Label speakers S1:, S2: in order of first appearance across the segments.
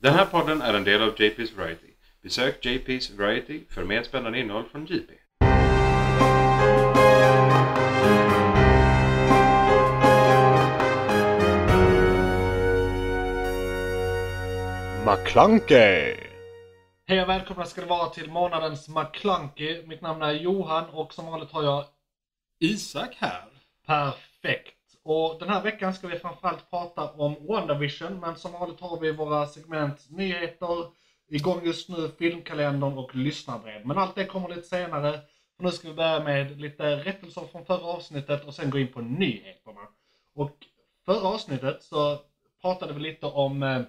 S1: Den här podden är en del av JP's Variety. Besök JP's Variety för mer spännande innehåll från JP.
S2: McClunkey!
S3: Hej och välkomna ska det vara till månadens McClunky. Mitt namn är Johan och som vanligt har jag
S4: Isak här.
S3: Perfekt. Och den här veckan ska vi framförallt prata om WandaVision men som vanligt har vi våra segment nyheter, igång just nu filmkalendern och lyssnarbrev. Men allt det kommer lite senare. Och nu ska vi börja med lite rättelser från förra avsnittet och sen gå in på nyheterna. Och förra avsnittet så pratade vi lite om eh,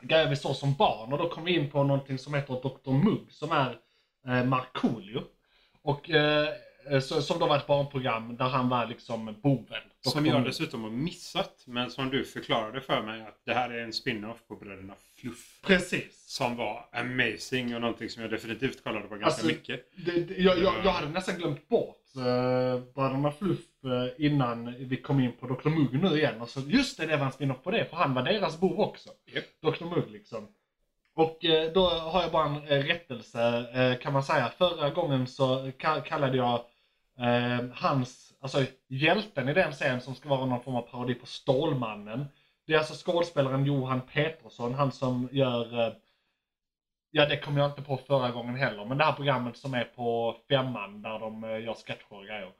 S3: grejer vi såg som barn och då kom vi in på någonting som heter Dr. Mugg som är eh, Markoolio. Och eh, så, som då var ett barnprogram där han var liksom boven.
S4: Som
S3: Dr.
S4: jag
S3: Mugg.
S4: dessutom har missat, men som du förklarade för mig att det här är en spin-off på Bröderna Fluff.
S3: Precis.
S4: Som var amazing och någonting som jag definitivt kollade på ganska
S3: Alltså,
S4: mycket.
S3: Det, det, jag, jag, jag hade nästan glömt bort eh, Bröderna Fluff eh, innan vi kom in på Dr. Mugg nu igen. Och så, just det, det var en spin-off på det, för han var deras bov också.
S4: Japp.
S3: Dr. Mugg liksom. Och eh, då har jag bara en eh, rättelse eh, kan man säga. Förra gången så ka- kallade jag eh, hans, alltså hjälten i den serien som ska vara någon form av parodi på Stålmannen. Det är alltså skådespelaren Johan Petersson, han som gör eh, Ja, det kom jag inte på förra gången heller. Men det här programmet som är på femman där de eh, gör sketcher och grejer.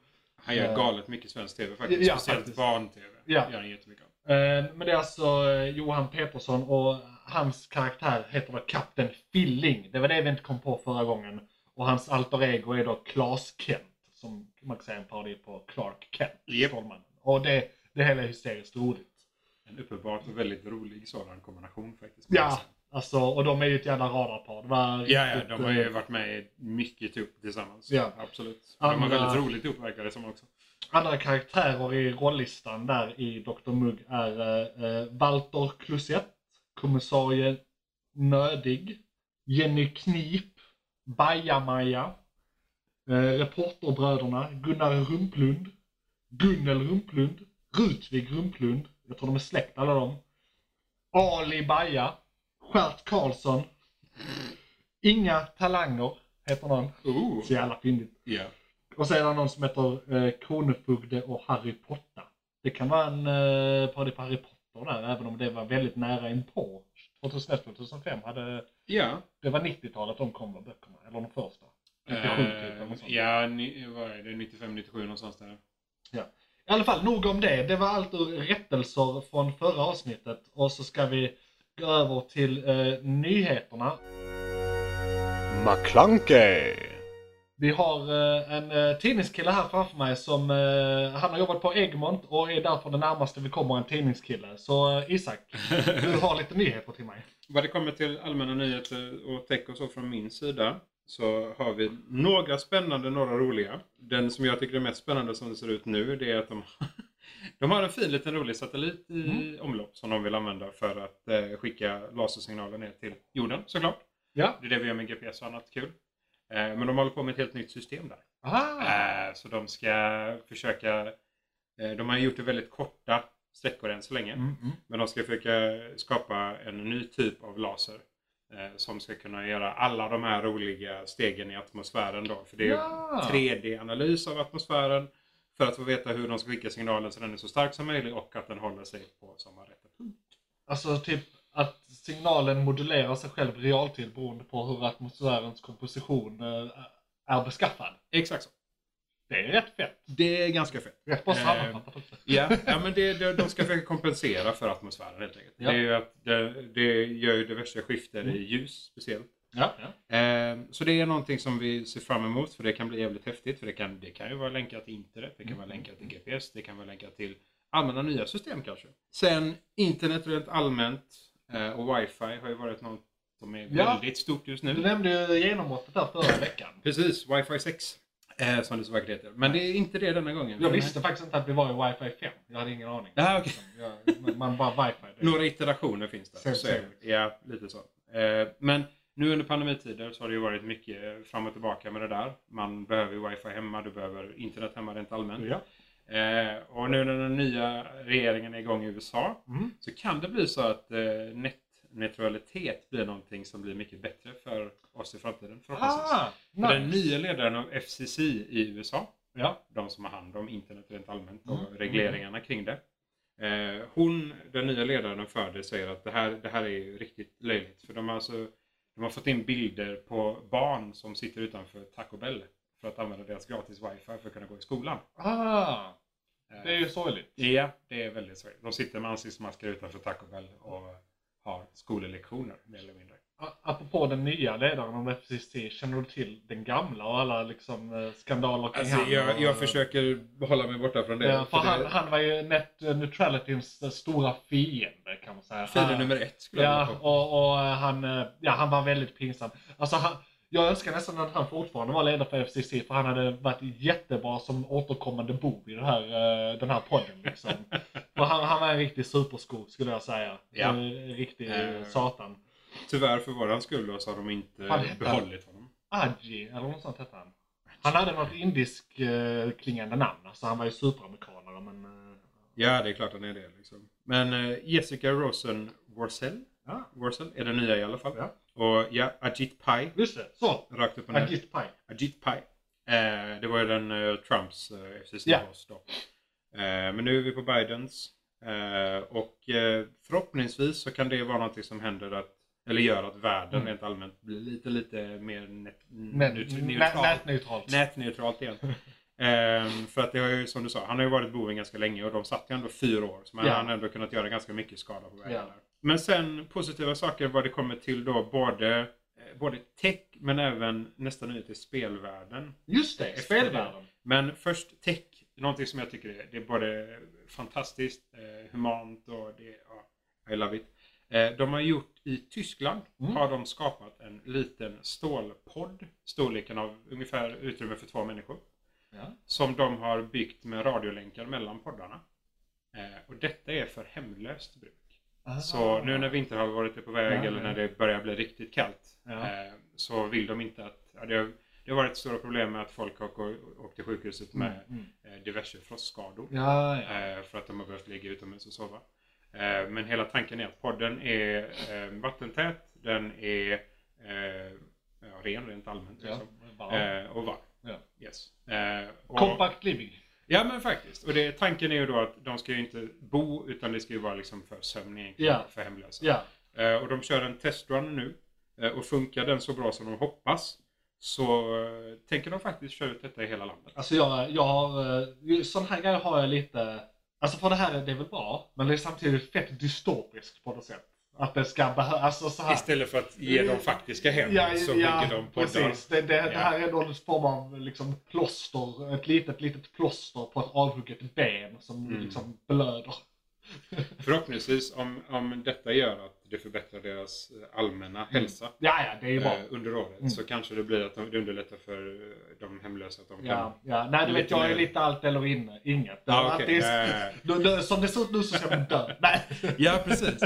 S4: Han gör
S3: Eh,
S4: galet mycket svensk TV faktiskt.
S3: ja,
S4: speciellt
S3: faktiskt.
S4: barn-TV.
S3: Ja.
S4: Gör han jättemycket av.
S3: Eh, Men det är alltså eh, Johan Petersson och hans karaktär heter då Kapten Filling. Det var det vi inte kom på förra gången. Och hans alter ego är då Klas Kent. Som man kan säga är en parodi på Clark Kent.
S4: Japp.
S3: Stålmannen. Och det, det hela är hysteriskt roligt.
S4: En uppenbart och väldigt rolig sådan kombination faktiskt.
S3: Ja, alltså och de är ju ett jävla radarpar. Det var
S4: Ja, ja,
S3: riktigt,
S4: de har ju
S3: eh,
S4: varit med mycket ihop tillsammans.
S3: Ja. äh,
S4: Absolut. De har
S3: Andra-
S4: väldigt roligt ihop verkar det som också.
S3: Andra karaktärer i rollistan där i Dr. Mugg är eh, eh, Walter Klusett, kommissarie Nödig, Jenny Knip, Bajamaja, eh, Reporterbröderna, Gunnar Rumplund, Gunnel Rumplund, Rutvig Rumplund, jag tror de är släkt alla de, Ali Baja, Stjärt Karlsson, Inga Talanger heter någon.
S4: Oh,
S3: Så jävla fyndigt.
S4: ja.
S3: Och så är det någon som heter eh, Kronofogde och Harry Potter. Det kan vara en eh, parodi på Harry Potter där, även om det var väldigt nära inpå. 2001-2005 hade...
S4: Ja.
S3: Det var 90-talet de kom med böckerna, eller de första. 97 typ, eller
S4: Eh,
S3: något sånt.
S4: ja, ni, vad är det? 95-97 någonstans där.
S3: I alla fall, nog om det. Det var allt ur rättelser från förra avsnittet. Och så ska vi gå över till eh, nyheterna.
S2: McClunkey!
S3: Vi har eh, en eh, tidningskille här framför mig som eh, han har jobbat på Egmont och är därför det närmaste vi kommer en tidningskille. Så eh, Isak, du har lite nyheter till mig.
S4: Vad det kommer till allmänna nyheter och tech och så från min sida så har vi några spännande, några roliga. Den som jag tycker är mest spännande som det ser ut nu det är att de, de har en fin liten rolig satellit i
S3: Mm.
S4: omlopp som de vill använda för att eh, skicka lasersignaler ner till jorden såklart.
S3: Ja.
S4: Det är det vi gör med GPS och annat kul. Eh, men de håller på med ett helt nytt system där.
S3: Ah,
S4: Eh, så de ska försöka, eh, de har gjort det väldigt korta sträckor än så länge.
S3: mm, mm.
S4: Men de ska försöka skapa en ny typ av laser. Eh, som ska kunna göra alla de här roliga stegen i atmosfären då. För det är
S3: Ja.
S4: 3D-analys av atmosfären. För att få veta hur de ska skicka signalen så den är så stark som möjligt och att den håller sig på samma rätta punkt.
S3: Alltså typ att signalen modulerar sig själv i realtid beroende på hur atmosfärens komposition eh, är beskaffad.
S4: Exakt så.
S3: Det är rätt fett.
S4: Det är ganska fett.
S3: Rätt bra
S4: Eh,
S3: sammanfattat också.
S4: Ja, ja men det, det, de ska försöka kompensera för atmosfären helt enkelt.
S3: Ja.
S4: Det, är ju att det, det gör ju diverse skifter i ljus speciellt.
S3: Ja, ja.
S4: Eh, Så det är någonting som vi ser fram emot för det kan bli jävligt häftigt. För det kan, det kan ju vara länkat till internet, det kan
S3: Mm.
S4: vara länkat till GPS, det kan vara länkat till allmänna nya system kanske. Sen internet rent allmänt eh, och wifi har ju varit något som är
S3: Ja.
S4: väldigt stort just
S3: Du
S4: nu.
S3: nämnde ju genombrottet där förra veckan.
S4: Precis, wifi 6 eh, som det så vackert heter. Men det är inte det denna gången.
S3: Jag visste faktiskt inte att vi var i wifi 5. Jag hade ingen aning.
S4: Ah, Mm. okej.
S3: Jag, man bara wifi. Det.
S4: Några iterationer finns där.
S3: Sen-
S4: Så är det. Ja, lite så. Eh, Men nu under pandemitider så har det ju varit mycket fram och tillbaka med det där. Man behöver ju wifi hemma, du behöver internet hemma rent allmänt.
S3: Ja.
S4: Eh, och nu när den nya regeringen är igång i USA
S3: Mm.
S4: så kan det bli så att eh, neutralitet blir någonting som blir mycket bättre för oss i framtiden förhoppningsvis.
S3: Ah,
S4: För
S3: nice.
S4: Den nya ledaren av FCC i USA,
S3: Ja.
S4: de som har hand om internet rent allmänt och
S3: Mm.
S4: regleringarna kring det. Eh, hon, den nya ledaren för det, säger att det här, det här är ju riktigt löjligt. För de har, alltså, de har fått in bilder på barn som sitter utanför Taco Bell för att använda deras gratis wifi för att kunna gå i skolan.
S3: Ah,
S4: Eh,
S3: det är ju sorgligt.
S4: Ja, det är väldigt sorgligt. De sitter med ansiktsmasker utanför Taco Bell och har skolelektioner mer eller mindre.
S3: A- Apropå den nya ledaren om FCC, känner du till den gamla och alla liksom eh, skandaler kring
S4: Alltså,
S3: han
S4: jag,
S3: och-
S4: jag försöker hålla mig borta från det.
S3: Ja,
S4: för
S3: för han,
S4: det-
S3: han var ju net neutralityns eh, stora fiende kan man säga.
S4: Fiende
S3: Han-
S4: nummer ett skulle jag
S3: Ja,
S4: vilja påstå.
S3: och, och eh, han, eh, ja, han var väldigt pinsam. Alltså, han, jag önskar nästan att han fortfarande var ledare för FCC för han hade varit jättebra som återkommande bov i den här, eh, den här podden. Liksom. för han, han var en riktig supersko skulle jag säga.
S4: Ja.
S3: Eh, Riktig
S4: Eh.
S3: satan.
S4: Tyvärr för våran skull då, så har de inte
S3: Vad heter han?
S4: behållit honom.
S3: Adji eller något sånt hette han. Han hade något indisk eh, klingande namn. Alltså, han var ju superamerikanare men... eh,
S4: Ja, det är klart han är det. Liksom. Men eh, Jessica Rosen Warcell,
S3: Ja.
S4: Warcell är den nya i alla fall.
S3: Ja.
S4: Och ja, Ajit Pai,
S3: Just det, så!
S4: rakt upp och ner.
S3: Agit Pai.
S4: Ajit Pai. Eh, det var ju den eh, Trumps eh, FCC
S3: Ja.
S4: host då. Eh, men nu är vi på Bidens. Eh, och eh, förhoppningsvis så kan det vara någonting som händer att eller gör att världen
S3: Mm.
S4: rent allmänt blir lite, lite mer net,
S3: Men,
S4: neut-
S3: nä- nätneutralt.
S4: nätneutralt igen. Ehm, för att det har ju, som du sa, han har ju varit boven ganska länge och de satt ju ändå fyra år. Så man
S3: Ja.
S4: han har ändå kunnat göra ganska mycket skada på vägen
S3: Ja.
S4: där. Men sen positiva saker vad det kommer till då, både, eh, både tech men även nästan ut i spelvärlden.
S3: Just det, spelvärlden.
S4: Men först tech, någonting som jag tycker är, det är både fantastiskt, eh, humant och det, ja, I love it. Eh, de har gjort, i Tyskland
S3: Mm.
S4: har de skapat en liten stålpodd, storleken av ungefär utrymme för två människor,
S3: Ja.
S4: som de har byggt med radiolänkar mellan poddarna. Eh, och detta är för hemlöst bruk. Ah.
S3: Ah.
S4: Så nu när vinterhalvåret är på väg
S3: Ja,
S4: eller
S3: ja.
S4: när det börjar bli riktigt kallt
S3: Ja.
S4: eh, så vill de inte att... Ja, det, har, det har varit stora problem med att folk har gå- åkt till sjukhuset med
S3: Mm.
S4: eh, diverse frostskador
S3: Ja, ja.
S4: eh, för att de har behövt ligga utomhus och sova. Eh, men hela tanken är att podden är eh, vattentät, den är eh, ja, ren rent allmänt
S3: ja.
S4: liksom,
S3: Bara.
S4: eh, och varm.
S3: Ja.
S4: Yes. Eh, och,
S3: Compact living.
S4: Ja men faktiskt. Och det, tanken är ju då att de ska ju inte bo utan det ska ju vara liksom för sömn egentligen,
S3: Ja.
S4: för hemlösa.
S3: Ja.
S4: Eh, Och de kör en testrun nu. Eh, Och funkar den så bra som de hoppas så eh, tänker de faktiskt köra ut detta i hela landet.
S3: Alltså jag, jag har, eh, ju- sån här grejer har jag lite, alltså för det här är det är väl bra, men det är samtidigt fett dystopiskt på något sätt. Att det ska behövas, alltså så här.
S4: Istället för att ge dem faktiska hem så bygger de poddar.
S3: precis. Det, det, det
S4: Ja.
S3: här är någon form av liksom plåster, ett litet, litet plåster på ett avhugget ben som
S4: Mm.
S3: liksom blöder.
S4: Förhoppningsvis om, om detta gör att det förbättrar deras eh, allmänna hälsa
S3: Ja, ja, Mm. det är ju bra.
S4: eh, under året
S3: Mm.
S4: så kanske det blir att de, det underlättar för eh, de hemlösa att de kan...
S3: Ja, ja. Nej, du vet,
S4: Lite
S3: jag är
S4: mer-
S3: lite allt eller inne, inget.
S4: Ja, okej.
S3: Att det är-
S4: Eh,
S3: Du, du, som det ser ut nu så ska man dö. Nej.
S4: Ja, precis.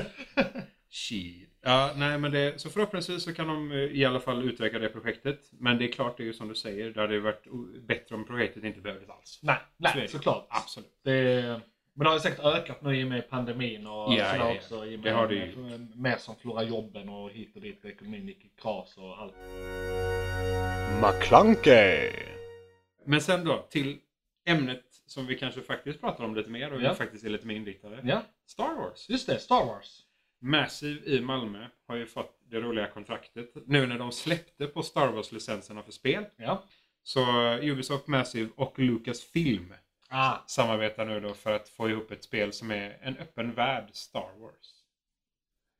S4: Shit. Ja, nej, men det, så förhoppningsvis så kan de eh, i alla fall utöka det projektet. Men det är klart, det är ju som du säger, det hade ju varit o- bättre om projektet inte behövdes alls.
S3: Nej,
S4: Så är det.
S3: nej såklart.
S4: Absolut.
S3: Det, men det har ju säkert ökat nu i och med pandemin och
S4: Ja,
S3: sådär
S4: ja, ja.
S3: också. I och
S4: Det
S3: med,
S4: har det ju
S3: med- Mer som förlorar jobben och hit och dit. Ekonomin gick i kras och allt.
S2: McClunkey.
S4: Men sen då till ämnet som vi kanske faktiskt pratar om lite mer och
S3: Ja.
S4: vi faktiskt är lite mer inriktade.
S3: Ja,
S4: Star Wars.
S3: just det. Star Wars.
S4: Massive i Malmö har ju fått det roliga kontraktet nu när de släppte på Star Wars-licenserna för spel.
S3: Ja.
S4: Så eh, Ubisoft Massive och Lucasfilm
S3: Ah,
S4: samarbetar nu då för att få ihop ett spel som är en öppen värld Star Wars. så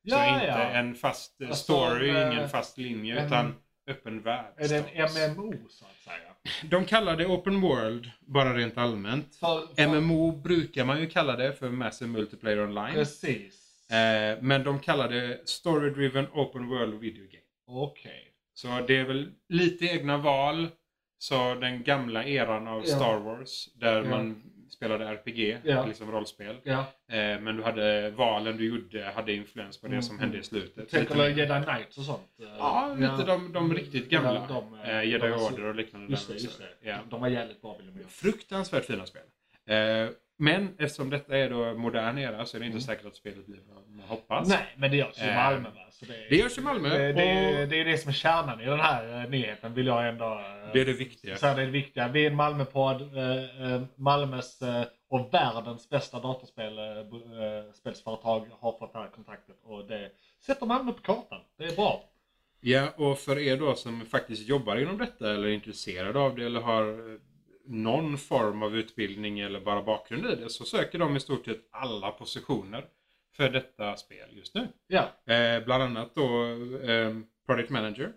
S3: ja,
S4: inte
S3: ja.
S4: en fast eh,
S3: Alltså,
S4: story,
S3: eh,
S4: ingen fast linje,
S3: en-
S4: utan öppen värld.
S3: Är det
S4: Star Wars.
S3: en MMO så att säga?
S4: De kallar det open world, bara rent allmänt.
S3: För, för,
S4: MMO brukar man ju kalla det för Massive Multiplayer Online.
S3: Precis.
S4: Eh, men de kallar det Story Driven Open World Video Game.
S3: Okej.
S4: Så det är väl lite egna val. Så den gamla eran av
S3: Ja.
S4: Star Wars, där
S3: Ja.
S4: man spelade RPG,
S3: Ja.
S4: liksom rollspel.
S3: Ja.
S4: Eh, men du hade valen du gjorde hade influens på det
S3: Mm,
S4: som
S3: mm.
S4: hände i slutet.
S3: Tänk
S4: Lite
S3: alla
S4: mer-
S3: Jedi Knights och sånt. eh,
S4: Ja, lite de, de riktigt gamla.
S3: Mm. Ja, de, eh,
S4: eh, Jedi
S3: de var så-
S4: Order och liknande.
S3: Just
S4: där
S3: det,
S4: också.
S3: just det.
S4: Ja.
S3: De var jävligt bra vill jag minnas.
S4: Fruktansvärt fina spel. Eh, Men eftersom detta är då modern era så är det inte säkert att spelet blir vad man hoppas.
S3: Mm. Nej, men det görs ju i
S4: Eh,
S3: Malmö. Va? Så det,
S4: Det görs i Malmö.
S3: det, Eh, det, är ju-
S4: och
S3: det är ju det som är kärnan i den här eh, nyheten vill jag ändå... eh,
S4: det är det viktiga.
S3: Så här, det är det viktiga. Vi är en Malmöpodd. Eh, eh, Malmös eh, och världens bästa eh, datorspelsföretag har fått den här kontakten. Och det sätter Malmö på kartan. Det är bra.
S4: Ja, och för er då som faktiskt jobbar inom detta eller är intresserade av det eller har eh, någon form av utbildning eller bara bakgrund i det så söker de i stort sett alla positioner för detta spel just nu.
S3: Ja,
S4: Eh, bland annat då eh, Product Manager.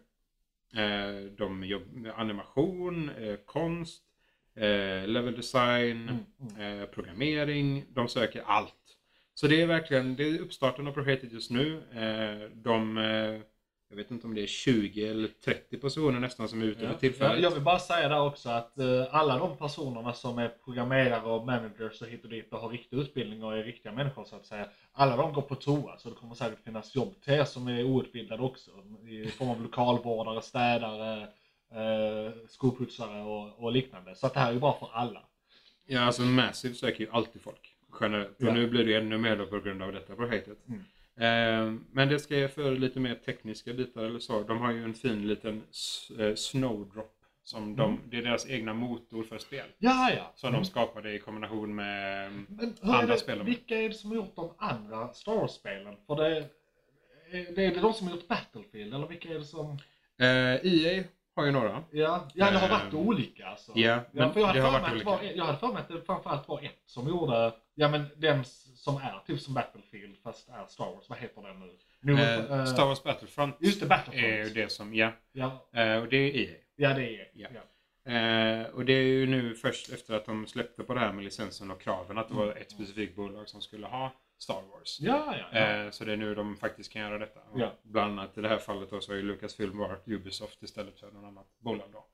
S4: Eh, de jobbar med animation, eh, konst, eh, level design,
S3: Mm,
S4: eh, programmering. De söker allt. Så det är verkligen det är uppstarten av projektet just nu. Eh, de, eh, jag vet inte om det är 20 eller 30 personer nästan som är ute
S3: ja.
S4: för tillfället.
S3: Ja, Jag vill bara säga där också att eh, alla de personerna som är programmerare och managers och hit och dit och har riktig utbildning och är riktiga människor så att säga. Alla de går på toa så det kommer säkert finnas jobb till er som är outbildade också. I form av lokalvårdare, städare, eh, skoputsare och, och liknande. Så att det här är ju bra för alla.
S4: Ja, alltså Massive söker ju alltid folk. Generellt.
S3: Ja.
S4: Och nu blir det ännu mer då på grund av detta projektet.
S3: Mm.
S4: Eh, men det ska jag för lite mer tekniska bitar eller så. De har ju en fin liten s- eh, Snowdrop. Som
S3: Mm.
S4: de, det är deras egna motor för spel.
S3: Ja, ja.
S4: Som de skapade i kombination med...
S3: Men hur är
S4: Andra
S3: det,
S4: spelen.
S3: vilka är det som har gjort de andra Star Wars-spelen? För det, är det är det de som har gjort Battlefield eller vilka är det som...
S4: Eh, EA har ju några.
S3: Ja, ja det har varit
S4: Ehm,
S3: olika alltså.
S4: Ja, men
S3: ja, för jag hade
S4: det har
S3: för
S4: varit
S3: mig att det var-
S4: olika.
S3: Jag hade för mig att det framförallt var ett som gjorde, ja men den s- som är typ som Battlefield fast är Star Wars, vad heter den nu? nu
S4: Eh,
S3: eh,
S4: Star Wars Battlefront
S3: Just det,
S4: är ju
S3: Battlefront.
S4: det som... Ja,
S3: Ja,
S4: eh, och det är EA.
S3: ja det är
S4: Ja.
S3: ja.
S4: Eh, och det är ju nu först efter att de släppte på det här med licensen och kraven att det var ett specifikt bolag som skulle ha Star Wars.
S3: Ja, ja, ja.
S4: Eh, så det är nu de faktiskt kan göra detta. Och
S3: Ja.
S4: Bland annat i det här fallet då så har ju Lucasfilm varit Ubisoft istället för någon annat bolag. Då.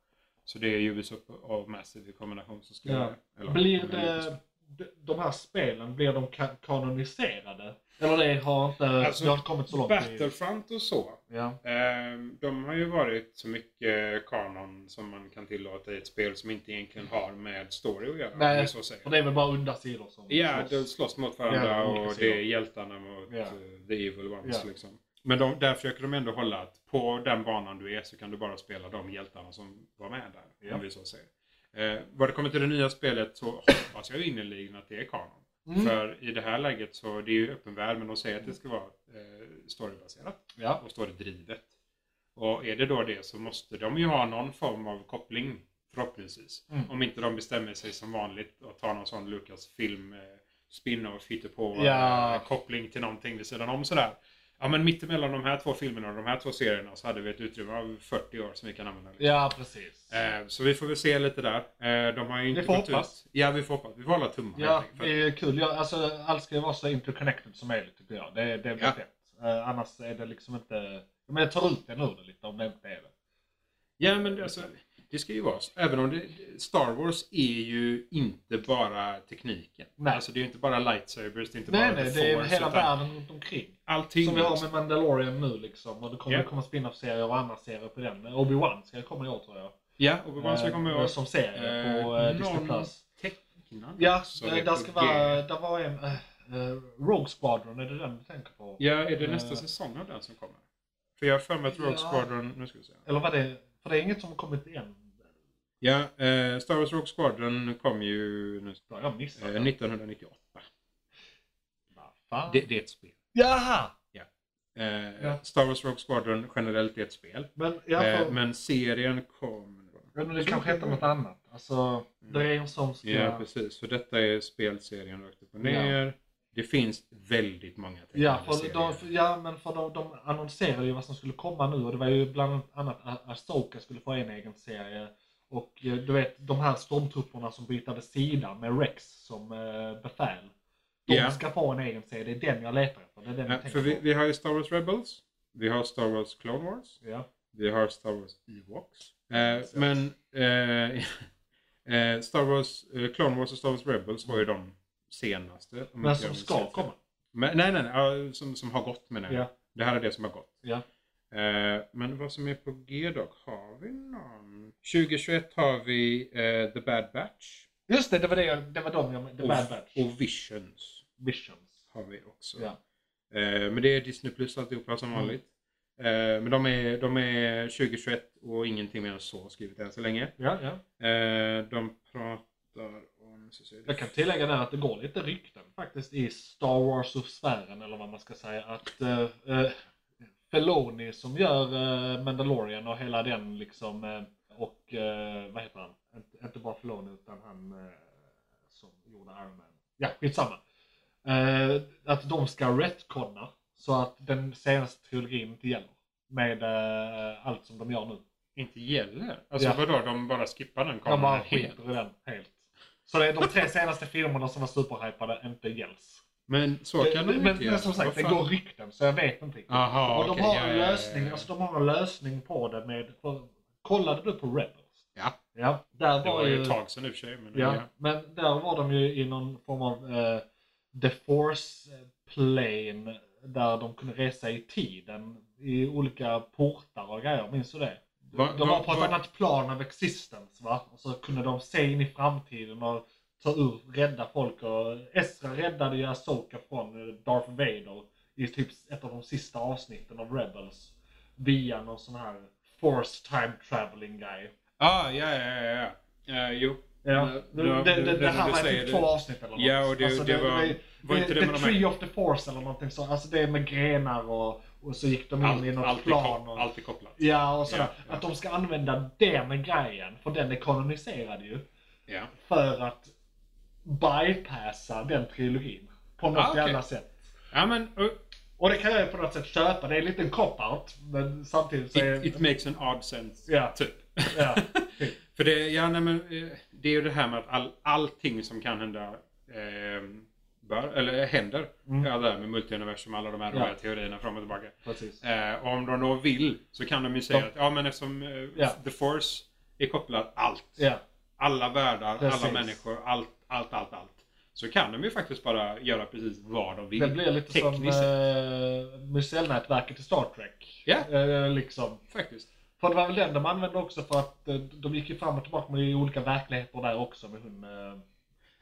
S4: Så det är Ubisoft och Massive i kombination som ska
S3: Ja.
S4: göra det. Eller-
S3: Blir
S4: eller Ubisoft.
S3: det, de- de här spelen, blir de ka- kanoniserade? Eller det har inte,
S4: Alltså,
S3: det har inte kommit så långt i...
S4: Battlefront och så.
S3: Ja.
S4: Eh, de har ju varit så mycket kanon som man kan tillåta i ett spel som inte egentligen har med story att göra. om
S3: Nej,
S4: vi så säger.
S3: Och det är väl bara undersidor som
S4: Ja,
S3: slåss.
S4: de slåss mot varandra
S3: Ja, olika
S4: och
S3: sidor.
S4: det är hjältarna mot
S3: Ja.
S4: eh, the evil ones.
S3: Ja.
S4: Liksom. Men de, där försöker de ändå hålla att på den banan du är så kan du bara spela de hjältarna som var med där.
S3: Ja.
S4: Om vi så säger. Eh, vad det kommer till det nya spelet så hoppas jag innerligen att det är kanon.
S3: Mm.
S4: För i det här läget så det är ju öppen värld men de säger att det ska vara eh, storybaserat
S3: Ja.
S4: och storydrivet. Och är det då det så måste de ju ha någon form av koppling förhoppningsvis.
S3: Mm.
S4: Om inte de bestämmer sig som vanligt och tar någon sån Lucas film eh, spin-off på eh,
S3: Ja.
S4: koppling till någonting vid sidan om sådär. Ja men mittemellan de här två filmerna och de här två serierna så hade vi ett utrymme av 40 år som vi kan använda. liksom.
S3: ja, precis.
S4: Eh, så vi får väl se lite där. Eh, de har ju inte
S3: Vi får
S4: gått ut-
S3: hoppas.
S4: Ja vi får hoppas. Vi får hålla tummarna
S3: Ja,
S4: helt enkelt.
S3: det är kul. Jag, alltså, allt ska ju vara så interconnected som möjligt tycker jag. Det, det blir
S4: Ja.
S3: fett. Eh, annars är det liksom inte... Men jag tar ut den ur det lite om det inte är det.
S4: Ja, men det- alltså, det ska ju vara så. Även om det, Star Wars är ju inte bara tekniken.
S3: Nej.
S4: Alltså det är ju inte bara lightsabers, det är inte
S3: nej,
S4: bara
S3: nej,
S4: the
S3: det är
S4: force,
S3: hela
S4: utan
S3: världen runt omkring.
S4: Allting.
S3: Som vi har med Mandalorian nu liksom. Och det kommer
S4: Ja.
S3: komma spin-off-serier och andra serier på den. Obi-Wan ska komma i år tror jag.
S4: Ja, och vad ska komma
S3: Eh,
S4: ihåg.
S3: Som serie
S4: Eh,
S3: på eh, Disney
S4: någon-
S3: Plus.
S4: Tecknad.
S3: Ja,
S4: Så det
S3: eh,
S4: är
S3: där
S4: på
S3: ska
S4: G.
S3: vara... Där var en... eh, eh, Rogue Squadron, är det den du tänker på?
S4: Ja, är det nästa
S3: Eh.
S4: säsong av den som kommer? För jag har för mig att Rogue
S3: Ja.
S4: Squadron... Nu ska vi se.
S3: Eller vad det... För det är inget som har kommit än.
S4: Ja, eh, Star Wars Rogue Squadron kom ju nu,
S3: Då har jag missat
S4: eh,
S3: den.
S4: 1998.
S3: Vad fan?
S4: Det, det är ett spel.
S3: Jaha!
S4: Eh,
S3: Ja.
S4: Star Wars Rogue Squadron generellt är ett spel.
S3: Men, ja, för,
S4: Eh, men serien kom...
S3: ja, men det kanske heter något annat. Alltså, det är en som ska...
S4: Ja, precis. För detta är spelserien rakt upp och ner. Det finns väldigt många tecknade
S3: Ja, för
S4: serier.
S3: de, för- ja, men för de, de annonserade ju vad som skulle komma nu och det var ju bland annat A- Asoka skulle få en egen serie. Och eh, du vet, de här stormtrupperna som bytade sida med Rex som eh, befäl. De
S4: Ja.
S3: ska få en egen serie, det är den jag letar efter. Det är den
S4: Ja,
S3: jag
S4: för
S3: tänker
S4: vi,
S3: på.
S4: vi har ju Star Wars Rebels. Vi har Star Wars Clone Wars.
S3: Ja.
S4: Vi Mm, har Star Wars Ewoks. Eh,
S3: Precis.
S4: men eh, eh, Star Wars, eh, Clone Wars och Star Wars Rebels var ju de senaste. om
S3: Men
S4: inte
S3: som
S4: jag
S3: ska
S4: minns fel.
S3: komma.
S4: Men, nej, nej, nej. ja, Som, som har gått menar jag.
S3: Ja.
S4: Det här är det som har gått.
S3: Ja.
S4: Eh, men vad som är på G dock, har vi någon? 2021 har vi eh, The Bad Batch.
S3: Just det, det var, det, jag- det var de jag... The Bad Batch.
S4: Och, och Visions
S3: Visions.
S4: har vi också.
S3: Ja.
S4: Eh, men det är Disney Plus alltihopa som
S3: Mm.
S4: vanligt. Eh, men de är, de är 2021 och ingenting mer än så har skrivit än så länge.
S3: Ja, ja.
S4: Eh, de pratar om... så säger det-
S3: Jag kan tillägga där att det går lite rykten faktiskt i Star Wars-sfären, eller vad man ska säga, att eh, eh, Felony som gör eh, Mandalorian och hela den liksom, eh, och eh, vad heter han? Inte, inte bara Felony utan han eh, som gjorde Iron Man. Ja, skitsamma. Eh, att de ska retconna så att den senaste trilogin inte gäller. Med eh, allt som de gör nu.
S4: Inte gäller? Alltså
S3: Ja.
S4: vadå, de bara skippar den
S3: De bara
S4: kameran helt?
S3: skiter i den helt. Så det är de tre senaste filmerna som var superhypade inte gälls.
S4: Men så kan de
S3: Eh, men,
S4: inte
S3: men,
S4: göra.
S3: som sagt, det
S4: Vad fan?
S3: går rykten så jag vet inte riktigt.
S4: Aha,
S3: och de
S4: okej,
S3: har
S4: ja, ja,
S3: en
S4: ja, ja.
S3: lösning, alltså de har en lösning på det med, för, kollade du på Rebels?
S4: Ja.
S3: Ja, där
S4: Det
S3: var,
S4: var ju
S3: ju,
S4: ett tag sedan i och för sig. Men
S3: ja,
S4: ja.
S3: men där var de ju i någon form av eh, The Force Plane där de kunde resa i tiden i olika portar och grejer, minns du det?
S4: Va-
S3: de
S4: va-
S3: var på ett
S4: va-
S3: annat plan av existens va? Och så kunde de se in i framtiden och ta ur, rädda folk och Ezra räddade ju Asoka från eh, Darth Vader i typ ett av de sista avsnitten av Rebels via någon sån här force time traveling guy.
S4: Ah, ja, ja, ja. ja. Eh, jo.
S3: Ja,
S4: Eh,
S3: det,
S4: ja,
S3: det, det,
S4: när
S3: här
S4: du
S3: var
S4: säger
S3: typ två avsnitt eller något. Alltså,
S4: Ja, och det- det var-
S3: är-
S4: var inte det
S3: The
S4: med de här-
S3: Tree of the Force eller någonting sånt. Alltså det är med grenar och, och så gick de in i
S4: Allt,
S3: något
S4: alltid,
S3: plan.
S4: kop-
S3: Och,
S4: alltid kopplat.
S3: Ja, och sådär.
S4: Ja, ja.
S3: Att de ska använda det med grejen, för den är kanoniserad ju.
S4: Ja.
S3: För att bypassa den trilogin. På något
S4: Ah, okej.
S3: jävla sätt.
S4: ja, men eh,
S3: Och det kan jag ju på något sätt köpa. Det är en liten cop-out. Men samtidigt så är...
S4: it, it makes an odd sense.
S3: Ja.
S4: Typ.
S3: Ja, typ.
S4: För det, ja, nej, men, eh, det är ju det här med att all, allting som kan hända ehm, bör, eller händer.
S3: Mm.
S4: Ja, det här med multiuniversum och alla de här
S3: Ja.
S4: roliga teorierna fram och tillbaka.
S3: Precis.
S4: Eh, och om de då vill så kan de ju säga
S3: De-
S4: att ja, men eftersom eh,
S3: Ja.
S4: the force är kopplad allt.
S3: Ja,
S4: alla världar,
S3: Precis.
S4: alla människor, allt, allt, allt, allt. Så kan de ju faktiskt bara göra precis vad de vill.
S3: det blir lite som
S4: Tekniskt sett,
S3: eh, Micellnätverket i Star Trek.
S4: Ja.
S3: Eh, liksom.
S4: faktiskt.
S3: För det var väl den de använde också för att eh, de gick ju fram och tillbaka med olika verkligheter där också med hon, eh,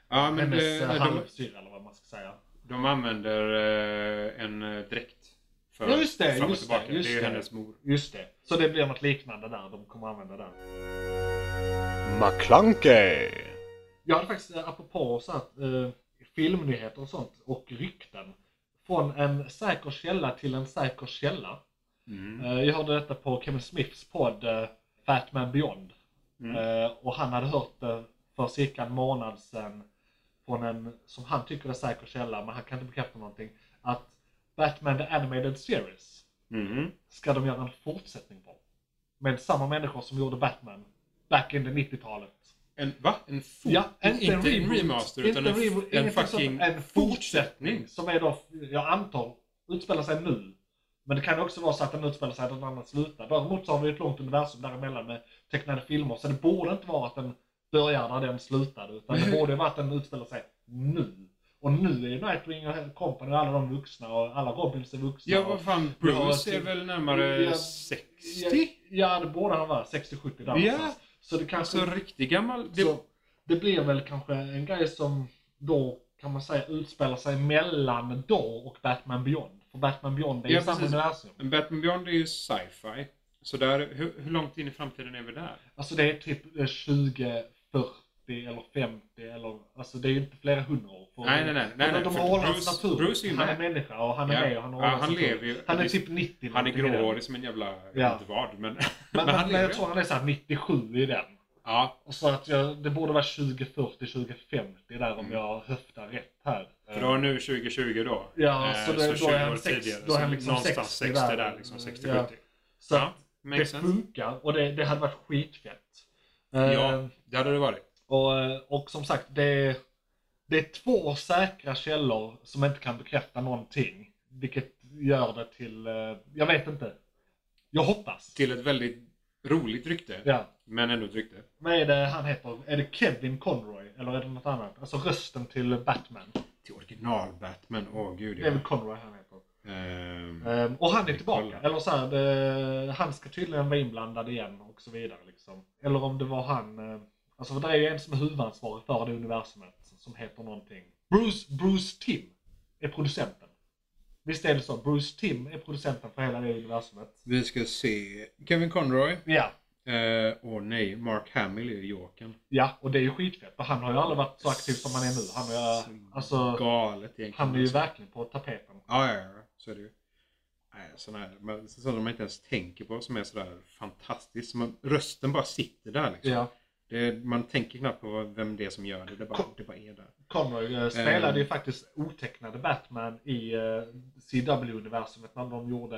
S4: Ja, men
S3: hennes
S4: det,
S3: eh,
S4: de,
S3: halvsyrra eller vad man ska säga.
S4: de använder eh, en eh, dräkt. För
S3: Ja, just det,
S4: fram och
S3: just
S4: tillbaka.
S3: det, just
S4: det är ju
S3: det.
S4: hennes mor.
S3: Just det. Så det blir något liknande där. De kommer använda den.
S2: McClunkey.
S3: Jag hade faktiskt, eh, apropå så att, eh, filmnyheter och sånt och rykten. Från en säker källa till en säker källa.
S4: Mm.
S3: Eh, jag hörde detta på Kevin Smiths podd eh, Fat Man Beyond.
S4: Mm.
S3: Eh, och han hade hört det för cirka en månad sedan från en, som han tycker är säker källa, men han kan inte bekräfta någonting. Att Batman The Animated Series
S4: Mm.
S3: ska de göra en fortsättning på. Med samma människor som gjorde Batman back in the 90-talet.
S4: En, va? En fort,
S3: Ja,
S4: inte en remaster utan en,
S3: reboot,
S4: en
S3: ingenting
S4: fucking
S3: sånt. en
S4: fortsättning.
S3: fortsättning. Som är då, jag antar, utspelar sig nu. Men det kan ju också vara så att den utspelar sig där den andra slutar. Däremot så har vi ett långt universum däremellan med tecknade filmer. Så det borde inte vara att den börjar där den slutade. Utan det borde vara att den utspelar sig nu. Och nu är ju Nightwing och Company och alla de vuxna och alla Robins är vuxna.
S4: Ja,
S3: och-
S4: vad fan. Bruce
S3: Ja, typ.
S4: är väl närmare
S3: ja,
S4: 60?
S3: Ja, det borde han vara. 60-70 där
S4: Ja.
S3: någonstans. Så det kanske
S4: Alltså riktigt gammal. Det,
S3: så det blir väl kanske en grej som då kan man säga utspelar sig mellan då och Batman Beyond. För Batman Beyond är ju
S4: Ja,
S3: samma
S4: precis.
S3: universum.
S4: Men Batman Beyond är ju sci-fi. Så där, hur, hur långt in i framtiden är vi där?
S3: Alltså det är typ eh, 20, 40 eller 50 eller alltså det är ju inte flera hundra år. För
S4: Nej, nej, nej, nej,
S3: för
S4: nej,
S3: de
S4: för
S3: har hållit
S4: Bruce-
S3: hans natur.
S4: Bruce är ju
S3: han är
S4: med.
S3: människa och han är
S4: Ja.
S3: med och han har
S4: Ja,
S3: hållit
S4: han
S3: sin tur.
S4: lever ju-
S3: Han är
S4: det-
S3: typ 90
S4: Han är
S3: någonting i den.
S4: gråhårig som en jävla...
S3: Ja.
S4: Inte vad, men...
S3: Men,
S4: men
S3: men,
S4: han lever
S3: jag
S4: ju.
S3: tror han är såhär 97 i den.
S4: Ja,
S3: Och Så att jag, det borde vara 2040, 2050 där om
S4: Mm.
S3: jag höftar rätt här.
S4: för då är nu 2020 då.
S3: Ja,
S4: Eh,
S3: så det- då
S4: 20
S3: är han
S4: år
S3: sex-
S4: tidigare,
S3: då är han
S4: så
S3: liksom
S4: Någonstans
S3: 60
S4: 60
S3: där.
S4: där, liksom. 60-70.
S3: Ja. Mm.
S4: Ja.
S3: Så att det
S4: makes sense.
S3: funkar och det, det hade varit skitfett. Eh,
S4: Ja, det hade det varit.
S3: Och, eh, och som sagt, det är, det är två säkra källor som inte kan bekräfta någonting. Vilket gör det till, eh, jag vet inte. Jag hoppas.
S4: Till ett väldigt roligt rykte.
S3: Ja.
S4: Men ändå ett rykte.
S3: Vad är det han heter? Är det Kevin Conroy eller är det något annat? Alltså rösten till Batman.
S4: Till original-Batman. Åh gud
S3: Det är
S4: ja.
S3: väl Conroy han heter.
S4: Ehm,
S3: Ehm, och han är tillbaka.
S4: Kolla.
S3: Eller så här, det, han ska tydligen vara inblandad igen och så vidare. Liksom. Eller om det var han, eh, Alltså för det är ju en som är huvudansvarig för det universumet som heter någonting. Bruce, Bruce Tim är producenten. Visst är det så? Bruce Tim är producenten för hela det universumet.
S4: Vi ska se. Kevin Conroy.
S3: Ja.
S4: Åh nej, Mark Hamill är ju Jokern.
S3: Ja, och det är ju skitfett. Och han har ju aldrig varit så aktiv som han är nu. Han är, alltså,
S4: Galet egentligen.
S3: han är ju verkligen på tapeten.
S4: Ja, ja, ja. Så är det ju. Nej, sådana här, men sådana man inte ens tänker på som är sådär fantastiskt. Som man, rösten bara sitter där liksom.
S3: Ja.
S4: Det, man tänker knappt på vad- vem det är som gör det. Det bara, det bara är där.
S3: Conroy eh, spelade ju faktiskt otecknade Batman i eh, CW-universumet när de gjorde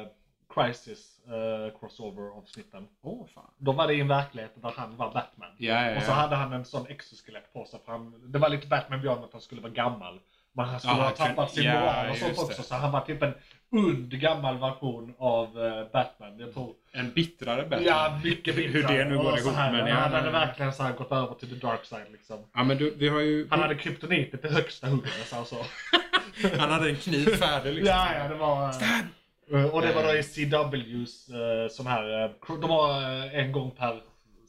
S3: eh, Crisis eh, Crossover-avsnitten.
S4: Åh fan.
S3: Då var det i en verklighet där han var Batman.
S4: Ja, ja, ja.
S3: Och så hade han en sån exoskelett på sig. För han, det var lite Batman Beyond att han skulle vara gammal. Men han skulle
S4: Ja,
S3: ha
S4: Ah, han kunde-
S3: tappat sin
S4: ja,
S3: moral och sånt
S4: just
S3: också.
S4: det.
S3: Så han var typ en und gammal version av eh, Batman. Jag tror,
S4: En bittrare Batman.
S3: ja, mycket
S4: Hur
S3: bittrare.
S4: det nu
S3: Och
S4: går
S3: så
S4: ihop,
S3: Här,
S4: men
S3: men
S4: ja,
S3: han hade
S4: ja, ja.
S3: verkligen så här gått över till the dark side liksom.
S4: Ja, men du, vi har ju...
S3: Han hade kryptonit i det högsta hugget. Alltså.
S4: Han hade en kniv färdig liksom. Eh.
S3: Ja, ja, det var... eh, Och det var då i CWs eh, sån här... eh, cro- De har eh, en gång per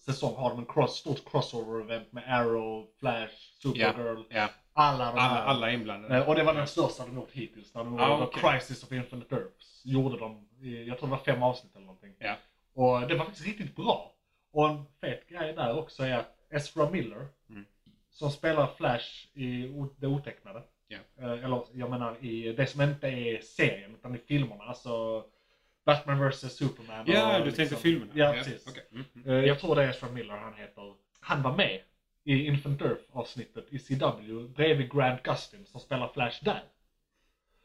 S3: säsong har de en cross, stort crossover-event med Arrow, Flash, Supergirl.
S4: Ja.
S3: Alla de
S4: Alla,
S3: här.
S4: alla är inblandade.
S3: Eh, Och det var den största de gjort hittills. När de gjorde
S4: Ja,
S3: då
S4: okej.
S3: Crisis of Infinite Earths. Gjorde de, i- jag tror det var fem avsnitt eller någonting.
S4: Ja.
S3: Och det var faktiskt riktigt bra. Och en fet grej där också är att Ezra Miller,
S4: Mm.
S3: som spelar Flash i o- det otecknade.
S4: Ja.
S3: Eh, Eller jag menar i det som inte är serien utan i filmerna. Alltså Batman vs Superman.
S4: Ja,
S3: och liksom-
S4: du tänkte filmerna?
S3: Ja, precis.
S4: okej. Mm, mm.
S3: Eh, Jag tror det är Ezra Miller han heter. Han var med i Infant Earth avsnittet i CW bredvid Grant Gustin som spelar Flash där.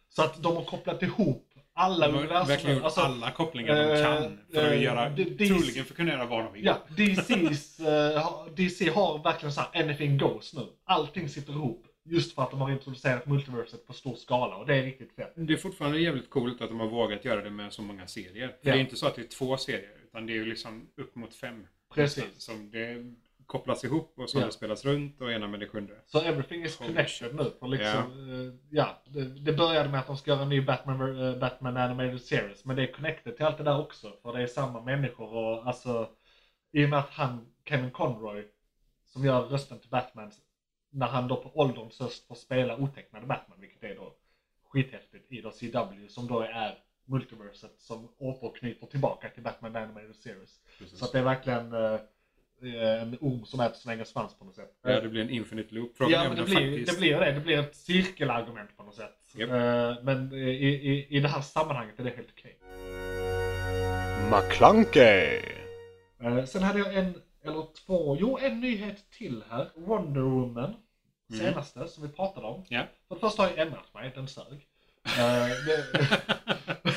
S3: Så att de har kopplat ihop alla
S4: De har verkligen
S3: universum.
S4: gjort
S3: Alltså,
S4: alla kopplingar de kan. För att
S3: eh,
S4: göra,
S3: det- det-
S4: troligen för att kunna göra vad de vill.
S3: ja, DC's, eh, har- DC har verkligen så här anything goes nu. Allting sitter ihop. Just för att de har introducerat multiverset på stor skala och det är riktigt fett.
S4: Det är fortfarande jävligt coolt att de har vågat göra det med så många serier. För
S3: Ja.
S4: Det är inte så att det är två serier, utan det är ju liksom upp mot fem.
S3: Precis.
S4: Nästan, Som det kopplas ihop och som
S3: Ja.
S4: det spelas runt och ena med det sjunde.
S3: Så everything is
S4: Holy
S3: connected
S4: shit.
S3: nu. För liksom, eh, ja, det, det började med att de ska göra en ny Batman, eh, Batman Animated Series. Men det är connected till allt det där också. För det är samma människor och alltså i och med att han, Kevin Conroy, som gör rösten till Batman, när han då på ålderns höst får spela otecknade Batman, vilket är då skithäftigt i då CW, som då är multiverset som återknyter tillbaka till Batman Animated Series. Så att det är verkligen eh, en orm som äter sin egen svans på något sätt.
S4: Ja, det blir en infinite loop.
S3: Ja,
S4: är
S3: men
S4: om
S3: det
S4: den
S3: blir, det
S4: faktiskt-
S3: blir ju det. Det blir ett cirkelargument på något sätt.
S4: Japp.
S3: Eh, Men i, i, i det här sammanhanget är det helt okej.
S2: McClunkey.
S3: Eh, Sen hade jag en, eller två, jo en nyhet till här. Wonder Woman,
S4: Mm.
S3: senaste, som vi pratade om.
S4: Ja.
S3: För det första har jag ändrat mig, den sög. Eh, det-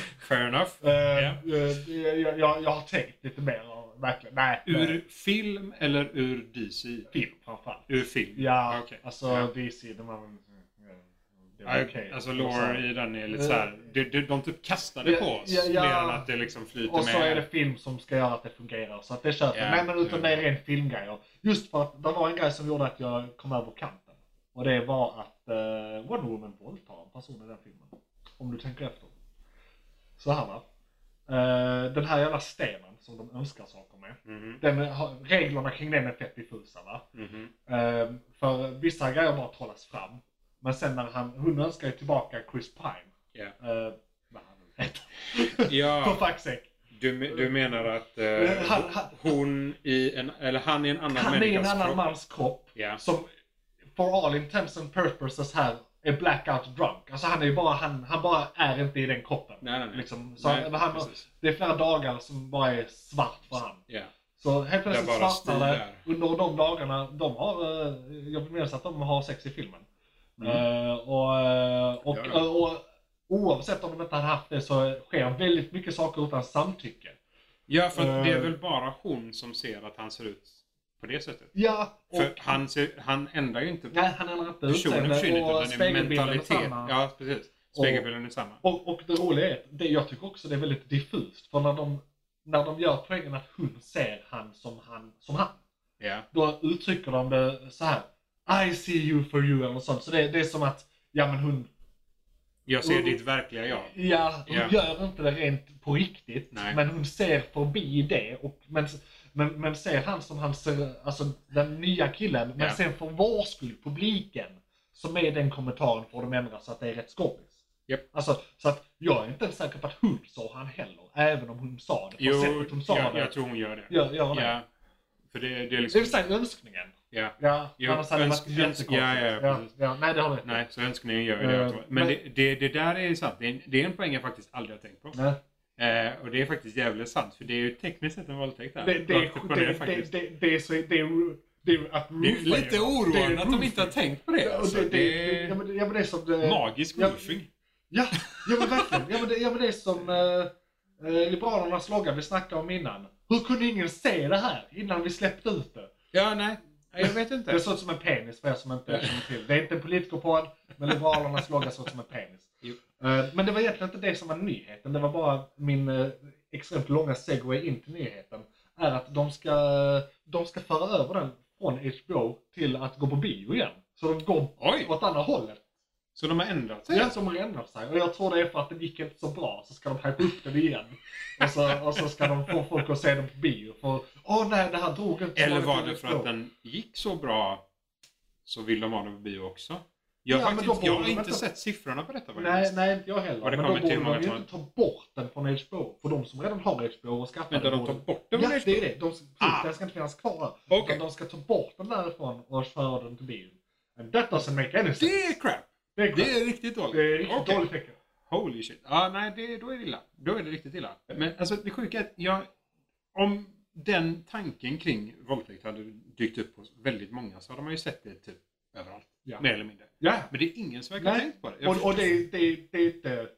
S4: Fair enough.
S3: eh,
S4: Ja.
S3: eh, jag, jag, jag har tänkt lite mer, och verkligen. Nej, eh,
S4: Ur film eller ur DC?
S3: film framförallt.
S4: Ur film?
S3: Ja,
S4: Okej.
S3: alltså
S4: Ja.
S3: DC, de var... Det var
S4: Ja,
S3: okej.
S4: Alltså
S3: Och så-
S4: lore i den är lite såhär, de, de, de typ kastade
S3: Eh, Ja,
S4: på oss
S3: ja, ja.
S4: mer än att det liksom flyter
S3: Och så
S4: med.
S3: är det film som ska göra att det fungerar. Så att det köper
S4: Ja,
S3: yeah. Nej men utan
S4: ja.
S3: det är ren filmgrejer. Just för att det var en grej som gjorde att jag kom över kanten. Och det var att uh, Wonder Woman våldtar en person i den filmen. Om du tänker efter. Så här va. Eh, den här jävla stenen som de önskar saker med.
S4: Mhm,
S3: Den, har- reglerna kring den är fett diffusa va.
S4: mhm.
S3: Eh, för vissa grejer bara trollas fram. Men sen när han, hon önskar ju tillbaka Chris Pine.
S4: Ja.
S3: Eh, vad han nu heter. För
S4: Ja,
S3: fuck's sake.
S4: du, me- du menar att eh,
S3: Han- han-
S4: hon i en, eller han i en annan
S3: Han är en
S4: människas
S3: annan
S4: kropp.
S3: mans kropp
S4: Ja.
S3: som for all intents and purposes här är blackout drunk. Alltså han är ju bara, han, han bara är inte i den kroppen.
S4: Nej, nej, nej.
S3: Liksom. Så
S4: Nej,
S3: han, han,
S4: precis.
S3: det är flera dagar som bara är svart för han.
S4: Ja.
S3: Så helt plötsligt
S4: bara
S3: svartnar det
S4: stilar.
S3: under de dagarna de har, eh, jag vill minnas att de har sex i filmen. Eh, och, eh, och,
S4: Mm. Ja, ja.
S3: och, och oavsett om de inte hade haft det så sker väldigt mycket saker utan samtycke.
S4: ja, för att det är
S3: Eh.
S4: väl bara hon som ser att han ser ut på det sättet.
S3: Ja, och
S4: För han, ser, han ändrar ju inte
S3: nej, han ändrar inte
S4: personen för
S3: utseende och
S4: utan det är
S3: spegelbilden är
S4: mentalitet.
S3: samma.
S4: Ja, precis. Spegelbilden är samma.
S3: Och, och det roliga är att det, jag tycker också det är väldigt diffust. För när de, när de gör poängen att hon ser han som han, som han
S4: Ja.
S3: då uttrycker de det så här. I see you for you eller något sånt. Så det, det är som att, ja men hon,
S4: Jag ser
S3: Och-
S4: ditt verkliga jag.
S3: ja, hon
S4: Ja.
S3: gör inte det rent på riktigt.
S4: Nej.
S3: Men hon ser förbi det. Och, men, Men, men ser han som han ser, alltså den nya killen, men
S4: Ja.
S3: sen för vår skull, publiken, som är den kommentaren får de ändra så att det är rätt skådis.
S4: Japp.
S3: Alltså, så att jag är inte ens säker på att hon sa han heller, även om hon sa det. På sättet hon sa
S4: jag,
S3: det.
S4: jag tror hon gör det.
S3: Gör, gör hon det?
S4: Ja. För det, det är
S3: Det
S4: liksom...
S3: vill säga önskningen.
S4: Ja.
S3: Ja,
S4: Jo,
S3: annars hade det varit
S4: önsk- önsk-
S3: jättekonstigt.
S4: ja, ja,
S3: ja,
S4: precis.
S3: ja, Nej, det har du rätt i.
S4: Nej, så önskningen gör ju
S3: Eh,
S4: det. automatiskt. Men,
S3: men-
S4: det, det, det där är ju sant. Det är, en, det är en poäng jag faktiskt aldrig har tänkt på.
S3: Nej.
S4: Eh, och det är faktiskt jävligt sant. För det är ju tekniskt sett en våldtäkt. där.
S3: Det, det,
S4: Rakt upp
S3: det,
S4: och ner
S3: det, det,
S4: faktiskt.
S3: det, det är så... Det är, det är att
S4: Det är ju lite oroande att de inte har tänkt på det. Alltså.
S3: det, det,
S4: är
S3: ja, men, det- ja, men det är som... Det,
S4: magisk
S3: ja.
S4: roofing.
S3: Ja, ja men verkligen. Ja men det, ja, men det är som eh, eh, Liberalernas logga vi snackade om innan. Hur kunde ingen se det här innan vi släppte ut det?
S4: Ja, nej. Nej, Jag vet
S3: Det
S4: inte.
S3: såg ut som en penis för er som inte känner till. Det är inte en politikerpodd, men Liberalernas logga såg ut som en penis.
S4: Jo.
S3: Eh, men det var egentligen inte det som var nyheten. Det var bara min eh, extremt långa segway in till nyheten. Är att de ska, de ska föra över den från HBO till att gå på bio igen. Så de går
S4: Oj!
S3: åt andra hållet.
S4: Så de har ändrat sig?
S3: Ja, som har ändrat sig. Och jag tror det är för att det gick inte så bra, så ska de hypa upp den igen. Och så, och så ska de få folk att se den på bio. För, åh nej, det här drog inte så
S4: Eller
S3: många
S4: var
S3: till
S4: det för
S3: ett
S4: att
S3: år."
S4: den gick så bra så vill de ha den på bio också? Jag, har
S3: Ja, men
S4: faktiskt,
S3: då
S4: inte-
S3: borde
S4: jag har
S3: de
S4: inte
S3: vänta.
S4: sett siffrorna på detta
S3: Nej,
S4: faktiskt.
S3: nej, inte jag heller.
S4: Och det
S3: Men då
S4: kommer
S3: borde
S4: till
S3: de
S4: många
S3: ju
S4: timmar.
S3: inte ta bort den från HBO. För de som redan har HBO och skaffar
S4: Vänta,
S3: den.
S4: de tar
S3: borde-
S4: bort den från
S3: Ja,
S4: HBO?
S3: det är det. De, precis,
S4: Ah.
S3: Den ska inte finnas kvar där.
S4: Okej,
S3: Utan De ska ta bort den därifrån och föra den till bio. And that doesn't make any sense.
S4: det är crap.
S3: Det är,
S4: Det är riktigt dåligt.
S3: det är riktigt
S4: Okej.
S3: dåligt tecken.
S4: Holy shit. Ja, nej, det, då är det illa. Då är det riktigt illa. Men alltså det sjuka är att jag... Om den tanken kring våldtäkt hade dykt upp hos väldigt många så hade man ju sett det typ överallt.
S3: Ja.
S4: Mer eller mindre.
S3: Ja.
S4: Men det är ingen som verkar ha
S3: Nej.
S4: tänkt på det. Jag
S3: Och, och det, det, det är inte...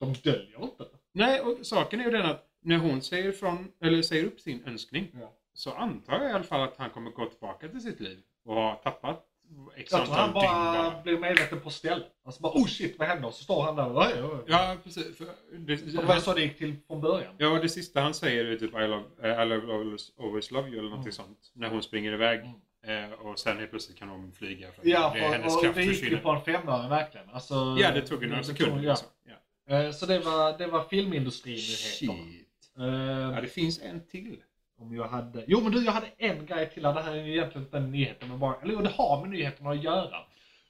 S3: De döljer inte.
S4: Nej, och saken är ju den att när hon säger, från, eller säger upp sin önskning
S3: Ja.
S4: så antar jag i alla fall att han kommer gå tillbaka till sitt liv och ha tappat x
S3: Jag tror han
S4: antal dygn
S3: bara
S4: bara.
S3: blir medveten på stället. Alltså bara oh shit vad händer? Så står han där och "Oj, oj, oj."
S4: Ja, precis. För det,
S3: Och Det var ju så det gick till från början.
S4: ja, det sista han säger är typ I, love, eh, I love, always, always love you eller någonting
S3: Mm.
S4: sånt. När hon springer iväg eh, och sen helt plötsligt kan hon flyga. För att
S3: Ja,
S4: det,
S3: för,
S4: hennes
S3: och
S4: kraft
S3: det gick ju
S4: försvinner.
S3: på en femöring verkligen. Alltså,
S4: Ja, det tog ju några sekunder.
S3: ja.
S4: liksom. Ja.
S3: Eh, Så det var, det var filmindustrinyheter.
S4: Shit. Ja,
S3: Eh,
S4: det finns en till.
S3: Om jag hade... Jo men du, jag hade en grej till. här. Det här är ju egentligen inte en nyhet. Men bara... Eller jo, det har med nyheterna att göra.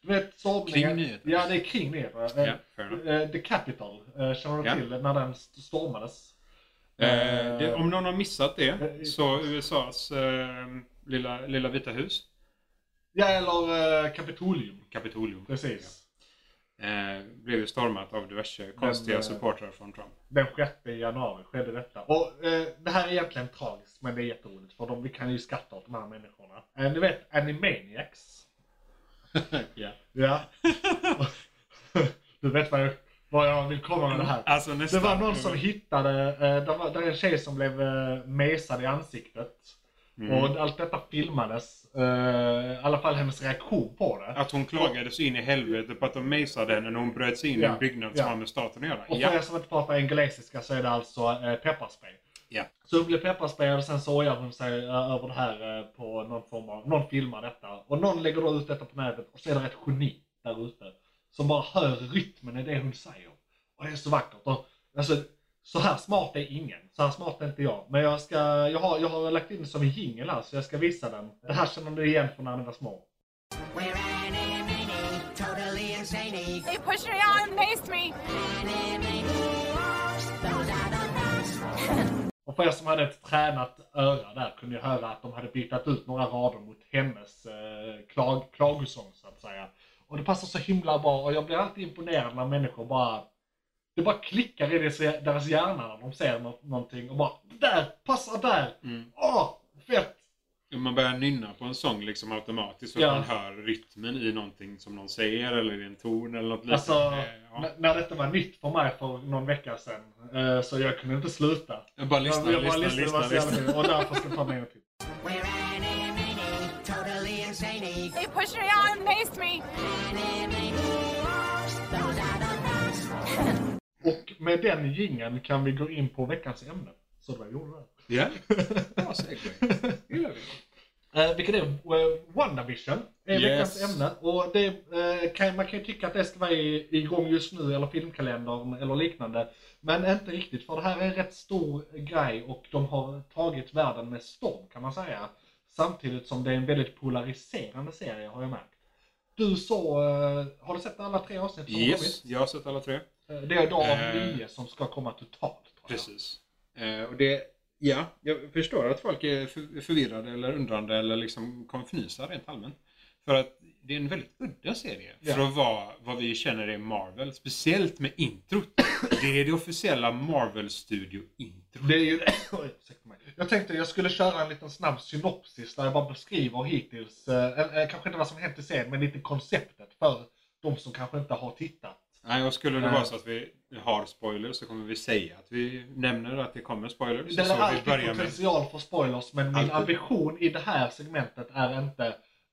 S3: Du vet, stormningen...
S4: Kring nyheter.
S3: Ja, det är kring nyheter. Eh,
S4: Ja, fair enough.
S3: eh, The Capital, eh, känner du
S4: Ja.
S3: till? När den st- stormades.
S4: Eh, det,
S3: Eh,
S4: om någon har missat det
S3: eh,
S4: så USAs eh, lilla, lilla vita hus,
S3: Ja, eller eh, Kapitolium.
S4: Kapitolium,
S3: Precis.
S4: eh, blev ju stormat av diverse konstiga
S3: eh,
S4: supportrar från Trump.
S3: Den 6 januari skedde detta. Och eh, det här är egentligen tragiskt, men det är jätteroligt för de, vi kan ju skratta åt de här människorna. Eh, ni vet Animaniacs? Ja. du vet vad jag, vad jag vill komma med det här.
S4: Alltså,
S3: Det
S4: nästan,
S3: var någon som hittade, eh, det var, det är en tjej som blev eh, mesad i ansiktet.
S4: Mm.
S3: Och allt detta filmades, eh, i alla fall hennes reaktion på det.
S4: Att hon klagade så in i helvete på att de mejsade henne när hon bröt sig in i
S3: Ja,
S4: en byggnad som
S3: ja.
S4: har med staten att göra.
S3: Och för
S4: Ja.
S3: er som inte pratar engelesiska så är det alltså eh, pepparspray.
S4: Ja.
S3: Så hon blir pepparspray och sen så ojar hon sig eh, över det här eh, på någon form av, någon filmar detta. Och någon lägger då ut detta på nätet och så är det ett geni där ute. Som bara hör rytmen i det hon säger. Och det är så vackert. Och, alltså, så här smart är ingen. Så här smart är inte jag. Men jag, ska, jag, har, jag har lagt in det som en jingel här så jag ska visa den. Det här känner du igen från när ni var små.
S2: We're animated, totally insane.
S5: They pushed me out and maced me.
S2: Animaniacs, those are the facts.
S3: Och för er som hade ett tränat öra där kunde jag höra att de hade bytt ut några rader mot hennes eh, klag, klagosång så att säga. Och det passar så himla bra och jag blir alltid imponerad när människor bara det bara klickar i deras, deras hjärna när de ser nå- någonting och bara där, passar där!
S4: Mm.
S3: Åh, fett!
S4: Man börjar nynna på en sång liksom automatiskt så att
S3: Ja.
S4: man hör rytmen i någonting som någon säger eller i en ton eller något
S3: Alltså,
S4: liknande. Ja.
S3: n- när detta var nytt för mig för någon vecka sedan eh, så jag kunde inte sluta.
S4: Jag bara lyssnar,
S3: jag, jag bara
S4: lyssnar,
S3: lyssnade, det var
S4: lyssnar,
S3: så jävla
S4: lyssnar.
S3: kul. och därför ska jag ta med en till.
S2: We're animated, totally insane.
S5: They pushed me out and maced me.
S2: Animaniacs, those are the facts.
S3: Och med den gingen kan vi gå in på veckans ämne. Så det var jag gjorde det.
S4: Ja, bra segway. Det gillar vi.
S3: Eh, vilket är eh, WandaVision. är
S4: Yes.
S3: veckans ämne. Och det, eh, kan, man kan ju tycka att det ska vara i- igång just nu, eller filmkalendern eller liknande. Men inte riktigt, för det här är en rätt stor grej och de har tagit världen med storm kan man säga. Samtidigt som det är en väldigt polariserande serie har jag märkt. Du så, eh, har du sett alla tre avsnitt som har
S4: Yes, jag har sett alla tre.
S3: kommit? Eh, Det är då av
S4: Eh,
S3: nio som ska komma totalt. tror jag.
S4: Precis. Eh, och det, ja, jag förstår att folk är för, förvirrade eller undrande eller liksom konfnysa rent allmänt. För att det är en väldigt udda serie
S3: Ja.
S4: för att vara vad vi känner är Marvel. Speciellt med introt. Det är det officiella Marvel-studio-introt.
S3: Det är ju... Oj, ursäkta mig. Jag tänkte jag skulle köra en liten snabb synopsis där jag bara beskriver hittills, eh, eh, kanske inte vad som hänt i serien, men lite konceptet för de som kanske inte har tittat.
S4: Nej, och skulle det
S3: Nej.
S4: vara så att vi har spoilers så kommer vi säga att vi nämner att det kommer spoilers.
S3: Det
S4: så
S3: är
S4: vi
S3: alltid
S4: börjar med...
S3: potential för spoilers, men min
S4: Alltid.
S3: ambition i det här segmentet är inte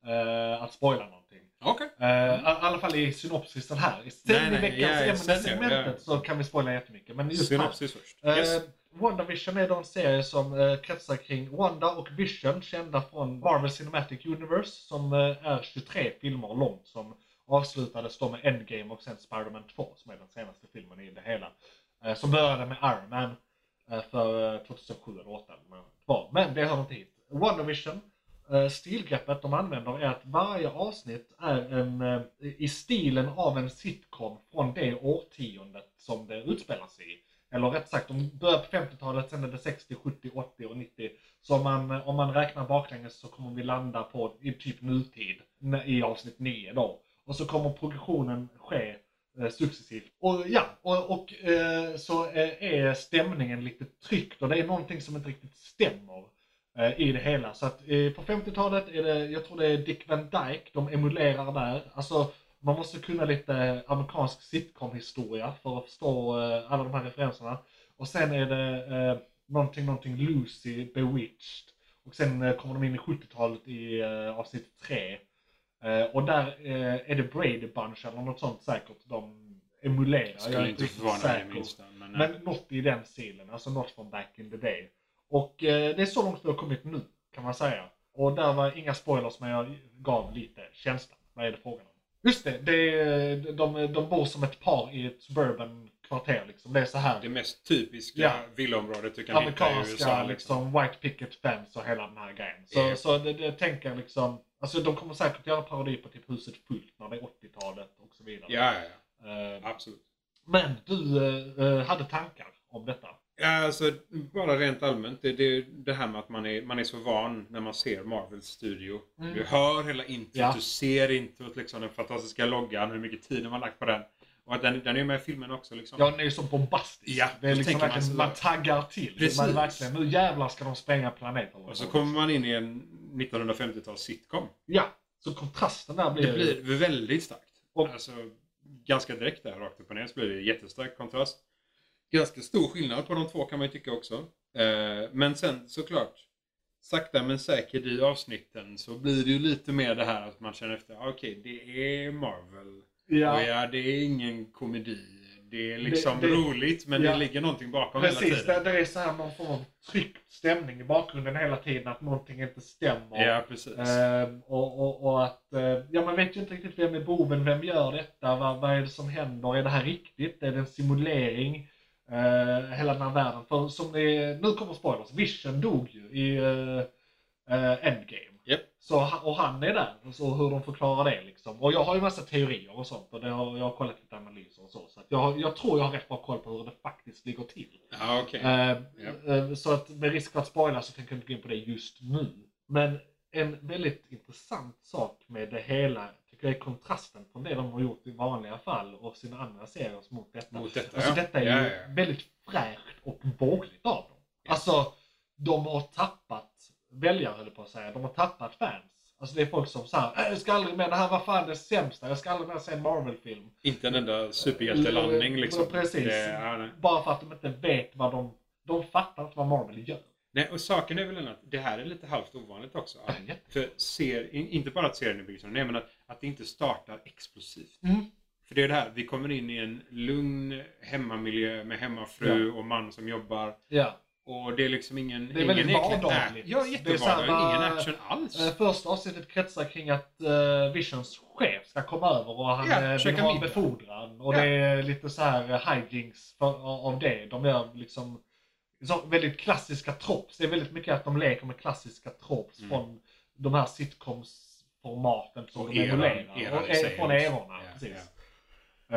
S3: eh, att spoila någonting.
S4: Okej.
S3: Eh, I alla fall i synopsisen här. Sen
S4: Nej,
S3: i
S4: nej, ja, ja,
S3: veckans
S4: sen, ja,
S3: ämnesegmentet
S4: ja.
S3: så kan vi spoila jättemycket, men just här
S4: Synopsis först.
S3: Eh,
S4: Yes.
S3: WandaVision är då en serie som eh, kretsar kring Wanda och Vision, kända från Marvel Cinematic Universe, som eh, är 23 filmer långt, som avslutades då med Endgame och sen Spider-Man 2, som är den senaste filmen i det hela. Eh, som började med Iron Man eh, för eh, 2007 eller 2008 eller vad det var. Men det hör inte hit. WandaVision, eh, stilgreppet de använder är att varje avsnitt är en, eh, i stilen av en sitcom från det årtiondet som det utspelas i. Eller rätt sagt, de börjar på 50-talet, sen är det 60, 70, 80 och 90. Så om man, om man räknar baklänges så kommer vi landa på i typ nutid när- i avsnitt 9 då. Och så kommer progressionen ske eh, successivt. Och ja, och, och eh, så eh, är stämningen lite tryckt och det är någonting som inte riktigt stämmer eh, i det hela. Så att eh, på 50-talet är det, jag tror det är Dick Van Dyke de emulerar där. Alltså man måste kunna lite amerikansk sitcom-historia för att förstå eh, alla de här referenserna. Och sen är det eh, någonting, någonting Lucy, Bewitched. Och sen eh, kommer de in i 70-talet i eh, avsnitt 3. Eh, och där eh, är det Brady Bunch eller något sånt säkert de emulerar. Jag är
S4: Skulle inte
S3: riktigt
S4: förvåna mig
S3: säker.
S4: det minsta. Men, eh.
S3: Men något i den stilen, alltså något från back in the day. Och eh, det är så långt vi har kommit nu, kan man säga. Och där var inga spoilers, men jag gav lite känslan. Vad är det frågan om? Just det, det är, de, de bor som ett par i ett suburban kvarter liksom. Det är så här
S4: det mest typiska
S3: Ja.
S4: villaområdet du kan hitta i
S3: amerikanska
S4: USA.
S3: liksom, white picket fans och hela den här grejen. Så,
S4: Ja.
S3: så det, det tänker jag liksom, alltså de kommer säkert göra parodi på typ huset fullt när det är 80-talet och så vidare.
S4: Ja, ja, ja.
S3: Eh,
S4: Absolut.
S3: men du eh, eh, hade tankar om detta?
S4: Ja, Alltså, bara rent allmänt, det, det, är ju det här med att man är, man är så van när man ser Marvels studio.
S3: Mm.
S4: Du hör hela introt,
S3: Ja.
S4: du ser introt, liksom, den fantastiska loggan, hur mycket tid de har lagt på den. Och att den, den är ju med i filmen också. Liksom.
S3: Ja, den är ju så bombastisk.
S4: Ja,
S3: det är
S4: då
S3: liksom
S4: tänker man
S3: verkligen,
S4: så-
S3: man, taggar till.
S4: Precis.
S3: Man verkligen, nu jävlar ska de spränga planeten.
S4: Och så kommer man in i en 1950-tals sitcom.
S3: Ja, så kontrasten där blir,
S4: Det blir väldigt starkt.
S3: Och-
S4: alltså, ganska direkt där, rakt upp och ner, så blir det jättestark kontrast. Ganska stor skillnad på de två kan man ju tycka också. Eh, men sen såklart, sakta men säkert i avsnitten så blir det ju lite mer det här att man känner efter, ah, okej det är Marvel. Och
S3: Ja,
S4: ja, det är ingen komedi. Det är liksom
S3: Det- det-
S4: roligt men
S3: ja.
S4: det ligger någonting bakom hela
S3: precis. Det,
S4: tiden.
S3: det är så här någon form av tryckt stämning i bakgrunden hela tiden. Att någonting inte stämmer.
S4: Ja, precis.
S3: Ehm, och, och, och att, eh, ja man vet ju inte riktigt vem är boven, vem gör detta, vad, vad är det som händer, är det här riktigt, är det en simulering? Eh, hela den här världen. För som ni, nu kommer spoilers, Vision dog ju i eh, eh, Endgame.
S4: Japp.
S3: Så, ha- och han är där, och så hur de förklarar det liksom. Och jag har ju massa teorier och sånt och det har, jag har kollat lite analyser och så. Så att jag, har- jag tror jag har rätt bra koll på hur det faktiskt ligger till.
S4: Ja, okej.
S3: Eh,
S4: Ja.
S3: eh, Så att med risk för att spoila så tänker jag inte gå in på det just nu. Men en väldigt intressant sak med det hela tycker jag är kontrasten från det de har gjort i vanliga fall och sina andra serier mot detta.
S4: Mot detta,
S3: alltså
S4: ja.
S3: detta är ju
S4: Ja, ja, ja.
S3: väldigt fräscht och vågligt av dem. Alltså, de har tappat väljare höll jag på att säga. De har tappat fans. Alltså det är folk som säger jag ska aldrig mer, det här var fan det sämsta, jag ska aldrig mer se en Marvel-film.
S4: Inte Typ en enda superhjältelandning liksom.
S3: Mm, eh, Precis.
S4: Det, ja, nej.
S3: Bara för att de inte vet vad de... De fattar inte vad Marvel gör.
S4: Nej, och saken är väl den att det här är lite halvt ovanligt också. Att,
S3: Ja.
S4: för ser, in- inte bara att serien är byggd som den är, men att, att det inte startar explosivt.
S3: Mm.
S4: För det är det här, vi kommer in i en lugn hemmamiljö med hemmafru och man som jobbar.
S3: Ja.
S4: Och det är liksom ingen...
S3: Det är
S4: ingen
S3: väldigt
S4: äcklig-
S3: vardagligt.
S4: Ja,
S3: Det är
S4: jättevardagligt.
S3: samma-
S4: Ingen action alls.
S3: Eh, Första avsnittet kretsar kring att eh, Visions chef ska komma över och han
S4: Ja,
S3: eh, vill
S4: käka
S3: ha en
S4: middag.
S3: befordran. Och
S4: Ja.
S3: det är lite så här eh, hijinks för, av det. De gör liksom så väldigt klassiska tropes. Det är väldigt mycket att de leker med klassiska tropes
S4: Mm.
S3: från de här sitcoms-formaten som
S4: Och
S3: de
S4: eran-
S3: emulerar.
S4: eran
S3: Och
S4: i sig
S3: e- Från
S4: också.
S3: erorna,
S4: Ja,
S3: precis.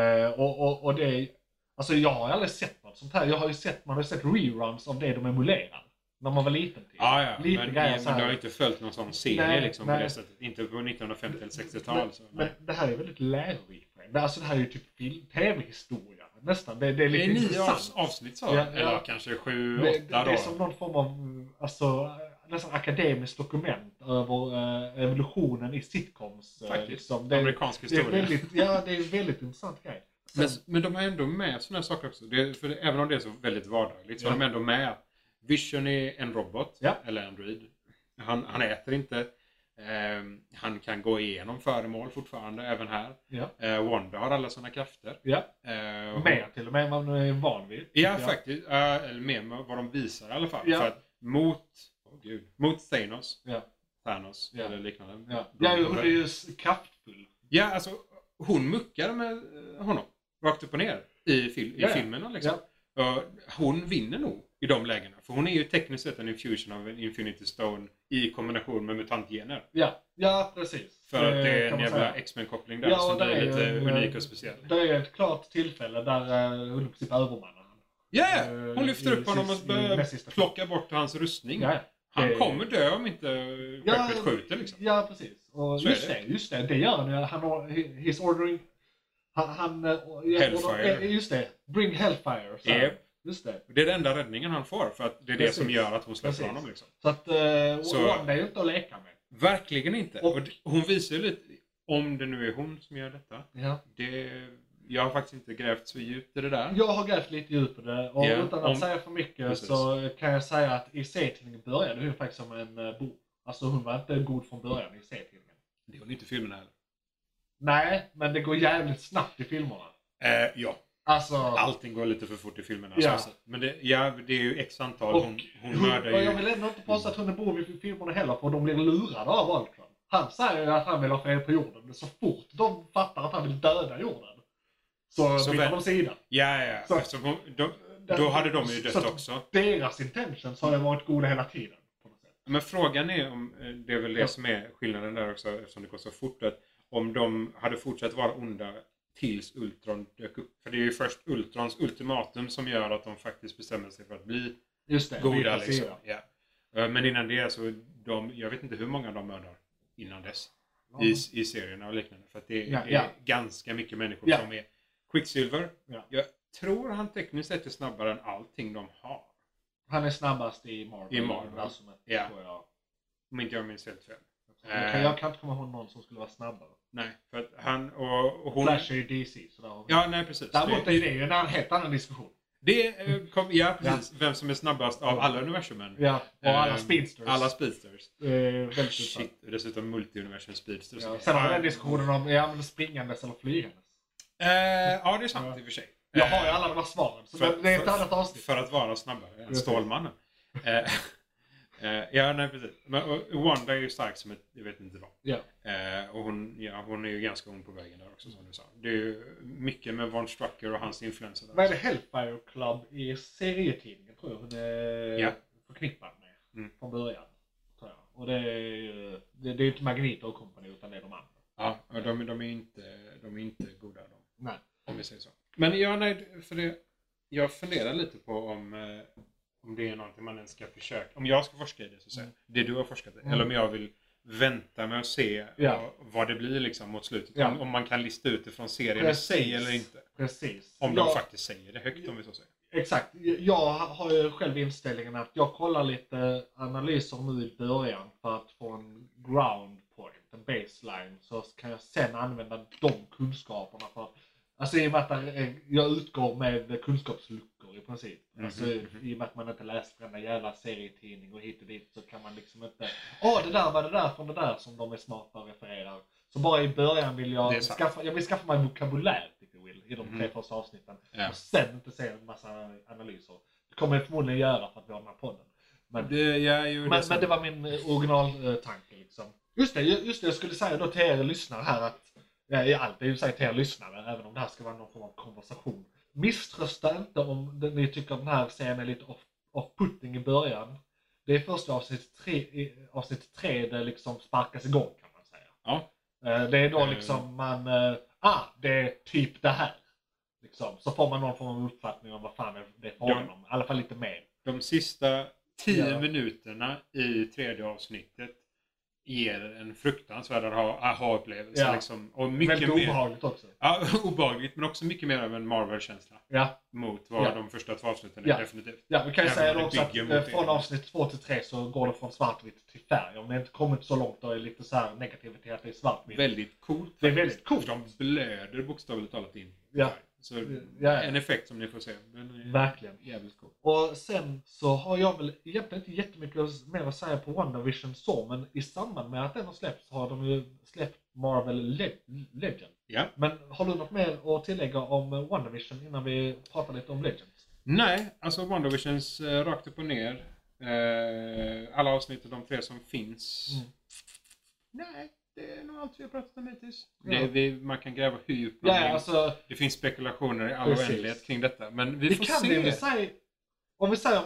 S3: Eh, och, och, och det, alltså jag har aldrig sett något sånt här. Jag har ju sett, man har ju sett reruns av det de emulerar. När man var liten. Typ.
S4: Ja, ja.
S3: Lite
S4: men,
S3: grejer
S4: men
S3: så här.
S4: du har inte följt någon sån serie
S3: Nej,
S4: liksom,
S3: nej.
S4: på det sättet. Inte på 1950 eller 60-tal.
S3: Men,
S4: så,
S3: men
S4: nej.
S3: det här är väldigt lärorikt. Det- Alltså det här är ju typ film- tv-historia nästan. Det, det
S4: Det
S3: är lite
S4: är nio
S3: intressant.
S4: avs- avsnitt så.
S3: Ja, ja.
S4: Eller kanske sju,
S3: det, det,
S4: åtta
S3: det är
S4: då.
S3: som någon form av alltså, nästan akademiskt dokument över eh, evolutionen i sitcoms. eh,
S4: Faktiskt.
S3: liksom. det, är-
S4: Amerikansk
S3: det, är
S4: historia.
S3: väldigt, ja, det är en väldigt intressant grej.
S4: Men, men de har ändå med sådana saker också. Det, för det, även om det är så väldigt vardagligt så
S3: Ja.
S4: har de ändå med att Vision är en robot,
S3: Ja.
S4: eller Android. Han, han äter inte. Ehm, han kan gå igenom föremål fortfarande, även här.
S3: Ja.
S4: Eh, Wanda har alla sina krafter.
S3: Ja.
S4: Eh, och-
S3: Mer till och med än vad man är van vid.
S4: Ja, faktiskt. Eh, eller mer med vad de visar i alla fall.
S3: Ja.
S4: För att mot, åh gud, mot Thanos,
S3: Ja.
S4: Thanos
S3: Ja.
S4: eller liknande.
S3: Ja, ja hon är ju s- kraftfull.
S4: Ja, alltså hon muckar med eh, honom. Rakt upp och ner i, fil-
S3: Ja,
S4: i
S3: ja.
S4: filmerna. Liksom. Eh, Hon vinner nog i de lägena. För hon är ju tekniskt sett en infusion av en Infinity Stone i kombination med mutantgener.
S3: Ja, ja precis.
S4: För att det är
S3: kan
S4: en
S3: man
S4: jävla
S3: säga.
S4: X-Men-koppling där
S3: Ja, och
S4: som
S3: där
S4: blir
S3: är
S4: lite
S3: ju, eh,
S4: unik och speciell.
S3: Det är ett klart tillfälle där eh, hon i princip övermannar honom.
S4: Ja, ja.
S3: eh,
S4: hon lyfter
S3: i
S4: upp honom
S3: sist-
S4: och eh,
S3: i
S4: börjar
S3: näst sista film.
S4: plocka bort hans rustning.
S3: Ja,
S4: Han
S3: det-
S4: kommer dö om inte
S3: Ja,
S4: skeppet skjuter liksom.
S3: Ja, precis. Och
S4: Så är
S3: just
S4: det.
S3: det. just det. Det gör han ju. Han har, he- he's ordering... Han... han eh, och- ja,
S4: Hellfire.
S3: eh, Just det. Bring Hellfire. Så. här.
S4: Yep.
S3: Just det.
S4: Det är den enda räddningen han får för att det är
S3: Precis.
S4: det som gör att hon släpper
S3: Precis.
S4: honom. Liksom.
S3: Så att eh,
S4: Så-
S3: Wanda är ju inte att leka med.
S4: Verkligen inte.
S3: Och-
S4: Och, d- hon visar ju lite, om det nu är hon som gör detta.
S3: Ja.
S4: Det, jag har faktiskt inte grävt så djupt i det där.
S3: Jag har grävt lite djupt i det och
S4: Ja,
S3: utan att
S4: om-
S3: säga för mycket
S4: Precis.
S3: så kan jag säga att i serietidningen började hon faktiskt som en eh, bov. Alltså hon var inte god från början i serietidningen.
S4: Det är hon inte i filmen heller.
S3: Nej, men det går jävligt snabbt i filmerna.
S4: Eh, ja,
S3: Alltså...
S4: allting går lite för fort i filmerna.
S3: Ja.
S4: så- Men det, ja, det är ju x antal.
S3: Och
S4: hon, hon
S3: Hon,
S4: mördar
S3: och jag vill
S4: ju...
S3: ändå inte påstå att hon är bov i filmerna heller, för de blir lurade av Ultron. Han säger ju att han vill ha fel på jorden, men så fort de fattar att han vill döda jorden så,
S4: Så
S3: byter
S4: väl-
S3: de sida.
S4: Ja, ja.
S3: Så-
S4: eftersom hon, de, då hade de ju dött
S3: Så att
S4: också.
S3: Deras intentions har ju varit goda hela tiden. På något sätt.
S4: Men frågan är om, eh, det är väl det
S3: Ja.
S4: som är skillnaden där också eftersom det går så fort, att om de hade fortsatt vara onda tills Ultron dök upp. För det är ju först Ultrons ultimatum som gör att de faktiskt bestämmer sig för att bli
S3: Just det,
S4: goda.
S3: byta
S4: Liksom.
S3: sida.
S4: Ja. Eh, Men innan det så, de, jag vet inte hur många de mördar innan dess
S3: Ja.
S4: i, i serierna och liknande. För att det,
S3: Ja,
S4: det är
S3: ja.
S4: ganska mycket människor
S3: Ja.
S4: som är Quicksilver.
S3: Ja.
S4: Jag tror han tekniskt sett är snabbare än allting de har.
S3: Han är snabbast i Marvel.
S4: I Marvel.
S3: Alltså,
S4: Ja.
S3: tror jag.
S4: Om inte jag minns helt fel.
S3: Jag, kan,
S4: Eh.
S3: jag kan inte komma ihåg någon som skulle vara snabbare.
S4: Nej, för att han och, och hon...
S3: Flash är ju DC, så där har vi.
S4: Ja, nej precis.
S3: Däremot är
S4: det,
S3: det ju en helt annan diskussion.
S4: det eh, kom, ja, precis. Vem som är snabbast av alla universumen.
S3: Ja, och alla
S4: Ehm,
S3: speedsters.
S4: Alla speedsters.
S3: eh, väldigt intressant.
S4: Shit, och dessutom multiuniversum speedsters.
S3: Ja, sen har vi den diskussionen om ja, men springandes eller flygandes.
S4: Eh, ja, det är sant
S3: Ja.
S4: i och för sig.
S3: Jag har ju
S4: Eh,
S3: alla de här svaren, så
S4: för-
S3: det- det är ett
S4: för-
S3: annat avsnitt.
S4: För att vara snabbare än
S3: Precis.
S4: Stålmannen. Eh, eh, ja, nej precis. Men, och Wanda är ju stark som ett, jag vet inte vad.
S3: Ja.
S4: Eh, och hon, ja, hon är ju ganska ond på vägen där också som du sa. Det är ju mycket med Von Strucker och hans influenser. där.
S3: Vad är det Hellfire Club i serietidningen tror jag hon är
S4: Ja.
S3: förknippad med
S4: Mm.
S3: från början. Tror jag. Och det är ju det, det är ju inte Magneto och company utan det är de andra.
S4: Ja, och de, de, är inte, de är inte goda de.
S3: Nej.
S4: Om vi säger så. Men jag, nej, för det, jag funderar lite på om, eh, om det är någonting man ens ska försöka. Om jag ska forska i det, så säger jag, det du har forskat i.
S3: Mm.
S4: Eller om jag vill vänta med att se
S3: Ja.
S4: vad, vad det blir liksom mot slutet.
S3: Ja.
S4: Om, om man kan lista ut det från serien i
S3: Precis.
S4: sig eller inte.
S3: Precis.
S4: Om
S3: Jag-
S4: de faktiskt säger det högt om vi så säger.
S3: Exakt. Jag har ju själv inställningen att jag kollar lite analyser nu i början för att få en ground point, en baseline. Så kan jag sen använda de kunskaperna för att Alltså i och med att där är- jag utgår med kunskapsluckor i princip.
S4: Mhm.
S3: Alltså i och med att man inte läst varenda jävla serietidning och hit och dit så kan man liksom inte... Åh, det där var det där från det där som de är smarta och refererar. Så bara i början vill
S4: Det är
S3: jag
S4: sant.
S3: skaffa, jag vill skaffa mig en vokabulär, tycker jag vill, i de tre
S4: Mm.
S3: första avsnitten
S4: Ja.
S3: och sen inte se en massa analyser. Det kommer jag förmodligen göra för att vi har den här podden. Men det,
S4: Det, ja, ju,
S3: men,
S4: det
S3: men det var min eh, originaltanke. Liksom. Just, det, ju- just det, jag skulle säga då till er lyssnare här att Ja, i allt. Det är ju sagt till er lyssnare, även om det här ska vara någon form av konversation. Misströsta inte om det- ni tycker att den här serien är lite off- off-putting i början. Det är första avsnitt tre, i- avsnitt tre det liksom sparkas igång kan man säga.
S4: Ja.
S3: Eh, Det är då
S4: Eh.
S3: liksom man, eh, ah, det är typ det här. Liksom. Så får man någon form av uppfattning om vad fan är det är frågan om. I alla fall lite mer.
S4: De sista tio
S3: Ja.
S4: minuterna i tredje avsnittet ger en fruktansvärd aha- aha-upplevelse.
S3: Ja.
S4: Liksom. Och
S3: Väldigt
S4: mycket mer,
S3: obehagligt också.
S4: ja, obehagligt men också mycket mer av en Marvel-känsla
S3: Ja.
S4: mot vad
S3: Ja.
S4: de första två avsnitten är
S3: Ja.
S4: definitivt.
S3: Ja, vi kan ju
S4: Även
S3: säga
S4: om
S3: då
S4: det
S3: också att
S4: bygger
S3: eh,
S4: mot
S3: från
S4: det.
S3: avsnitt 2 till 3 så går det från svartvitt till färg. Om det inte kommit så långt då är det lite så här negativt till att det är svartvitt.
S4: Väldigt coolt.
S3: Det är väldigt
S4: coolt. De blöder bokstavligt talat in.
S3: Ja.
S4: Så
S3: ja.
S4: En effekt som ni får se. Den är
S3: Verkligen.
S4: jävligt cool.
S3: Och sen så har jag väl egentligen inte jättemycket mer att säga på WandaVision så, men i samband med att den har släppts har de ju släppt Marvel Le- Legend.
S4: Ja.
S3: Men har du något mer att tillägga om eh, WandaVision innan vi pratar lite om Legend?
S4: Nej, alltså WandaVisions eh, rakt upp och ner. Eh, alla avsnitt och de tre som finns.
S3: Mm.
S4: Nej, det är nog allt vi har pratat om hittills.
S3: Ja.
S4: Det, vi, man kan gräva hur djupt man
S3: Ja,
S4: vill.
S3: alltså
S4: Det finns spekulationer i all
S3: Precis.
S4: oändlighet kring detta. Men vi
S3: Vi
S4: får
S3: kan
S4: se.
S3: det, vi säger... Om vi säger...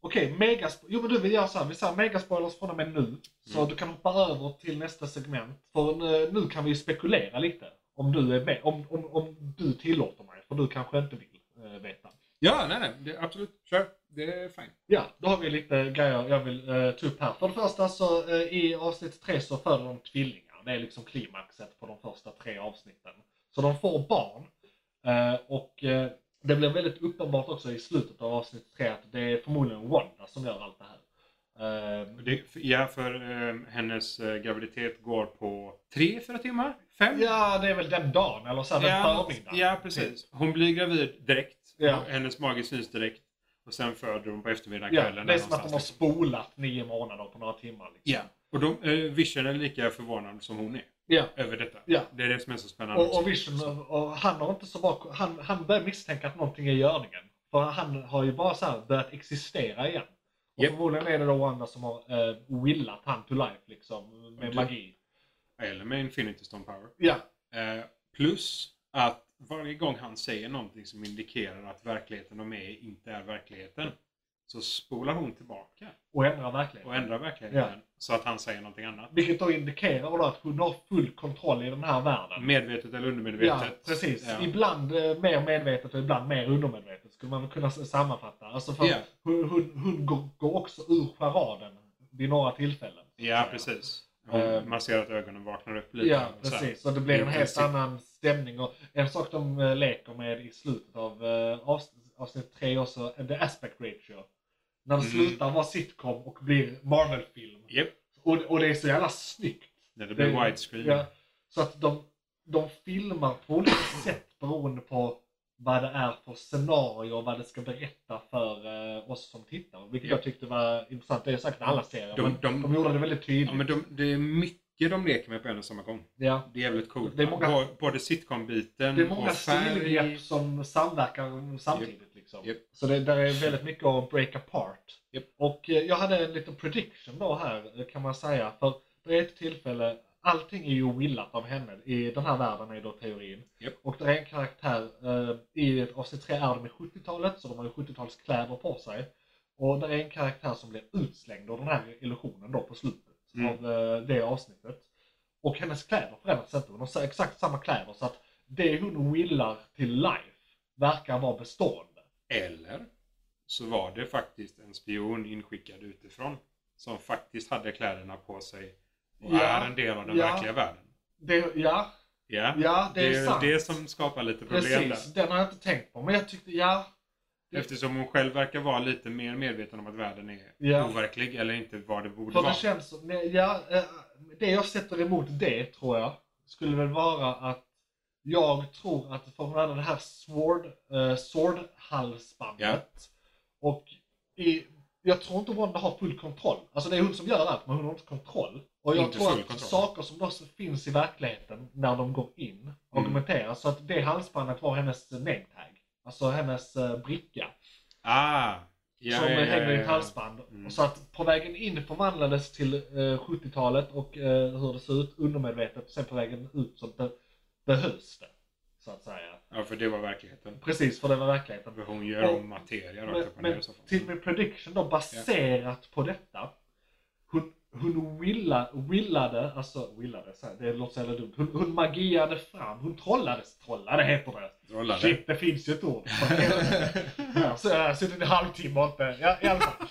S3: Okej, megaspo- Jo men du, vi gör så här. Vi säger megaspoilers från och med nu. Så
S4: Mm.
S3: du kan hoppa över till nästa segment. För eh, nu kan vi spekulera lite. Om du är med. Om, om, om du tillåter mig. För du kanske inte vill eh, veta.
S4: Ja, nej, nej. Det, absolut. Kör. Det är fine.
S3: Ja, då har vi lite grejer jag vill eh, ta upp här. För det första så eh, i avsnitt tre så föder de tvillingar. Det är liksom klimaxet på de första tre avsnitten. Så de får barn. Eh, och eh, det blir väldigt uppenbart också i slutet av avsnitt tre att det är förmodligen Wanda som gör allt det här. Eh,
S4: Det, ja, för eh, hennes eh, graviditet går på tre, fyra timmar? Fem?
S3: ja, det är väl den dagen eller så här, den
S4: Ja,
S3: förmiddagen.
S4: ja, precis. Hon blir gravid direkt.
S3: Ja.
S4: Hennes mage syns direkt. Och sen föder hon på eftermiddagen,
S3: Ja,
S4: kvällen.
S3: det är
S4: där
S3: som att de har
S4: någonstans.
S3: spolat nio månader på några timmar. Liksom.
S4: Ja, och de, eh, Vision är lika förvånad som hon är
S3: Ja.
S4: över detta.
S3: Ja.
S4: Det är det som är så spännande.
S3: Och, och Vision, och- och han har inte så bra, han, han börjar misstänka att någonting är i görningen. För han har ju bara så här börjat existera igen. Och
S4: Japp.
S3: förmodligen är det då Wanda som har eh, willat han to life liksom, med
S4: Du-
S3: magi.
S4: Eller med Infinity Stone Power.
S3: Ja,
S4: Eh, plus att varje gång han säger någonting som indikerar att verkligheten de är i inte är verkligheten så spolar hon tillbaka
S3: och ändrar verkligheten.
S4: och ändrar verkligheten så att han säger någonting annat.
S3: Vilket då indikerar då att hon har full kontroll i den här världen.
S4: Medvetet eller
S3: Ja,
S4: undermedvetet.
S3: precis.
S4: Ja.
S3: Ibland eh, mer medvetet och ibland mer undermedvetet skulle man väl kunna s- sammanfatta. Alltså för
S4: Ja.
S3: hon, hon, hon går- går också ur charaden vid några tillfällen.
S4: Ja, precis. Hon-
S3: Eh,
S4: Man ser att ögonen vaknar upp lite.
S3: Ja,
S4: Så här.
S3: precis. Så det blir en helt
S4: Intensivt.
S3: annan stämning. Och en sak de eh, leker med i slutet av eh, avs- avsnitt 3 också, eh, the aspect ratio. När det
S4: Mm.
S3: slutar vara sitcom och blir Marvel-film.
S4: Japp.
S3: Och, och det är så jävla snyggt.
S4: När det blir
S3: Det-
S4: widescreen.
S3: Ja, så att de, de filmar på olika sätt beroende på vad det är för scenario och vad det ska berätta för eh, oss som tittar. Vilket
S4: Ja.
S3: jag tyckte var intressant. Det är säkert alla serier,
S4: De-
S3: men de,
S4: de-
S3: gjorde det väldigt tydligt.
S4: Ja, men de, det är mycket de leker med på en och samma gång.
S3: ja.
S4: Det är jävligt coolt.
S3: Det är många-
S4: Bå- Både sitcom-biten
S3: Det är många
S4: och färg.
S3: stilgrepp som samverkar samtidigt. Liksom.
S4: Japp.
S3: Så det där är väldigt mycket att break apart.
S4: Japp.
S3: Och eh, jag hade en liten prediction då här eh, kan man säga. För det är ett tillfälle, allting är ju willat av henne. I den här världen är då teorin.
S4: Japp.
S3: Och det är en karaktär, eh, i avsnitt 3 är de i 70-talet så de har ju 70-talskläder på sig. Och det är en karaktär som blir utslängd av den här illusionen då på slutet
S4: Mm.
S3: av eh, det avsnittet. Och hennes kläder förändras inte. Hon har så- exakt samma kläder. Så att det hon willar till life verkar vara bestående.
S4: Eller så var det faktiskt en spion inskickad utifrån som faktiskt hade kläderna på sig och
S3: Ja,
S4: är en del av den
S3: ja.
S4: verkliga världen.
S3: Det, ja,
S4: Ja,
S3: ja, det, är sant.
S4: det som skapar lite problem
S3: Precis, den har jag inte tänkt på. Men jag tyckte, ja.
S4: där. Eftersom hon själv verkar vara lite mer medveten om att världen är
S3: Ja.
S4: overklig eller inte vad det borde
S3: För
S4: vara.
S3: det känns som, nej, ja, eh, det jag sätter emot det tror jag skulle väl vara att jag tror att för hon hade det här sword, eh, sword-halsbandet. Och i, jag tror inte Wanda har full kontroll. Alltså det är hon som gör allt men hon har inte kontroll. Och jag
S4: Inte
S3: tror
S4: full
S3: att
S4: kontroll.
S3: saker som då finns i verkligheten när de går
S4: Mm.
S3: in argumenteras. Så att det halsbandet var hennes nametag. Alltså hennes eh, bricka
S4: Ah! Ja,
S3: som
S4: ja, ja,
S3: hänger i
S4: ja,
S3: ett
S4: ja.
S3: halsband.
S4: Mm.
S3: Och så att på vägen in förvandlades till eh, 70-talet och eh, hur det ser ut undermedvetet. Sen på vägen ut så att det, behövs det. Så att säga.
S4: Ja, för det var verkligheten.
S3: Precis, för det var verkligheten.
S4: För hon gör
S3: Och-
S4: om materia rakt
S3: Men,
S4: upp och ner
S3: men
S4: i soffan.
S3: till min prediction då, baserat på detta. Hon, hon willa, willade, alltså willade, så här, det låter så jävla dumt. Hon, hon magiade fram, hon trollade, trollade heter det.
S4: Trollade.
S3: Shit, det finns ju ett ord. Ja, så jag har suttit en halvtimme och inte, ja, i alla fall.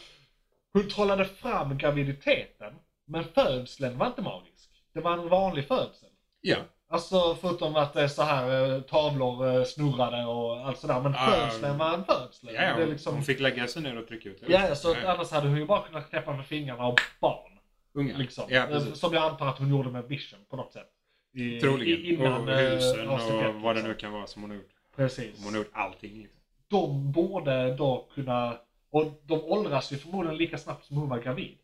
S3: Hon trollade fram graviditeten, men födseln var inte magisk. Det var en vanlig födsel.
S4: Ja.
S3: Alltså förutom att det är så här eh, tavlor eh, snurrade och allt sådär. Men
S4: Ah,
S3: födseln var en födsel.
S4: Ja,
S3: det är
S4: hon-
S3: liksom...
S4: Hon fick lägga sig ner och trycka ut det.
S3: Ja, så att
S4: Ja,
S3: annars hade hon ju bara kunnat knäppa med fingrarna och barn.
S4: unga.
S3: Liksom.
S4: Ja,
S3: Eh,
S4: precis.
S3: Som jag antar att hon gjorde med vision på något sätt. I,
S4: Troligen.
S3: i- Innan
S4: och
S3: eh,
S4: husen
S3: avsnitt ett,
S4: och vad det
S3: liksom.
S4: nu kan vara som hon har gjort.
S3: Precis.
S4: Hon har gjort allting. Liksom.
S3: De borde då kunna... Och de åldras ju förmodligen lika snabbt som hon var gravid.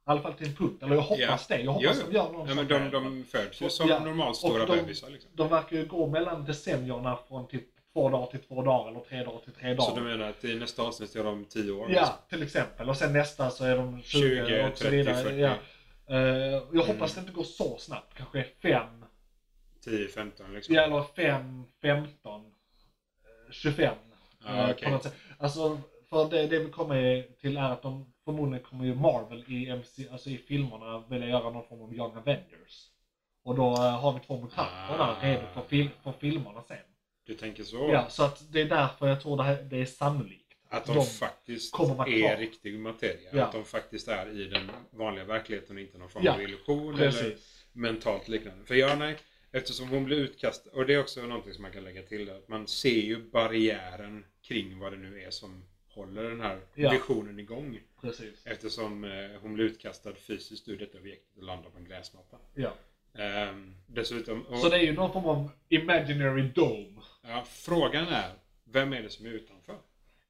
S3: I alla fall till en punkt. Eller jag hoppas
S4: Ja.
S3: det. Jag hoppas
S4: Jo, jo.
S3: de gör någon
S4: Ja, men
S3: sån
S4: de,
S3: här-
S4: de föds ju som
S3: Ja,
S4: normalt stora
S3: och de-
S4: bebisar. Liksom.
S3: de verkar ju gå mellan decennierna från typ två dagar till två dagar eller tre dagar till tre dagar.
S4: Så du menar att i nästa avsnitt är de 10 år?
S3: Ja,
S4: liksom?
S3: till exempel. Och sen nästa så är de 20,
S4: 20,
S3: och så vidare.
S4: 30, 40.
S3: Ja. Eh,
S4: Mm.
S3: jag hoppas det inte går så snabbt. Kanske 5,
S4: 10, 15 liksom?
S3: ja, eller 5, 15, eh, 25.
S4: Ja,
S3: eh,
S4: okej.
S3: på något sätt. Alltså, för det, det vi kommer till är att de förmodligen kommer ju Marvel i, MC, alltså i filmerna vilja göra någon form av Young Avengers. Och då eh, har vi två mutanter där
S4: Ah.
S3: redo för, fil, för filmerna sen.
S4: Du tänker så?
S3: Ja, så att det är därför jag tror det, här, det är sannolikt.
S4: Att de,
S3: De-
S4: faktiskt
S3: kommer vara
S4: är
S3: kvar.
S4: riktig materia?
S3: Ja.
S4: Att de faktiskt är i den vanliga verkligheten och inte någon form
S3: Ja,
S4: av illusion eller
S3: Precis.
S4: mentalt liknande? För ja, nej. Eftersom hon blir utkastad, och det är också någonting som man kan lägga till där, att man ser ju barriären kring vad det nu är som håller den här
S3: Ja.
S4: visionen igång.
S3: Precis.
S4: Eftersom eh, hon blir utkastad fysiskt ur detta objektet och landar på en gräsmatta.
S3: Ja.
S4: Ehm, dessutom, och,
S3: Så det är ju någon form av imaginary dome.
S4: ja, frågan är, vem är det som är utanför?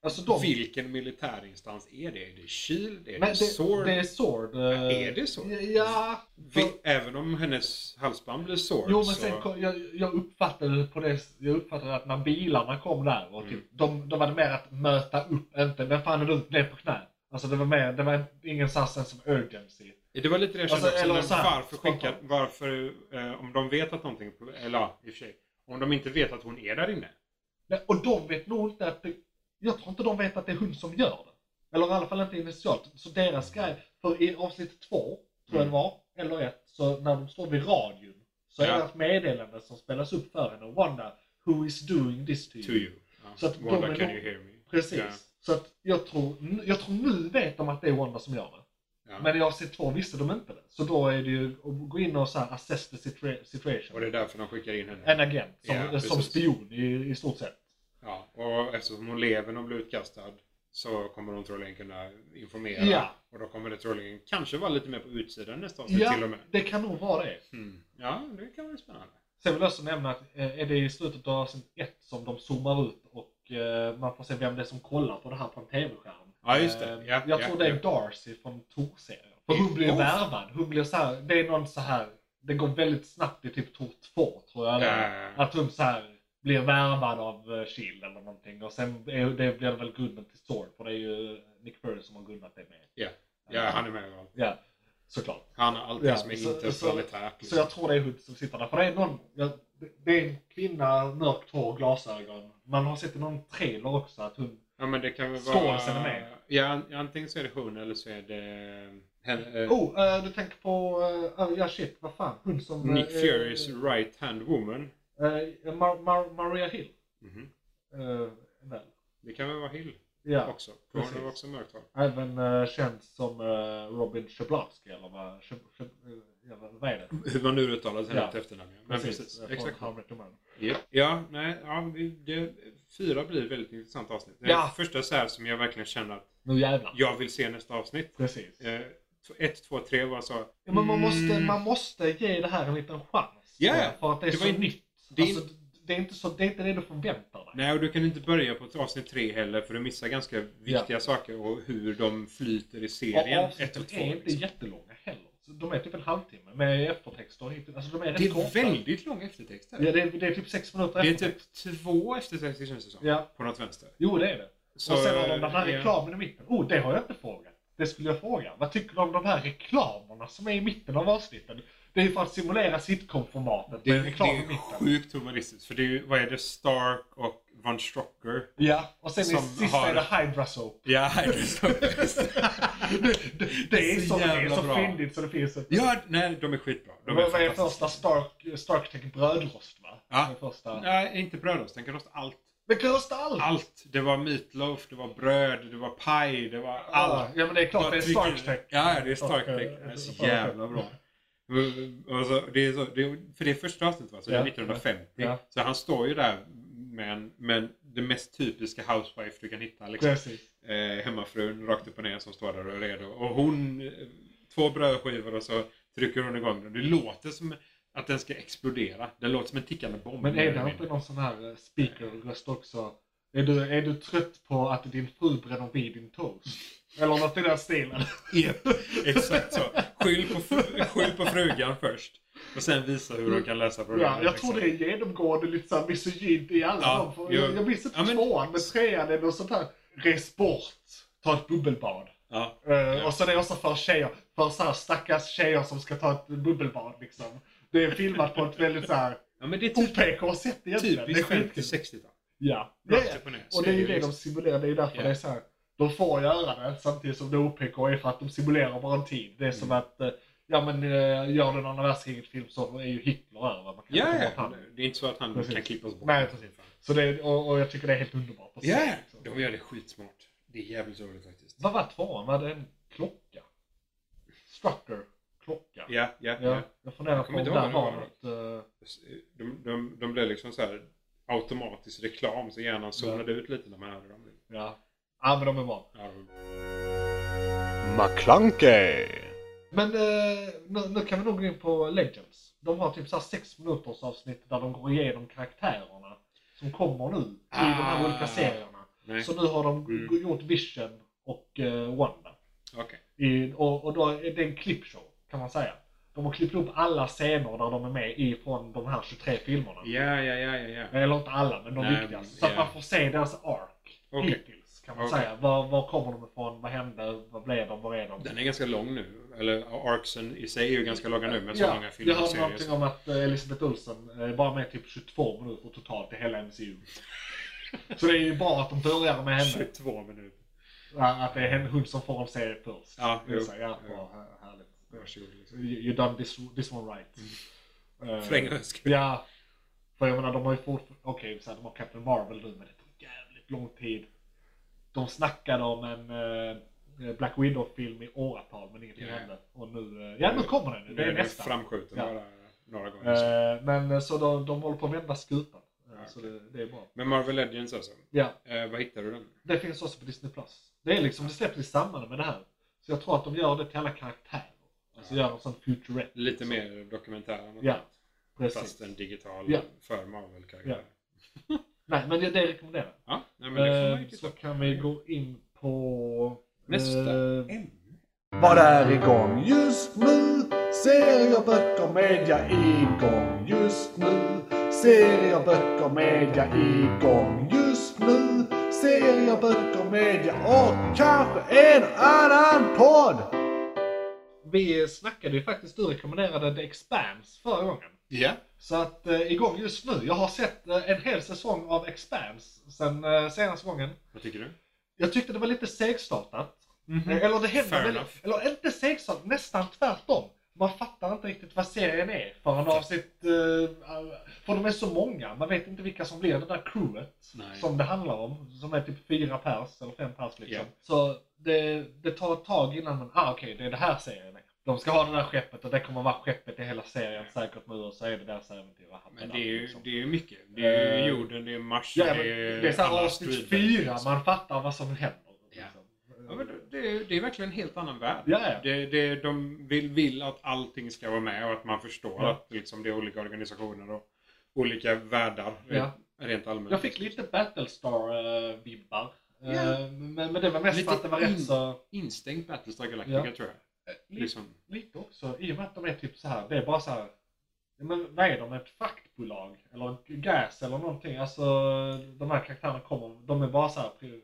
S3: Alltså de...
S4: Vilken militärinstans är det? Är det Shield? Är
S3: Men
S4: det
S3: det,
S4: Sword?
S3: det är sword. eh,
S4: Är det så?
S3: Ja.
S4: Vi, även om hennes halsband blir Sword
S3: Jo men
S4: så...
S3: sen kom, jag, jag uppfattade det på det jag uppfattade att när bilarna kom där och typ, de, de var det mer att möta upp, inte vem fan är du ner på knä? Alltså det var mer, det var ingen sassen som urgency.
S4: Det var lite det jag kände
S3: Alltså,
S4: också,
S3: eller
S4: men
S3: så här,
S4: varför skickar,
S3: spontant.
S4: varför, eh, om de vet att någonting, eller ja, i och för sig, om de inte vet att hon är där
S3: Mm.
S4: inne.
S3: Nej, Och de vet nog inte att det, jag tror inte de vet att det är hon som gör det. Eller i alla fall inte initialt. Så deras grej, för i avsnitt två, tror jag det var, eller ett, så när de står vid radion så
S4: Ja.
S3: är det ett meddelande som spelas upp för henne. Wanda, who is doing this to you?
S4: To you. Ja.
S3: Så att de
S4: Wanda,
S3: är
S4: can
S3: nog-
S4: you hear me?
S3: Precis.
S4: Ja.
S3: Så att jag tror, jag tror nu vet de att det är Wanda som gör det.
S4: Ja.
S3: Men i avsnitt två visste de inte det. Så då är det ju att gå in och så här assess the situa- situation.
S4: Och det är därför de skickar in henne.
S3: En agent som,
S4: Ja,
S3: som
S4: precis.
S3: spion i, i stort sett.
S4: Ja, och eftersom hon lever och blir utkastad så kommer hon troligen kunna informera.
S3: Ja.
S4: Och då kommer det troligen kanske vara lite mer på utsidan nästa avsnitt till och
S3: Ja,
S4: med.
S3: det kan nog vara det.
S4: Mm. Ja, det kan vara spännande.
S3: Sen vill jag också nämna att eh, är det i slutet av avsnitt 1 som de zoomar ut och eh, man får se vem det är som kollar på det här på en TV-skärm.
S4: Ja, just det.
S3: Eh,
S4: Ja,
S3: jag
S4: ja,
S3: tror det är
S4: ja.
S3: Darcy från Tor-serien. För hon blir ju
S4: Oh.
S3: värvad. Hon blir så här, det är någon så här, det går väldigt snabbt i typ Tor 2 tror jag. eller
S4: Ja.
S3: Att hon så här blir värvad av eh, Shield eller någonting. Och sen är, det blir det väl grunden till Sword, för det är ju eh, Nick Fury som har grundat det med.
S4: Ja. ja, han är med överallt.
S3: Ja, såklart.
S4: Han har allting
S3: Ja,
S4: som är
S3: så-
S4: interplanetärt.
S3: Så jag tror det är Hood som sitter där. För det är någon, jag- det är en kvinna, mörkt hår, glasögon. Man har sett i någon trailer också att hon...
S4: Ja, men det kan väl vara...
S3: Skånisen är med.
S4: Ja, an- antingen så är det hon eller så är det... Henne, eh,
S3: Oh, eh, du tänker på, eh, oh, ja shit, vad fan, hon som... eh,
S4: Nick
S3: eh,
S4: Furys right hand woman.
S3: eh, Mar- Mar- Maria Hill.
S4: Mhm.
S3: eh, väl.
S4: Det kan väl vara Hill
S3: Ja,
S4: också. För hon har
S3: precis.
S4: också mörkt hår.
S3: även eh, känd som eh, Robin Schablowski eller vad, Schab- Schab- eh, ja, vad- vad är det?
S4: Hur man nu uttalar
S3: Ja.
S4: hennes efternamn. ja. Men precis.
S3: eh, från
S4: Exakt.
S3: How I Met Your Mother.
S4: Japp. Ja, nej, ja, vi- det, fyra blir ett väldigt intressant avsnitt. Det är
S3: Ja.
S4: det första så här som jag verkligen känner att
S3: Nu jävlar.
S4: jag vill se nästa avsnitt.
S3: Precis.
S4: Eh, t- ett, två, tre var så.
S3: Ja, men man måste,
S4: Mm.
S3: man måste ge det här en liten chans.
S4: Ja,
S3: tror jag, För att det är
S4: det var
S3: så
S4: ju-
S3: nytt.
S4: det är-
S3: alltså, det, är inte så, det är inte det du förväntar dig.
S4: Nej, och du kan inte börja på ett avsnitt tre heller för du missar ganska viktiga saker och hur de flyter i serien.
S3: och
S4: ett
S3: avsnitten
S4: och två.
S3: är inte
S4: Liksom.
S3: jättelånga heller. Så De är typ en halvtimme med eftertexter och hit. Alltså de är
S4: Det
S3: rätt korta.
S4: är väldigt långa eftertexter.
S3: Ja, det, är, det är typ sex minuter
S4: Det är
S3: eftertext.
S4: typ två eftertexter känns det som.
S3: Ja.
S4: På något vänster.
S3: Jo, det är det.
S4: Så,
S3: och sen har de den här
S4: ja.
S3: reklamen i mitten. Oh, det har jag inte frågat. Det skulle jag fråga. Vad tycker du om de här reklamerna som är i mitten av avsnitten? Det är ju för att simulera sitcom-formatet
S4: Det,
S3: med
S4: det
S3: reklam i
S4: är
S3: mitten.
S4: sjukt humoristiskt. För det är ju, vad är det, Stark och Von Strocker?
S3: Ja, och sen i
S4: Som
S3: sista
S4: har-
S3: är det Hydra Soap.
S4: Ja, det är så
S3: Det, det, det är
S4: Så
S3: så, det är
S4: jävla
S3: så
S4: bra.
S3: fyndigt så det finns ett...
S4: Ja, nej, de är skitbra. De är
S3: Vad vad är
S4: fantastiska.
S3: första Stark, Starktech brödrost va?
S4: Ja.
S3: Den Första...
S4: Nej, inte brödrost. Den kan rosta allt.
S3: Men kan rosta allt!
S4: Allt. Det var meatloaf, det var bröd, det var paj, det var allt.
S3: Ja men det är klart det är
S4: Bara trycker-
S3: Starktech.
S4: Ja, det är Starktech. Det är så jävla bra. Alltså, det är så, det är, för det är första avsnittet va? Så det är
S3: Ja.
S4: 1950.
S3: Ja.
S4: Så han står ju där med, en, med en- det mest typiska housewife du kan hitta. Liksom.
S3: Precis.
S4: Eh, hemmafrun rakt upp och ner som står där och är redo. Och hon, eh, två brödskivor och så trycker hon igång den. Det låter som att den ska explodera. Den låter som en tickande bomb.
S3: Men är det inte någon sån här eh, speakerröst också? Är du, är du trött på att din fru bränner vid din toast? Eller något i den stilen.
S4: Japp, Exakt så. Skyll på, fru- skyll på frugan först. Och sen visa hur hon kan läsa programmet.
S3: Ja, jag tror
S4: liksom.
S3: det är genomgående lite såhär misogynt i alla
S4: Ja,
S3: de. För
S4: jo.
S3: Jag, jag minns inte
S4: Ja, men-
S3: tvåan, men trean är något sånt här. Res bort, ta ett bubbelbad.
S4: Ja.
S3: Eh, Och så är det också för tjejer, för så här stackars tjejer som ska ta ett bubbelbad liksom. Det är filmat på ett väldigt såhär
S4: ja, men det är typ,
S3: OPK sätt egentligen. Det är
S4: typiskt
S3: skitkul.
S4: 50-60-tal.
S3: Ja.
S4: Rakt upp och ner.
S3: Och det är ju liksom- det de simulerar, det är ju därför
S4: Ja.
S3: det är så här. De får göra det samtidigt som det OPK är för att de simulerar bara en tid. Det är
S4: Mm.
S3: som att, eh, ja men eh, gör du någon världskriget-film så är ju Hitler över. Man kan
S4: Ja,
S3: inte ta
S4: ja.
S3: bort han.
S4: Det är inte så att han
S3: Precis.
S4: kan klippas bort.
S3: Nej, precis. Så det är, och, och jag tycker det är helt underbart. att se,
S4: Ja,
S3: liksom.
S4: de gör det skitsmart. Det är jävligt roligt faktiskt.
S3: Vad var tvåan? Var det en klocka? Strucker? Klocka?
S4: Ja, ja,
S3: Ja,
S4: ja.
S3: jag funderar
S4: Jag
S3: på om
S4: kommer
S3: där
S4: inte ihåg
S3: har
S4: vad
S3: något. eh,
S4: De, de, de blev liksom så här automatisk reklam så hjärnan zonade ut lite när man hörde dem.
S3: Ja. ja, men de är bra.
S4: Ja, de-
S6: McClunkey.
S3: Men eh, nu, nu kan vi nog gå in på Legends. De har typ så här sex minuters avsnitt där de går igenom karaktärerna som kommer nu i de här
S4: Ah.
S3: olika serierna.
S4: Nej,
S3: Så nu har de g-
S4: Mm.
S3: gjort Vision och eh, Wanda.
S4: okej.
S3: I, och, och då är det en klippshow kan man säga. De har klippt upp alla scener där de är med ifrån de här 23 filmerna.
S4: Ja, ja, ja, ja, ja.
S3: Eller inte alla, men de
S4: Nej,
S3: viktigaste. Så att
S4: ja.
S3: man får se deras ark
S4: Okej.
S3: hittills kan man
S4: Okej.
S3: säga. Var, var kommer de ifrån? Vad hände? Vad blev de? Vad är de?
S4: Den är ganska lång nu. Eller arcsen i sig är ju ganska långa nu med så långa
S3: jag
S4: filmer och
S3: hörde någonting
S4: serier.
S3: om att eh, Elisabeth Olsen eh, bara med typ 22 minuter totalt i hela MCU. Så det är ju bra att de börjar med henne.
S4: 22 minuter.
S3: Ja, Att det är henne, hon som får en serie först.
S4: Ja,
S3: det är
S4: jo,
S3: så, ja,
S4: jo.
S3: bra, här- härligt.
S4: Varsågod. liksom.
S3: You, you done this, this one right. Eh,
S4: Mm. För en gångs skull.
S3: Ja. För jag menar, de har ju fortfarande... Okej, så här, de har Captain Marvel nu, men det tog jävligt lång tid. De snackade om en eh, Black Widow-film i åratal, men ingenting
S4: Ja.
S3: hände. Och nu... eh, ja, nu kommer den nu. Det
S4: Nu
S3: är
S4: är den
S3: nästa.
S4: framskjuten
S3: Ja.
S4: bara några gånger. så.
S3: Eh, men eh, så de, de håller på att vända skutan. Eh,
S4: Ja,
S3: Så det, det är bra.
S4: Men Marvel Legends alltså.
S3: Ja,
S4: Eh, vad hittar du den?
S3: det finns också på Disney+. Plus. Det är liksom, det släpps i samband med det här. Så jag tror att de gör det till alla karaktärer. Alltså
S4: Ja.
S3: gör en sån futurette.
S4: Lite
S3: liksom.
S4: mer dokumentär än något
S3: Ja,
S4: annat.
S3: Precis.
S4: Fast en digital
S3: Ja.
S4: för Marvel-karaktär.
S3: Nej, men det, det rekommenderar jag.
S4: Ja. nej, men det får man ju
S3: Eh,
S4: titta
S3: så
S4: på.
S3: kan vi gå in på...
S4: Nästa
S3: eh,
S4: ämne.
S6: Vad är igång just nu? Serier, böcker, media igång just nu. Serier, böcker, media igång just nu. Serier, böcker, media och kanske en annan podd.
S3: vi snackade ju faktiskt, du rekommenderade The Expanse förra gången.
S4: Ja.
S3: Så att eh, igång just nu. Jag har sett eh, en hel säsong av Expanse sen eh, senaste gången.
S4: Vad tycker du?
S3: Jag tyckte det var lite segstartat. Eh, Eller det händer
S4: Mm. Fair
S3: väl,
S4: enough.
S3: eller inte segstartat, nästan tvärtom. Man fattar inte riktigt vad serien är förrän avsnitt, eh, för de är så många. Man vet inte vilka som blir det där crewet
S4: Nej.
S3: som det handlar om. Som är typ fyra pers eller fem pers liksom.
S4: Ja.
S3: Så det, det tar ett tag innan man, ah okej det är det här serien är. De ska ha det där skeppet och det kommer vara skeppet i hela serien säkert nu och så är det deras äventyr. och hatten
S4: Men
S3: där,
S4: det är, ju,
S3: liksom.
S4: det är ju mycket. Det är ju
S3: Eh,
S4: jorden, det är Mars,
S3: Ja, men
S4: det är...
S3: det är såhär
S4: alla
S3: avsnitt
S4: strider.
S3: fyra, man fattar vad som händer.
S4: Ja.
S3: liksom.
S4: Ja, men det- det, är, det är verkligen en helt annan värld.
S3: Ja, ja.
S4: Det, det, de vill, vill att allting ska vara med och att man förstår
S3: Ja.
S4: att liksom, det är olika organisationer och olika världar
S3: Ja.
S4: rent allmänt.
S3: Jag fick lite Battlestar-vibbar.
S4: Ja.
S3: Eh, Men, men det var mest
S4: Lite
S3: för att det var
S4: in-
S3: rätt så...
S4: instängt Battlestar Galactica
S3: Ja.
S4: tror jag.
S3: Lite,
S4: Liksom.
S3: lite också, i och med att de är typ så här. det är bara så här. ja, Men vad är de? Ett fraktbolag? Eller gas eller någonting? Alltså de här karaktärerna kommer, de är bara så här pri,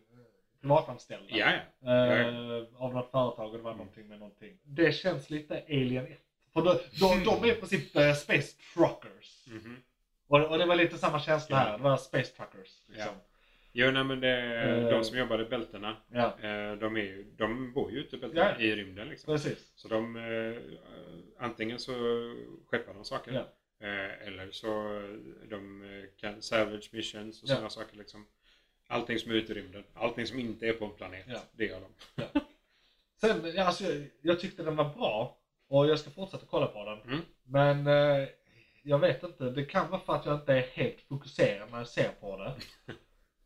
S3: privatanställda.
S4: Ja, ja.
S3: Eh, av något företag och det var någonting med någonting. Det känns lite Alien 1. För de, de, de är i princip eh, space truckers.
S4: Mhm.
S3: Och, och det var lite samma känsla här. Det var space truckers. Liksom.
S4: Jo, nej, men det,
S3: Eh.
S4: de som jobbar i bältena,
S3: Ja.
S4: eh, de, är, ju- de bor ju ute i bältena
S3: Ja.
S4: i rymden. Liksom.
S3: precis.
S4: Så de, eh, antingen så skeppar de saker,
S3: Ja.
S4: eh, eller så de eh, kan salvage missions och
S3: Ja.
S4: sådana saker. Liksom. Allting som är ute i rymden, allting som inte är på en planet,
S3: Ja.
S4: det gör de.
S3: Sen, ja, alltså, jag, jag tyckte den var bra och jag ska fortsätta kolla på den.
S4: Mm.
S3: Men eh, jag vet inte, det kan vara för att jag inte är helt fokuserad när jag ser på det.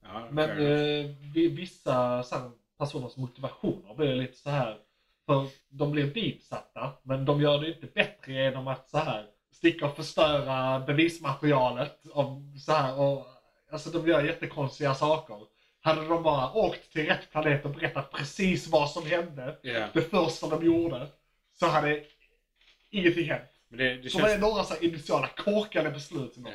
S4: Ja,
S3: Men
S4: fair enough.
S3: eh, vi- vissa så här, personers motivationer blir lite så här för de blir ditsatta, men de gör det inte bättre genom att så här sticka och förstöra bevismaterialet. Om, så här, och, alltså de gör jättekonstiga saker. Hade de bara åkt till rätt planet och berättat precis vad som hände,
S4: Ja.
S3: det första de gjorde, så hade ingenting hänt.
S4: Men det, det
S3: Så det är
S4: känns...
S3: några så här initiala korkade beslut. Som de-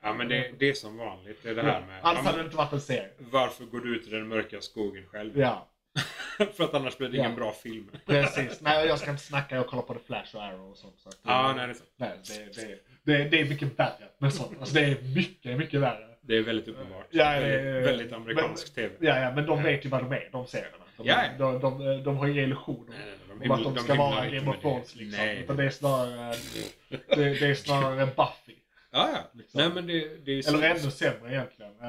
S4: Ja, men det, det är som vanligt. Det är det här med...
S3: Annars
S4: ja,
S3: hade det
S4: men,
S3: inte varit en serie.
S4: varför går du ut i den mörka skogen själv?
S3: Ja.
S4: För att annars blir det ingen
S3: Ja.
S4: bra film.
S3: Precis. Nej, jag ska inte snacka. Jag kollar på The Flash och Arrow och sånt. Så att,
S4: Ja, nej, det är sant.
S3: nej, det, det, det, det är mycket värre med sånt. Alltså, det är mycket, mycket värre.
S4: Det är väldigt uppenbart.
S3: Ja, ja, ja, ja.
S4: väldigt, väldigt amerikansk
S3: men,
S4: tv.
S3: Ja, ja, men de vet ju vad de är, de serierna. De,
S4: Ja, ja.
S3: de, de, de, har inga illusioner
S4: Nej, nej, nej, de
S3: om
S4: himlar-
S3: att de
S4: de
S3: ska
S4: himlar
S3: vara
S4: inte
S3: Game of
S4: med det.
S3: Thrones. Liksom.
S4: Nej.
S3: Utan det är snarare, det, det är snarare Buffy.
S4: Ja, ja.
S3: Liksom.
S4: Nej, men det, det är ju...
S3: Eller ännu sämre egentligen. Eh,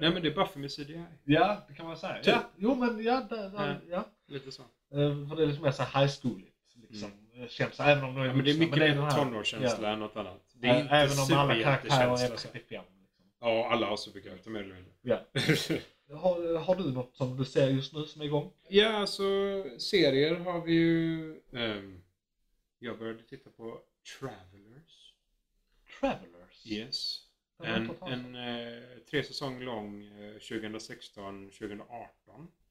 S4: Nej, men det är Buffy med CGI.
S3: Ja, det kan man säga.
S4: Typ.
S3: Ja, jo, men ja. Där, där, ja.
S4: Lite så.
S3: Eh, För det är lite mer så här high schooligt. Liksom. Känns, även om de är
S4: Mm. Ja, men det är
S3: vuxna,
S4: mycket
S3: den
S4: mer
S3: här-
S4: tonårskänsla än något annat. Det
S3: Det
S4: är inte
S3: även om alla karaktärer är
S4: superhjältekänsla. så.
S3: 35. Liksom.
S4: Ja, alla har superkrafter mer eller mindre.
S3: Ja. Har, har du något som du ser just nu som är igång?
S4: Ja, alltså serier har vi ju... ehm, jag började titta på Travelers.
S3: Travelers?
S4: Yes.
S3: Den har jag
S4: En,
S3: inte hört talas om.
S4: en eh, tre säsong lång eh, 2016-2018.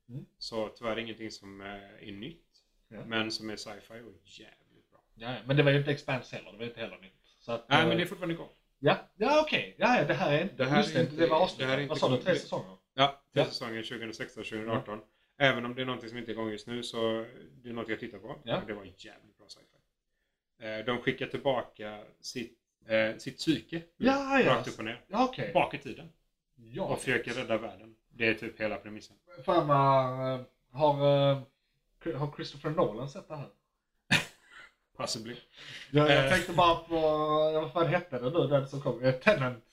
S3: Mm.
S4: Så tyvärr ingenting som eh, är nytt.
S3: Ja.
S4: Men som är sci-fi och jävligt bra.
S3: Ja, men det var ju inte Expanse heller, det var inte heller nytt. Så att,
S4: Nej,
S3: eh,
S4: men det är fortfarande igång.
S3: Ja, ja okej. Ja, ja, det här är inte...
S4: Det här är
S3: just det,
S4: inte-
S3: det var avsnitt.
S4: det här är inte
S3: Vad sa du?
S4: igång.
S3: Tre
S4: Det-
S3: säsonger?
S4: Ja, till
S3: Ja.
S4: säsongen 2016-2018. Även om det är någonting som inte är igång just nu så det är något jag tittar på.
S3: Ja.
S4: Och det var jävligt bra sci-fi. Eh, De skickar tillbaka sitt, eh, sitt psyke.
S3: Ja, ja.
S4: Rakt upp och ner.
S3: Ja, okej.
S4: Bak i tiden.
S3: Ja.
S4: Och försöker rädda världen. Det är typ hela premissen.
S3: Fan vad... eh, Har, eh, har Christopher Nolan sett det här?
S4: Possibly.
S3: Jag, jag
S4: Eh.
S3: tänkte bara på... ja, Vad fan hette det nu, den som kom? Eh, Tenant.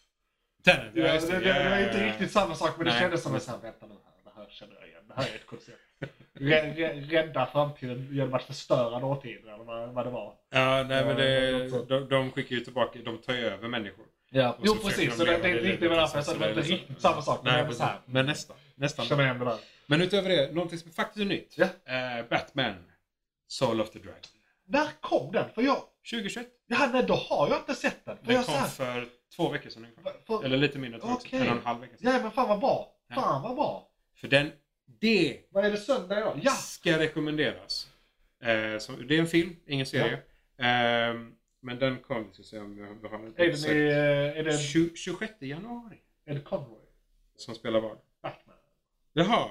S4: Tenet,
S3: Ja, det, det, det
S4: Ja, ja,
S3: är
S4: ja,
S3: inte
S4: ja.
S3: riktigt samma sak men det
S4: Nej.
S3: kändes som en sån här, vänta nu här, det här känner jag igen, det här är ett koncept. Rä- rä- Rädda framtiden genom att förstöra dåtiden eller vad, vad det var.
S4: Ja, nej, men
S3: Ja, något
S4: det,
S3: sånt.
S4: de, de skickar ju tillbaka, de tar ju över människor.
S3: Ja.
S4: Och så
S3: Jo
S4: försöker
S3: precis,
S4: de
S3: så det,
S4: leva
S3: det är
S4: det
S3: inte riktigt
S4: livet
S3: vad jag
S4: som
S3: sa,
S4: så
S3: så det var
S4: det
S3: inte
S4: är så-
S3: riktigt samma sak. Men
S4: Nej,
S3: jag var så här,
S4: precis. men nästan. nästan.
S3: känner igen det där.
S4: Men utöver det, någonting som faktiskt är nytt.
S3: Ja.
S4: Eh, Batman, Soul of the Dragon.
S3: Där kom den! För jag,
S4: 2021.
S3: ja, nej, då har jag inte sett den. För
S4: Den
S3: jag så
S4: kom
S3: här,
S4: för två veckor sedan ungefär.
S3: för,
S4: Eller lite mindre, tror jag också.
S3: Okej.
S4: en och en halv vecka sedan.
S3: ja men fan vad bra!
S4: Ja.
S3: Fan vad bra!
S4: För den, det
S3: Vad är det söndag idag? Ja!
S4: ska rekommenderas. Eh, som, det är en film, ingen serie. Ehm, men den kom, vi ska se om jag har
S3: Är eh, det, är det, är det,
S4: Tju- 26 januari.
S3: är det Conroy?
S4: Som spelar vad?
S3: Batman?
S4: Jaha.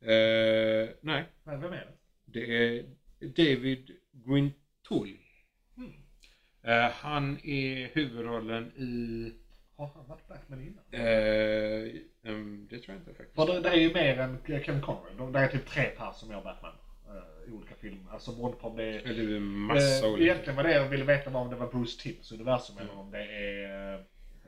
S4: Eh, nej,
S3: Nej, vem är det?
S4: det är David Guintoli. Eh, han är huvudrollen i...
S3: Har han varit Batman innan?
S4: eh, ehm, det tror jag inte faktiskt.
S3: För det, det är ju mer än Kevin Conroy. De- Det är typ tre pers som gör Batman eh, i olika filmer. Alltså beroende på om det är...
S4: Eller det är massa
S3: eh,
S4: olika.
S3: egentligen var det jag ville veta var om det var Bruce Timms universum eller om det är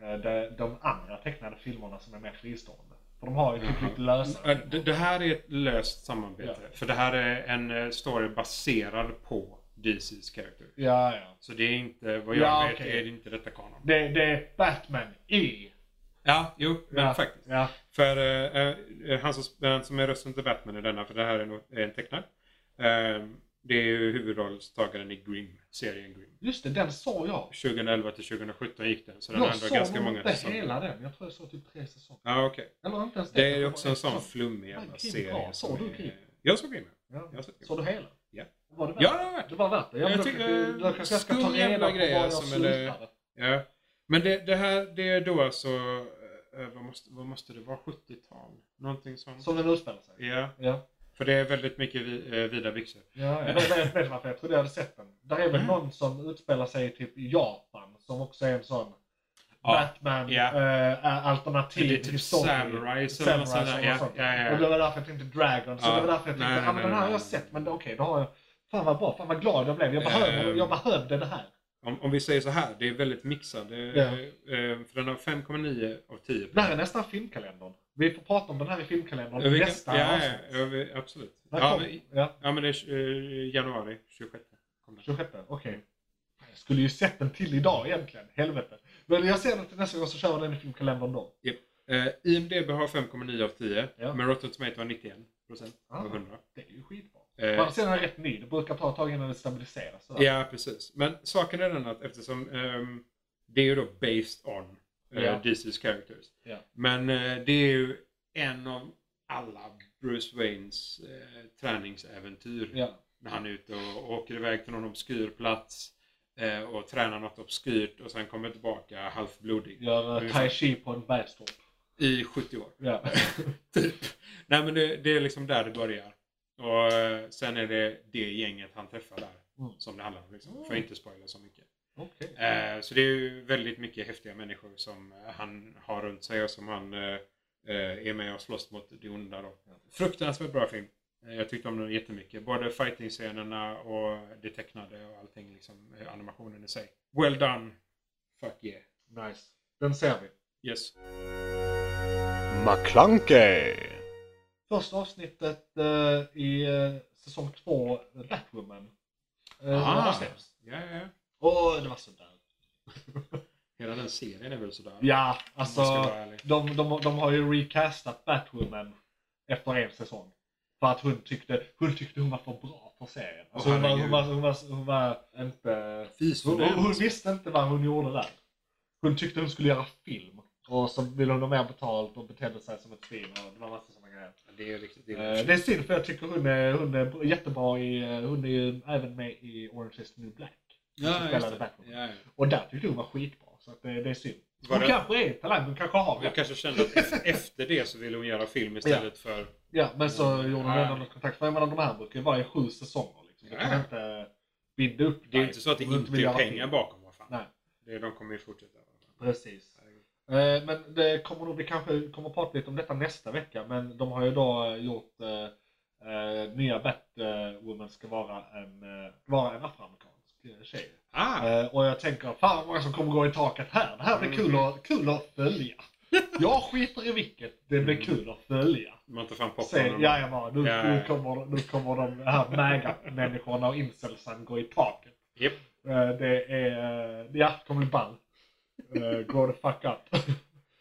S3: eh, de, de andra tecknade filmerna som är mer fristående. För de har ju typ
S4: Jaha.
S3: lite lösare
S4: Eh, Det, det här är ett löst samarbete. För det här är en eh, story baserad på DC's karaktär.
S3: Ja, ja.
S4: Så det är inte, vad jag
S3: Ja,
S4: vet,
S3: okej.
S4: är det inte detta kanon.
S3: Det, det är Batman i...
S4: Ja, jo, men
S3: ja,
S4: faktiskt.
S3: Ja.
S4: För eh, eh, han, som, den som är rösten till Batman i denna, för det här är, nog- är en tecknad. Eh, det är ju huvudrollstagaren i Grimm, serien Grimm.
S3: Just det, den såg jag.
S4: 2011 till 2017 gick den, så den har
S3: Jag
S4: ändå
S3: såg
S4: ganska
S3: nog
S4: många
S3: inte
S4: säsonger.
S3: hela den. Jag tror jag såg typ tre säsonger.
S4: Ja, okej.
S3: Eller inte ens
S4: Det är ju
S3: Jag
S4: också
S3: var
S4: en sån
S3: säsong.
S4: flummig
S3: Men
S4: jävla
S3: Grimm
S4: serie.
S3: bra. Såg
S4: som
S3: du Grimm?
S4: är- Jag såg Grimm, ja.
S3: Ja.
S4: Jag såg Grimm.
S3: Såg du hela?
S4: Ja.
S3: Var det värt
S4: Ja, det var värt
S3: Det var värt det. Ja, men
S4: Jag
S3: då
S4: tycker
S3: kanske- då kanske jag ska ta
S4: skum
S3: reda
S4: jävla
S3: på var
S4: grejer
S3: jag
S4: som är det-
S3: slutade.
S4: Ja. Men det, det här, det är då alltså, eh, vad måste, vad måste det vara, 70-tal? Någonting sånt.
S3: Som den utspelar sig.
S4: Ja.
S3: Ja.
S4: För det är väldigt mycket vi, eh, vida byxor.
S3: Ja, det, det, det, varför jag trodde jag hade sett den. Där är väl
S4: Mm.
S3: någon som utspelar sig typ i Japan som också är en sån
S4: Ja.
S3: Batman
S4: Ja.
S3: eh, alternativ
S4: Det är typ samurais eller något sånt där.
S3: och
S4: Ja,
S3: sånt.
S4: ja, ja, ja.
S3: Och det var därför jag tänkte Dragon. Så
S4: Ja.
S3: det var därför jag tänkte,
S4: Nej,
S3: ja
S4: nej,
S3: men den här
S4: nej,
S3: har jag
S4: nej.
S3: sett men det- okej, då har jag Fan vad bra, fan vad glad jag blev. Jag behövde,
S4: Ehm.
S3: jag behövde det här.
S4: Om, om vi säger så här, det är väldigt mixad. eh,
S3: Ja.
S4: eh, För den har 5,9 av 10.
S3: Det här är nästan filmkalendern. Vi får prata om den här i filmkalendern
S4: Ja, vi kan- ja,
S3: nästa
S4: ja,
S3: avsnitt.
S4: ja, vi- absolut.
S3: När
S4: Ja,
S3: kom-
S4: men-
S3: ja,
S4: ja, men det är eh, januari 26. kommer den.
S3: 26, okej. Fan, Jag skulle ju sett den till idag egentligen, helvete. Men jag ser den till nästa gång så kör vi den i filmkalendern då.
S4: Eh, IMDB har 5,9 av 10,
S3: Ja.
S4: men Rotten Tomato har 91 procent
S3: Ah.
S4: av 100.
S3: Det är ju skitbra.
S4: Eh,
S3: Å andra sidan är den rätt ny. Det brukar ta ett tag innan det stabiliseras. sådär.
S4: Ja, precis. Men saken är den att eftersom ehm, det är ju då based on eh,
S3: Ja.
S4: DC's characters.
S3: Ja.
S4: Men eh, det är ju en av alla Bruce Waynes eh, träningsäventyr.
S3: Ja.
S4: När han är ute och åker iväg till någon obskyr plats eh, och tränar något obskyrt och sen kommer tillbaka halvt blodig.
S3: Gör eh, tai chi på en bergstorp.
S4: I 70 år.
S3: Ja.
S4: typ. Nej men det, det är liksom där det börjar. Och eh, sen är det det gänget han träffar där
S3: Mm.
S4: som det handlar om. Liksom. Får inte spoila så mycket.
S3: Okej.
S4: Eh, så det är ju väldigt mycket häftiga människor som eh, han har runt sig och som han eh, eh, är med och slåss mot det onda. Då. Fruktansvärt bra film. Eh, Jag tyckte om den jättemycket. Både fighting-scenerna och det tecknade och allting. Liksom, eh, animationen i sig. Well done! Fuck yeah! Eh,
S3: Nice. Den ser vi.
S4: Yes.
S6: McClunkey.
S3: Första avsnittet eh, i eh, säsong två, Batwoman. Eh,
S4: Ah.
S3: har släppts.
S4: Ja, ja, ja.
S3: Och det var sådär.
S4: Hela den serien är väl sådär?
S3: Ja,
S4: Om man ska
S3: alltså.
S4: vara ärlig.
S3: De, de, de har ju recastat Batwoman efter en säsong. För att hon tyckte hon, tyckte hon var för bra för serien. Alltså hon, var, hon, var, hon, var, hon var inte...
S4: Fis
S3: Hon,
S4: för
S3: hon,
S4: den.
S3: hon visste inte vad hon gjorde där. Hon tyckte hon skulle göra film. Och så ville hon ha mer betalt och betedde sig som ett svin och det var massa sådana grejer.
S4: Ja, Det är riktigt
S3: Eh,
S4: illa.
S3: Det är synd för jag tycker hon är, hon är jättebra i, eh, hon är ju även med i Orange is the new black. som
S4: Ja, just
S3: spelade
S4: det.
S3: Batwoman.
S4: Ja, ja.
S3: Och där tyckte hon var skitbra. Så att det, det är synd.
S4: Var
S3: Hon
S4: det-
S3: kanske är talang, hon kanske har det.
S4: Hon kanske kände att e- efter det så ville hon göra film istället för...
S3: Ja, men så
S4: Mm.
S3: gjorde han
S4: Ja.
S3: ändå något kontakt. För jag menar, de här brukar ju vara i sju säsonger. Liksom. Du
S4: Ja.
S3: kan inte binda upp
S4: Det är ju
S3: dig
S4: inte så att det
S3: om du
S4: inte
S3: vill
S4: är
S3: göra
S4: pengar
S3: film.
S4: bakom. Vad fan.
S3: Nej.
S4: Det, de kommer ju fortsätta. vad fan.
S3: Precis. Eh, Men det kommer nog, vi kanske kommer att prata lite om detta nästa vecka. Men de har ju då eh, gjort eh, eh, nya Batwoman ska vara en, eh, vara en afroamerikansk eh, tjej.
S4: Ah,
S3: Eh, och jag tänker, fan vad många som kommer gå i taket här. Det här blir
S4: Mm.
S3: kul att, kul att följa. Jag skiter i vilket, det blir kul att följa.
S4: man tar fram Mm. popcorn.
S3: Säg,
S4: och-
S3: ja, jag bara, nu,
S4: Ja,
S3: nu,
S4: ja.
S3: kommer, nu kommer de här mega-människorna och incelsen gå i taket.
S4: Japp.
S3: Eh, Det är, eh, ja, det kommer bli ball. Eh, Grow the fuck up.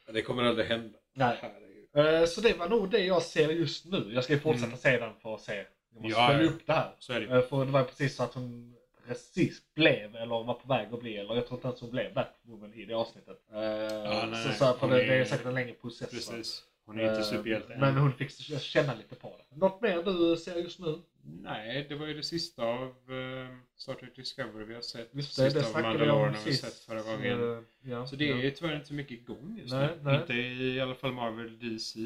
S4: Det kommer aldrig hända.
S3: Nej.
S4: Herregud.
S3: Eh, Så det var nog det jag ser just nu. Jag ska ju fortsätta
S4: Mm.
S3: se den för att se. Jag måste
S4: Ja,
S3: följa
S4: ja.
S3: upp det här.
S4: Så är det.
S3: Eh, För det var precis så att hon precis blev, eller var på väg att bli, eller jag tror inte ens hon blev Batwoman i det avsnittet. Eh,
S4: nej,
S3: så så här, för
S4: hon
S3: det,
S4: är-
S3: det är säkert en längre process. va?
S4: Precis. Hon är inte
S3: Eh,
S4: superhjälte än.
S3: Men hon fick känna lite på det. Något mer du ser just nu?
S4: Nej, det var ju det sista av eh, Star Trek Discovery vi har sett.
S3: Visst, det,
S4: sista
S3: det
S4: av
S3: snackade vi om
S4: Mandalorian har vi
S3: sist.
S4: sett förra gången.
S3: eh, Ja,
S4: Så det är
S3: ja.
S4: ju tyvärr inte så mycket igång just
S3: Nej,
S4: nu.
S3: nej.
S4: Inte i alla fall Marvel DC.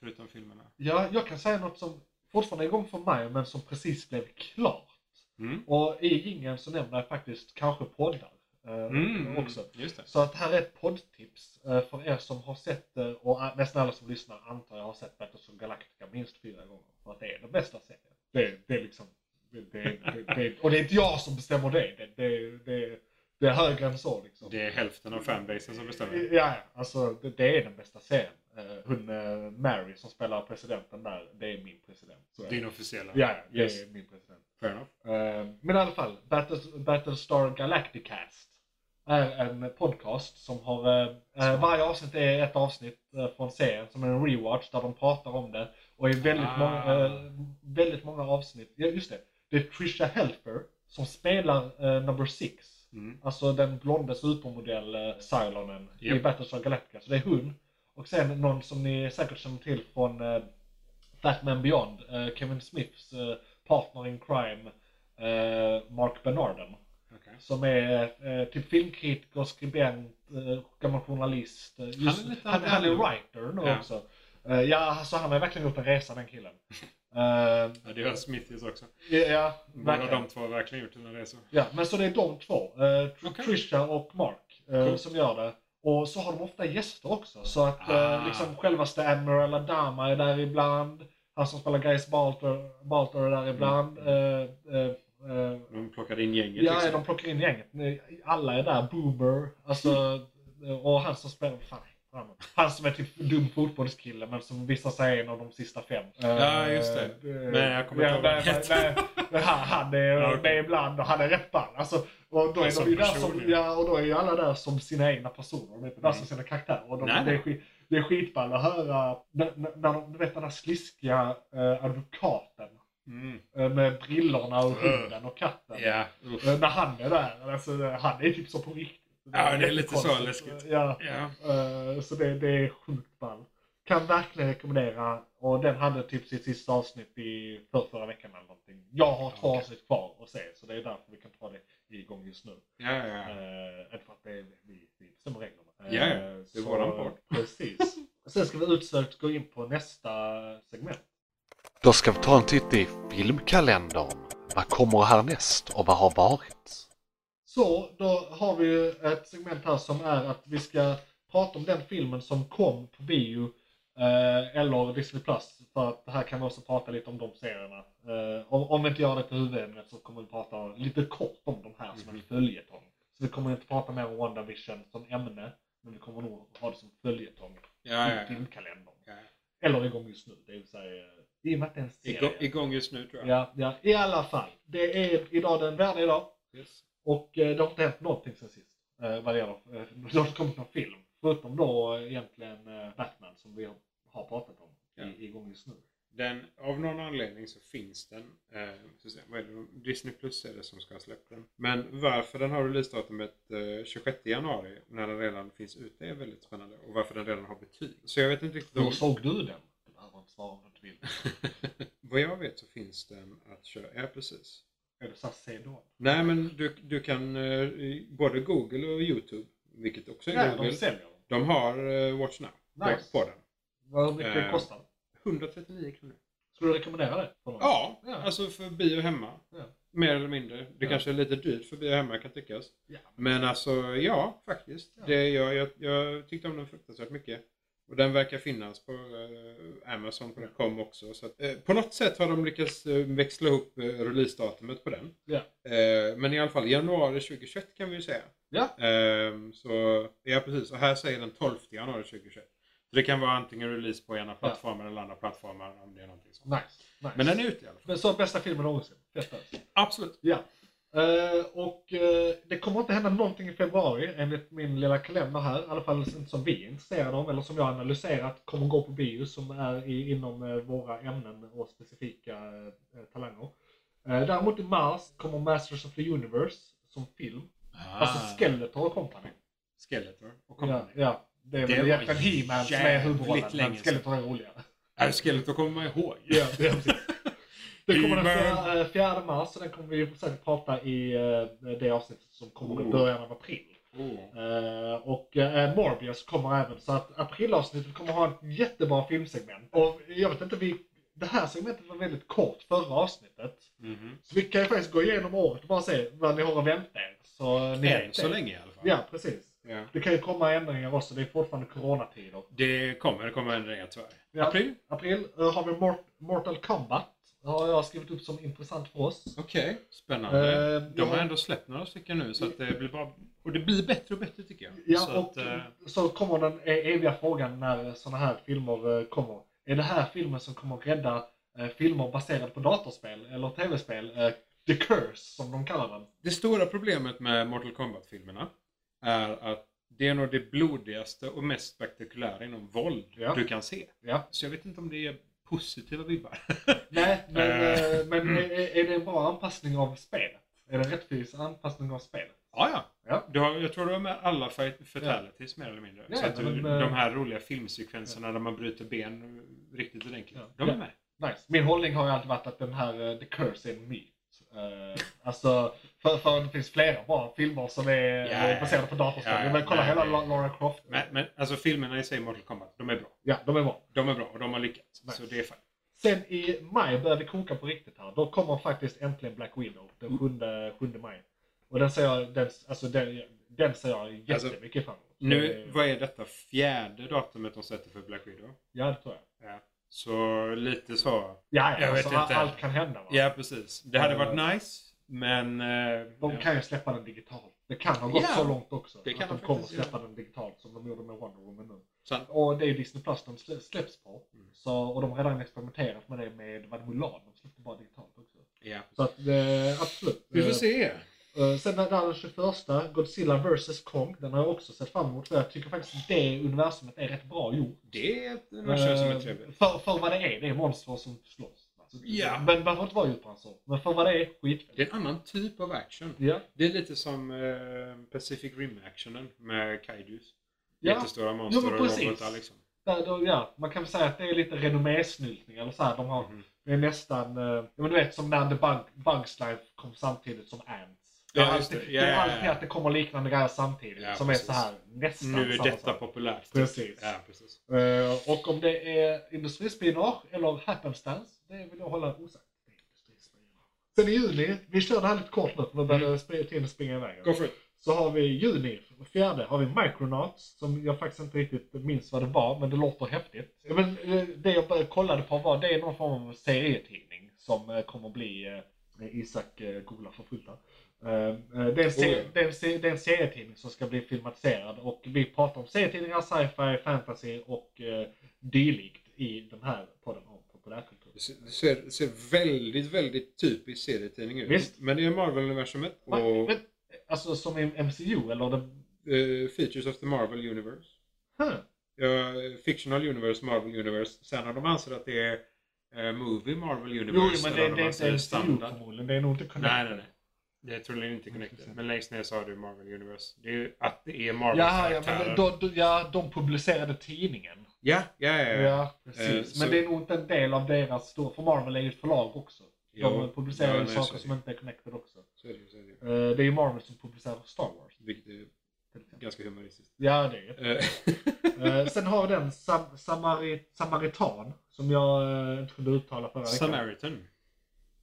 S4: Förutom filmerna.
S3: ja, jag kan säga något som fortfarande är igång för mig, men som precis blev klart.
S4: Mm.
S3: Och i jingeln så nämner jag faktiskt kanske poddar eh,
S4: Mm.
S3: också.
S4: Just det.
S3: Så att här är ett poddtips eh, för er som har sett, eh, och a- nästan alla som lyssnar antar jag har sett Battlestar Galactica minst fyra gånger. För att det är den bästa serien. Det, det är liksom, det, det, det, det, och det är inte jag som bestämmer det. Det, det, det, det är högre än så liksom.
S4: Det är hälften av fanbasen som bestämmer.
S3: Ja, ja. Alltså, det, det är den bästa serien. Eh, Hon eh, Mary som spelar presidenten där, det är min president. Så, är det.
S4: Din officiella.
S3: ja, ja, det
S4: Yes.
S3: är min president.
S4: Fair enough.
S3: Eh, Men i alla fall, Battles, Battlestar Galacticast är en podcast som har... eh, eh, Varje avsnitt är ett avsnitt eh, från serien som är en rewatch där de pratar om det. Och är väldigt,
S4: Ah.
S3: många, eh, väldigt många avsnitt. Ja, just det. Det är Trisha Helfer som spelar eh, number six.
S4: Mm.
S3: Alltså den blonde supermodell eh, Cylonen i
S4: Japp.
S3: Battlestar Galactica. Så det är hon. Och sen någon som ni säkert känner till från eh, Batman Beyond. Eh, Kevin Smiths eh, partner in crime eh, Mark Bernarden.
S4: Okej.
S3: Som är eh, typ filmkritiker, skribent, eh, gammal journalist. Eh, just,
S4: är lite
S3: han,
S4: allt
S3: han är
S4: annat.
S3: writer nu
S4: Ja.
S3: också. Eh, ja, så han har verkligen gjort en resa den killen. Eh,
S4: Ja, det gör Smithies också.
S3: ja,
S4: Båda
S3: verkligen.
S4: de två har verkligen gjort sina resor.
S3: Ja, men så det är de två. eh, Tr-
S4: Okej.
S3: Trisha och Mark eh,
S4: Coolt.
S3: som gör det. Och så har de ofta gäster också. Så att
S4: Ah.
S3: eh, liksom självaste Admiral Adama är där ibland. Han som spelar Grace Balter, Balter är där ibland.
S4: Mm.
S3: Eh, eh, eh,
S4: De plockade in gänget.
S3: ja,
S4: liksom.
S3: de plockar in gänget. Alla är där. Boomer. Alltså, och han som spelar... Fan, fan. han som är typ dum fotbollskille men som visar sig en av de sista fem.
S4: Ja, just det.
S3: Eh,
S4: Nej, jag kommer
S3: ja,
S4: inte ihåg
S3: nej,
S4: det.
S3: nej, nej. Men han, han är
S4: Ja, okej.
S3: med ibland och han är rätt ball. Alltså, och då är,
S4: Som
S3: de ju där
S4: person,
S3: som,
S4: ja.
S3: ja, och då är ju alla där som sina egna personer. De är inte där som sina karaktärer. Och de,
S4: Mm. Nej,
S3: det, är
S4: nej.
S3: skit, det är skitball att höra när, när, när de, du vet den där sliskiga eh, advokaten
S4: Mm.
S3: eh, med brillorna och
S4: Ugh.
S3: hunden och katten.
S4: Ja, uff.
S3: Eh, När han är där, alltså, eh, han är typ så på riktigt.
S4: Ja, det är lite så
S3: jättekonstigt.
S4: läskigt.
S3: Ja,
S4: ja.
S3: eh, så det, det är sjukt ball. Kan verkligen rekommendera. Och den hade typ sitt sista avsnitt i för förra veckan eller någonting. Jag har två
S4: Okej.
S3: avsnitt kvar att se, så det är därför vi kan ta det igång just nu.
S4: Ja,
S3: Eh,
S4: ja.
S3: Inte för att det är vi, vi bestämmer reglerna. Eh,
S4: Ja, ja. Det är
S3: så-
S4: våran part.
S3: Precis. Sen ska vi utsökt gå in på nästa segment.
S7: Då ska vi ta en titt i filmkalendern. Vad kommer härnäst och vad har varit?
S3: Så, då har vi ju ett segment här som är att vi ska prata om den filmen som kom på bio eh, eller Disney Plus. För att här kan vi också prata lite om de serierna. Eh, om, om vi inte gör det till huvudämnet så kommer vi prata lite kort om de här
S4: Mhm.
S3: som en följetong. Så vi kommer inte prata mer om WandaVision som ämne, men vi kommer nog ha det som följetong
S4: ja,
S3: i
S4: ja, ja.
S3: filmkalendern.
S4: Ja.
S3: Eller igång just nu, det vill säga i och med att det är en
S4: Igång,
S3: serie.
S4: igång just nu tror jag.
S3: Ja, ja, i alla fall. Det är idag den värde idag.
S4: Yes.
S3: Och eh, det har inte hänt någonting sen sist. Eh, vad det gäller, eh, det har inte kommit någon film. Förutom då eh, egentligen eh, Batman som vi har, har pratat om
S4: Ja.
S3: i, igång just nu.
S4: Den, av någon anledning så finns den. Eh, så att säga, vad är det, de- Disney Plus är det som ska ha släppt den. Men varför den har releasedatumet eh, 26 januari när den redan finns ute är väldigt spännande. Och varför den redan har betyg. Så jag vet inte riktigt
S3: Hur
S4: om...
S3: såg du den? Du behöver inte svara om du inte vill.
S4: Mm. vad jag vet så finns den att köra. Ja, precis.
S3: Är det såhär se då?
S4: Nej, men du, du kan eh, både Google och YouTube, vilket också är
S3: Nej,
S4: Google.
S3: de säljer den.
S4: De har eh, Watch Now på-
S3: Nice.
S4: på den.
S3: Vad mycket
S4: Eh.
S3: kostar den?
S4: 139 kronor.
S3: Skulle du rekommendera det? För någon?
S4: Ja,
S3: Ja.
S4: alltså för bio hemma.
S3: Ja.
S4: Mer eller mindre. Det
S3: Ja.
S4: kanske är lite dyrt för bio hemma kan tyckas.
S3: Ja.
S4: Men alltså, ja, faktiskt.
S3: Ja.
S4: Det, jag, jag, jag tyckte om den fruktansvärt mycket. Och den verkar finnas på eh, Amazon.com också. Så att, eh, på något sätt har de lyckats eh, växla ihop eh, releasedatumet på den.
S3: Ja.
S4: Eh, men i alla fall januari 2021 kan vi ju säga.
S3: Ja.
S4: Ehm, så, ja, precis. Och här säger den 12 januari 2021. Så det kan vara antingen release på ena plattformen eller andra plattformar om det är någonting sånt.
S3: Nice, nice.
S4: Men den är ute i alla fall.
S3: Men så bästa filmen någonsin. Fett alltså.
S4: Absolut.
S3: Ja. Eh, och eh, det kommer inte hända någonting i februari enligt min lilla kalender här. I alla fall inte som vi är intresserade av eller som jag har analyserat kommer gå på bio som är i, inom eh, våra ämnen och specifika eh, talanger. Eh, däremot i mars kommer Masters of the Universe som film.
S4: Ah.
S3: Alltså Skeletor och Company.
S4: Skeletor och
S3: Ja,
S4: kompani.
S3: ja. Det är
S4: Det
S3: väl
S4: var
S3: egentligen He-Man som är huvudrollen,
S4: jävligt länge
S3: men Skeletor är roligare.
S4: Ja. Skeletor Äh, kommer man ihåg.
S3: Ja, ja, precis. Den kommer den
S4: He-Man.
S3: fjärde- eh, fjärde mars, så den kommer vi säkert prata i eh, det avsnittet som kommer i
S4: Oh.
S3: början av april.
S4: Oh.
S3: Eh, Och eh, Morbius kommer även, så att aprilavsnittet kommer ha ett jättebra filmsegment. Och jag vet inte, vi, det här segmentet var väldigt kort förra avsnittet.
S4: Mhm.
S3: Så vi kan ju faktiskt gå igenom året och bara se vad ni har att vänta er. Så ni
S4: Än
S3: vet
S4: så
S3: det.
S4: länge i alla fall.
S3: Ja, precis.
S4: Ja.
S3: Det kan ju komma ändringar också, det är fortfarande coronatider.
S4: Det kommer, det kommer ändringar tyvärr.
S3: Ja.
S4: April?
S3: April eh, har vi Mort- Mortal Kombat. Har jag skrivit upp som intressant för oss.
S4: Okej, spännande.
S3: Eh,
S4: De har
S3: ja.
S4: ändå släppt några stycken nu så att det blir bara... Och det blir bättre och bättre tycker jag.
S3: Ja,
S4: så
S3: och
S4: att, eh,
S3: så kommer den e- eviga frågan när såna här filmer eh, kommer. Är det här filmen som kommer att rädda eh, filmer baserade på datorspel eller tv-spel? Eh, The Curse, som de kallar den.
S4: Det stora problemet med Mortal Kombat-filmerna är att det är nog det blodigaste och mest spektakulära inom våld
S3: Ja.
S4: du kan se.
S3: Ja.
S4: Så jag vet inte om det är positiva vibbar.
S3: Nej, men,
S4: Eh,
S3: eh, men
S4: mm.
S3: är, är det en bra anpassning av spelet? Är det en rättvis anpassning av spelet?
S4: Ja, ja.
S3: Ja.
S4: Du har, jag tror du har med alla fa- fatalities mer eller mindre.
S3: Ja,
S4: så att
S3: men
S4: du,
S3: de, eh,
S4: de här roliga filmsekvenserna där man bryter ben eh, riktigt ordentligt.
S3: Ja.
S4: De är
S3: Ja.
S4: med.
S3: Nice. Min hållning har ju alltid varit att den här eh, The Curse är en myt. Eh, alltså, för, för det finns flera bra filmer som är
S4: Ja,
S3: eh, baserade på datorspel.
S4: ja, ja,
S3: men kolla
S4: nej,
S3: hela
S4: det-
S3: La- Lara Croft.
S4: Men, men alltså filmerna i sig, Mortal Kombat, de är bra.
S3: Ja, de är bra.
S4: De är bra och de har lyckats.
S3: Nice.
S4: Så det är fint.
S3: Sen i maj börjar vi koka på riktigt här. Då kommer faktiskt äntligen Black Widow
S4: Mm.
S3: den 7, 7 maj. Och den ser jag, den, alltså den, den ser jag jättemycket fram emot.
S4: Alltså, Nu,
S3: Eh,
S4: vad är detta fjärde datumet de sätter för Black Widow?
S3: Ja, det tror jag.
S4: Ja. Så lite så.
S3: Ja, ja
S4: Jag
S3: alltså,
S4: vet inte.
S3: allt kan hända. Va?
S4: Ja, precis. Det hade varit nice, men... eh,
S3: De
S4: ja.
S3: kan ju släppa den digitalt. Det kan ha gått
S4: Ja,
S3: så långt också.
S4: det kan
S3: att de
S4: de
S3: kommer
S4: faktiskt
S3: släppa den digitalt som de gjorde med Wonder Woman nu.
S4: Sant.
S3: Och det är ju Disney Plus de slä- släpps på. Så, och de har redan experimenterat med det med vad det Mulan. De släppte bara digitalt också.
S4: Ja.
S3: Så att, eh, absolut.
S4: Vi får
S3: Eh,
S4: se.
S3: Eh, Sen den där den 21, Godzilla vs Kong, den har jag också sett fram emot. För jag tycker faktiskt det universumet är rätt bra gjort.
S4: Det är ett universum som är
S3: Eh,
S4: trevligt.
S3: För, för vad det är, det är monster som slåss. Alltså,
S4: Ja.
S3: Men behöver inte vara djupare än så. Men för vad det är, skit.
S4: Det är en annan typ av action.
S3: Ja.
S4: Det är lite som eh, Pacific Rim-actionen med kaijus.
S3: Ja.
S4: Jättestora
S3: Jo,
S4: monster
S3: men
S4: och
S3: precis.
S4: robotar liksom.
S3: Där, då, ja. Man kan väl säga att det är lite renommésnyltning eller så här. De har,
S4: Mm.
S3: Det är nästan, eh, ja, men du vet som när The Bug, Bugs Life kom samtidigt som Ants. Det är,
S4: Ja, just
S3: alltid,
S4: det. Ja,
S3: det är
S4: ja, ja.
S3: alltid att det kommer liknande grejer samtidigt
S4: Ja,
S3: som
S4: precis.
S3: är så här nästan
S4: Nu är
S3: samma
S4: detta
S3: sak.
S4: populärt.
S3: Precis.
S4: Ja, precis.
S3: Eh, och om det är industrispionage eller happenstance, det vill jag hålla osagt. Det är industrispionage. Sen i juni, vi kör det här lite kort nu för nu börjar mm. tiden springa iväg.
S4: Go for it.
S3: Så har vi juni, fjärde, har vi Micronauts som jag faktiskt inte riktigt minns vad det var, men det låter häftigt. Ja, Men, eh, det jag började kollade på var, det är någon form av serietidning som eh, kommer bli eh, Isak eh, googlar för fullt här. Eh, eh, det, är en se-
S4: Oh, ja.
S3: det, är en se- det är en serietidning som ska bli filmatiserad och vi pratar om serietidningar, sci-fi, fantasy och eh, dylikt i den här podden om populärkultur.
S4: Det ser- det ser, det ser väldigt, väldigt typiskt serietidning ut.
S3: Visst.
S4: Men det är Marvel-universumet
S3: Va?
S4: och
S3: Men, alltså som i MCU eller? Det...
S4: eh, Features of the Marvel Universe.
S3: Huh.
S4: Ja, Fictional Universe, Marvel Universe. Sen har de ansett att det är eh, Movie Marvel Universe.
S3: Jo, men
S4: eller har
S3: det, det
S4: de
S3: är
S4: ansett
S3: inte MCU
S4: standard.
S3: förmodligen, det är nog inte connected.
S4: Nej, nej, nej. Det är troligen inte connected. Men längst ner så har du Marvel Universe. Det är ju att det är Marvel
S3: Ja, ja, men de, de, ja, de publicerade tidningen.
S4: ja, ja, ja, ja.
S3: Ja, precis.
S4: Eh,
S3: men
S4: så-
S3: det är nog inte en del av deras stora... För Marvel är ju ett förlag också. De
S4: Jo,
S3: publicerar
S4: ja,
S3: ju
S4: nej, så är
S3: saker
S4: det.
S3: som inte är connected också.
S4: Så är det, ju, så är det. ju.
S3: Eh, det är ju Marvel som publicerar Star Wars.
S4: Vilket är
S3: till exempel.
S4: ganska humoristiskt.
S3: Ja, det är det.
S4: Eh,
S3: Eh, Sen har vi den Sam- Samari- Samaritan, som jag eh, inte kunde uttala förra veckan.
S4: Samaritan.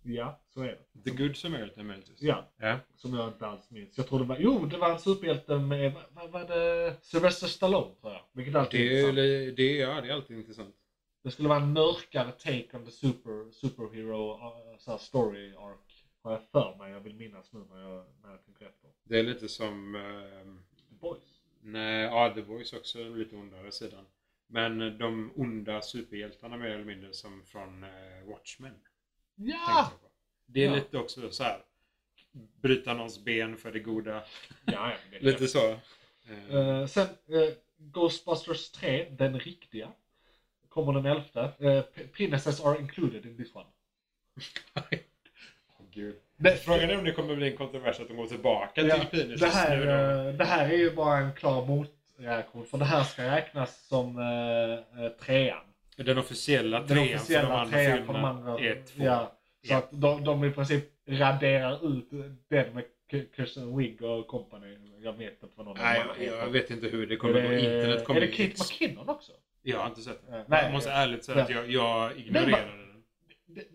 S3: Ja, så är det.
S4: The Good Samaritan möjligtvis.
S3: Ja,
S4: Ja.
S3: som jag inte alls minns. Jag tror det var... Jo, det var en superhjälte med... Vad, vad var det? Sylvester Stallone, tror jag. Vilket alltid
S4: Det, är,
S3: intressant.
S4: li- det, är- ja, det är alltid intressant.
S3: Det skulle vara en mörkare take on the super, superhero uh, så här story arc. Har jag för mig. Jag vill minnas nu när jag, när jag tänker efter.
S4: Det är lite som... ehm,
S3: The Boys.
S4: Nej, ja, The Voice också är lite ondare sidan. Men de onda superhjältarna mer eller mindre som från eh, Watchmen.
S3: Ja!
S4: tänkte jag på. Det är
S3: Ah! Ja.
S4: lite också så här bryta någons ben för det goda.
S3: ja, ja men det är
S4: Lite så. Eh,
S3: Eh, sen eh, Ghostbusters 3, den riktiga. Kommer den 11. Uh, penises are included in this one.
S4: åh, Gud.
S3: Det,
S4: Frågan är om det kommer bli en kontrovers att de går tillbaka
S3: ja,
S4: till penis
S3: det, här,
S4: nu då.
S3: eh, det här är ju bara en klar motreaktion. För det här ska räknas som eh, eh, trean.
S4: Den officiella
S3: den
S4: trean
S3: officiella
S4: för de andra
S3: trean för de
S4: filmerna
S3: andra.
S4: är två.
S3: Ja, så
S4: Ja.
S3: att de, de i princip raderar ut den med K- Kirsten Wigg och company. Jag vet inte vad någon
S4: Nej,
S3: annan
S4: jag, jag
S3: heter.
S4: vet inte hur det kommer gå.
S3: Är det-
S4: Internet kommer
S3: Är det
S4: ju
S3: Kate
S4: ex-
S3: McKinnon också?
S4: Jag har inte sett den.
S3: Nej,
S4: jag måste
S3: ja.
S4: ärligt säga att jag, jag ignorerade den.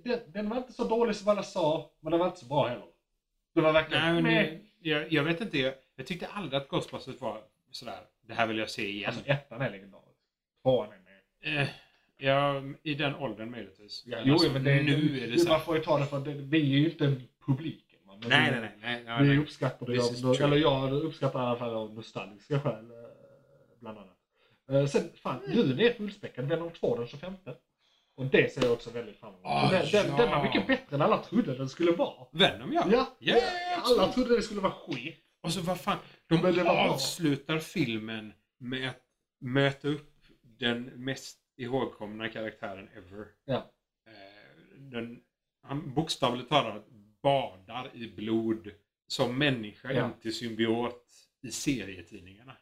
S3: Den, den var inte så dålig som alla sa, men den var inte så bra heller. Det var verkligen...
S4: Nej, men
S3: meh.
S4: det- jag, jag vet inte. Jag, jag tyckte aldrig att Ghostbusters var sådär. Det här vill jag se igen.
S3: Alltså ettan är legendarisk. Tvåan är med.
S4: Eh, ja, i den åldern möjligtvis.
S3: Jo,
S4: Alltså,
S3: men det,
S4: nu är det
S3: det Man
S4: så.
S3: får ju ta det för att det, vi är ju inte publiken. va, men
S4: Nej,
S3: vi-
S4: nej, nej. nej, nej,
S3: Vi
S4: nej.
S3: uppskattar det,
S4: This is
S3: av,
S4: true.
S3: eller jag uppskattar i alla fall av nostalgiska skäl. eh, Bland annat. Eh, Sen, fan,
S4: Mm.
S3: juni är fullspäckad. Venom 2 den 25. Och det ser jag också väldigt fram emot.
S4: Ah,
S3: den, den,
S4: ja.
S3: den var mycket bättre än alla trodde den skulle vara.
S4: Venom, ja.
S3: Ja,
S4: ja, absolut.
S3: alla trodde det skulle vara skit.
S4: Och så vad fan.
S3: Men det
S4: De
S3: var bra.
S4: avslutar filmen med att möta upp den mest ihågkomna karaktären ever.
S3: Ja.
S4: Eh, Den, han bokstavligt talat badar i blod som människa,
S3: Ja.
S4: inte symbiot, i serietidningarna.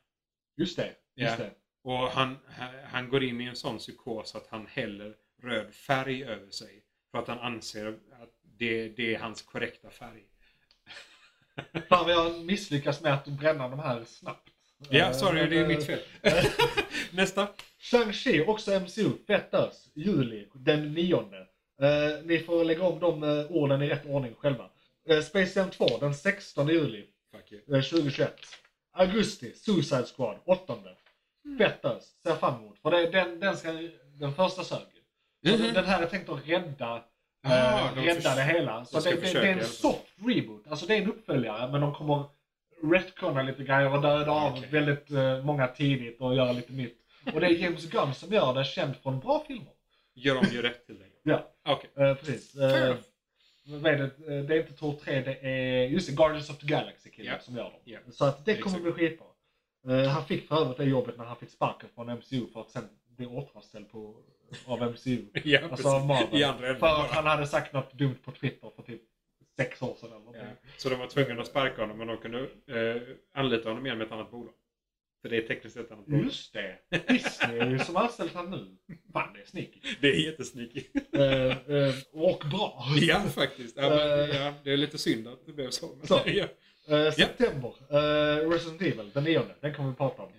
S3: Just det. Just
S4: Ja.
S3: det.
S4: Och han, han- han går in i en sån psykos att han häller röd färg över sig. För att han anser att det, det är hans korrekta färg.
S3: Fan vad jag misslyckas med att bränna de här snabbt.
S4: Ja,
S3: Eh,
S4: sorry,
S3: men,
S4: det är
S3: eh,
S4: mitt fel. Nästa.
S3: Shang-Chi, också MCU, fett ös. Juli, den nionde. Eh, ni får lägga om de eh, orden i rätt ordning själva. Eh, Space Jam 2 den 16 juli
S4: Fuck you.
S3: eh, 2021. Augusti, Suicide Squad, 8. Betters, ser jag fram emot. För det, den, den, ska, den första sög ju. Så
S4: Mhm.
S3: den- Den här är tänkt att rädda
S4: Ah,
S3: eh,
S4: de
S3: rädda
S4: förs-
S3: det hela. Så
S4: de ska
S3: det, det,
S4: försöka
S3: det
S4: i
S3: är
S4: alla
S3: en
S4: fall.
S3: soft reboot. Alltså det är en uppföljare men de kommer retconna lite grejer och döda av
S4: Ah, Okej.
S3: väldigt eh, många tidigt och göra lite nytt. Och det är James Gunn som gör det, känd från bra filmer.
S4: Gör de ju rätt till dig.
S3: Ja.
S4: Okej.
S3: Eh, precis.
S4: Fair
S3: Eh,
S4: enough.
S3: vad är det? Eh, det är inte Tor 3, det är just det, Guardians of the Galaxy killen
S4: Ja.
S3: som gör dem.
S4: Ja.
S3: Så att det
S4: Exakt.
S3: kommer bli skitbra. Eh, han fick för övrigt det jobbet när han fick sparken från MCU för att sen bli återanställd på, av MCU.
S4: Ja,
S3: Alltså av
S4: precis. I
S3: Marvel.
S4: andra änden
S3: För att
S4: bara.
S3: han hade sagt något dumt på Twitter för typ sex år sedan eller
S4: Ja.
S3: någonting.
S4: Så de var tvungna att sparka honom men de kunde eh, anlita honom igen med ett annat bolag. För det är tekniskt sett ett annat bolag.
S3: Just det! Disney är ju som anställt han nu. Fan, det är sneaky.
S4: Det är jättesneaky.
S3: Eh, eh, och bra!
S4: ja, faktiskt. Ja, men,
S3: Eh.
S4: ja, det är lite synd att det blev så. Men,
S3: Så.
S4: Ja.
S3: Eh, september. Eh, Resident Evil, den nionde. Den kommer vi prata om.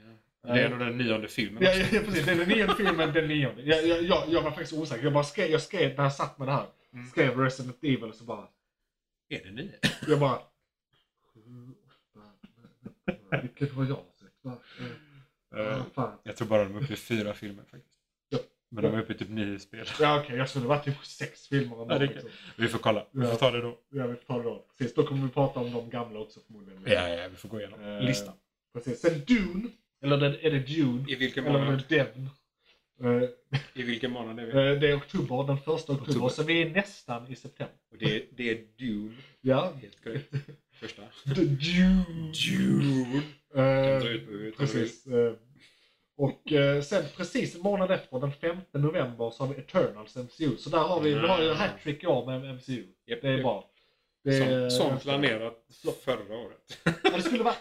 S4: Det är nog den nionde filmen.
S3: Ja,
S4: också.
S3: ja, ja, precis. Det är den nionde filmen, den nionde. Jag, jag, jag, jag var faktiskt osäker. Jag bara skrev, jag skrev när jag satt med det här,
S4: Mm.
S3: skrev Resident Evil och så bara...
S4: Är det nio?
S3: Jag bara... Sju, åtta, nio, Vilket har jag sett? Va? Eh,
S4: Eh,
S3: ah, fan.
S4: Jag tror bara de är uppe i fyra filmer faktiskt.
S3: Ja.
S4: Men de är uppe i typ nio spel.
S3: Ja okej, jag skulle varit typ sex filmer ändå.
S4: Ja, det kan-
S3: liksom.
S4: Vi får kolla. Vi får
S3: Ja.
S4: ta det då.
S3: Jag vill ta det då. Precis, då kommer vi prata om de gamla också förmodligen.
S4: Ja, ja, vi får gå igenom
S3: Eh,
S4: listan.
S3: Precis. Sen Dune. Eller den, är det Dune?
S4: I vilken
S3: Eller är
S4: månad?
S3: det Devn? Eh,
S4: I vilken månad är vi?
S3: eh, det är oktober, den första oktober.
S4: Oktober.
S3: Så vi är nästan i september.
S4: Och det, är- det är Dune.
S3: Ja.
S4: Helt korrekt. Första.
S3: The Dune.
S4: Dune!
S3: Eh,
S4: dra ut på huvudet om du
S3: precis. Eh, och eh, sen precis en månad efter, den 5 november, så har vi Eternals MCU. Så där har vi, vi har ju
S4: Mm.
S3: hattrick i år med MCU.
S4: Japp,
S3: Det är
S4: japp.
S3: bra. Det är-
S4: Som, som planerat förra året.
S3: Ja, det skulle vara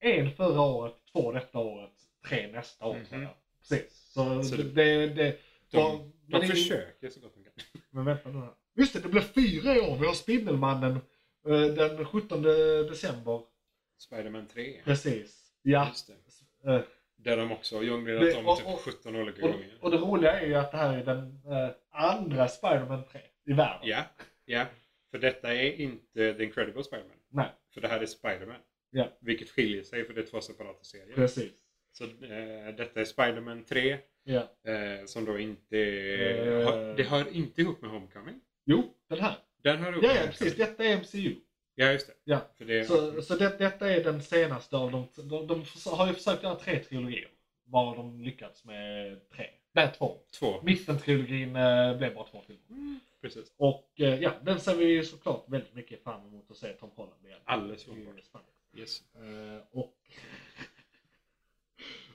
S3: en förra året, två detta året, tre nästa år.
S4: Mhm.
S3: tror jag. Precis. Så,
S4: Så
S3: det...
S4: det-
S3: det, det var-
S4: De,
S3: men
S4: de
S3: ingen-
S4: försöker så gott de kan.
S3: Men vänta nu här. Just det, det blev fyra i år. Vi har Spindelmannen eh, den 17 december.
S4: Spider-Man 3.
S3: Precis. Ja.
S4: Just det.
S3: eh,
S4: Där de också har
S3: Det-
S4: jonglerat om
S3: och-
S4: typ
S3: och-
S4: 17 olika
S3: Och,
S4: gånger.
S3: och det roliga är ju att det här är den eh, andra Spiderman 3 i världen.
S4: Ja, ja. För detta är inte The Incredible Spider-Man.
S3: Nej,
S4: För det här är Spider-Man.
S3: Ja.
S4: Vilket skiljer sig för det är två separata serier.
S3: precis.
S4: Så eh, detta är Spider-Man 3.
S3: Ja.
S4: Eh, som då inte...
S3: Eh.
S4: har- det hör inte ihop med Homecoming.
S3: Jo, den här.
S4: Den hör ihop
S3: Ja,
S4: med
S3: ja,
S4: Homecoming.
S3: precis. Detta är MCU.
S4: Ja, just det.
S3: Ja.
S4: För det
S3: Så, så det, detta är den senaste av de, de, de förs- har ju försökt göra tre trilogier. Bara de lyckats med tre. Nej, två.
S4: Två.
S3: Mitten-trilogin eh, blev bara två filmer.
S4: Precis.
S3: Och eh, ja, den ser vi ju såklart väldigt mycket fram emot att se Tom Holland igen.
S4: Alldeles
S3: Det är ju
S4: uppenbart.
S3: spännande.
S4: Yes.
S3: Eh, och...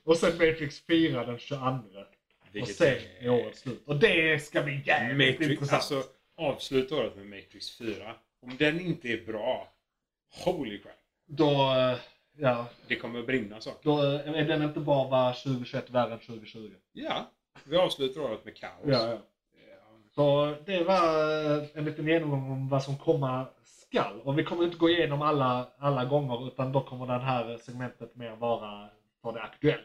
S3: och sen Matrix 4 den 22. Och
S4: Vilket
S3: sen
S4: är-
S3: är året slut. Och det ska bli jävligt
S4: Matrix,
S3: intressant.
S4: alltså avsluta året med Matrix 4. Om den inte är bra, holy crap.
S3: Då, eh, ja,
S4: Det kommer att brinna saker.
S3: då eh, är den inte bara va, 2021 värre än 2020.
S4: Ja, vi avslutar året med kaos.
S3: Ja, ja. Så det var eh, en liten genomgång om vad som komma skall. Och vi kommer inte gå igenom alla, alla gånger utan då kommer det här segmentet mer vara för det aktuella.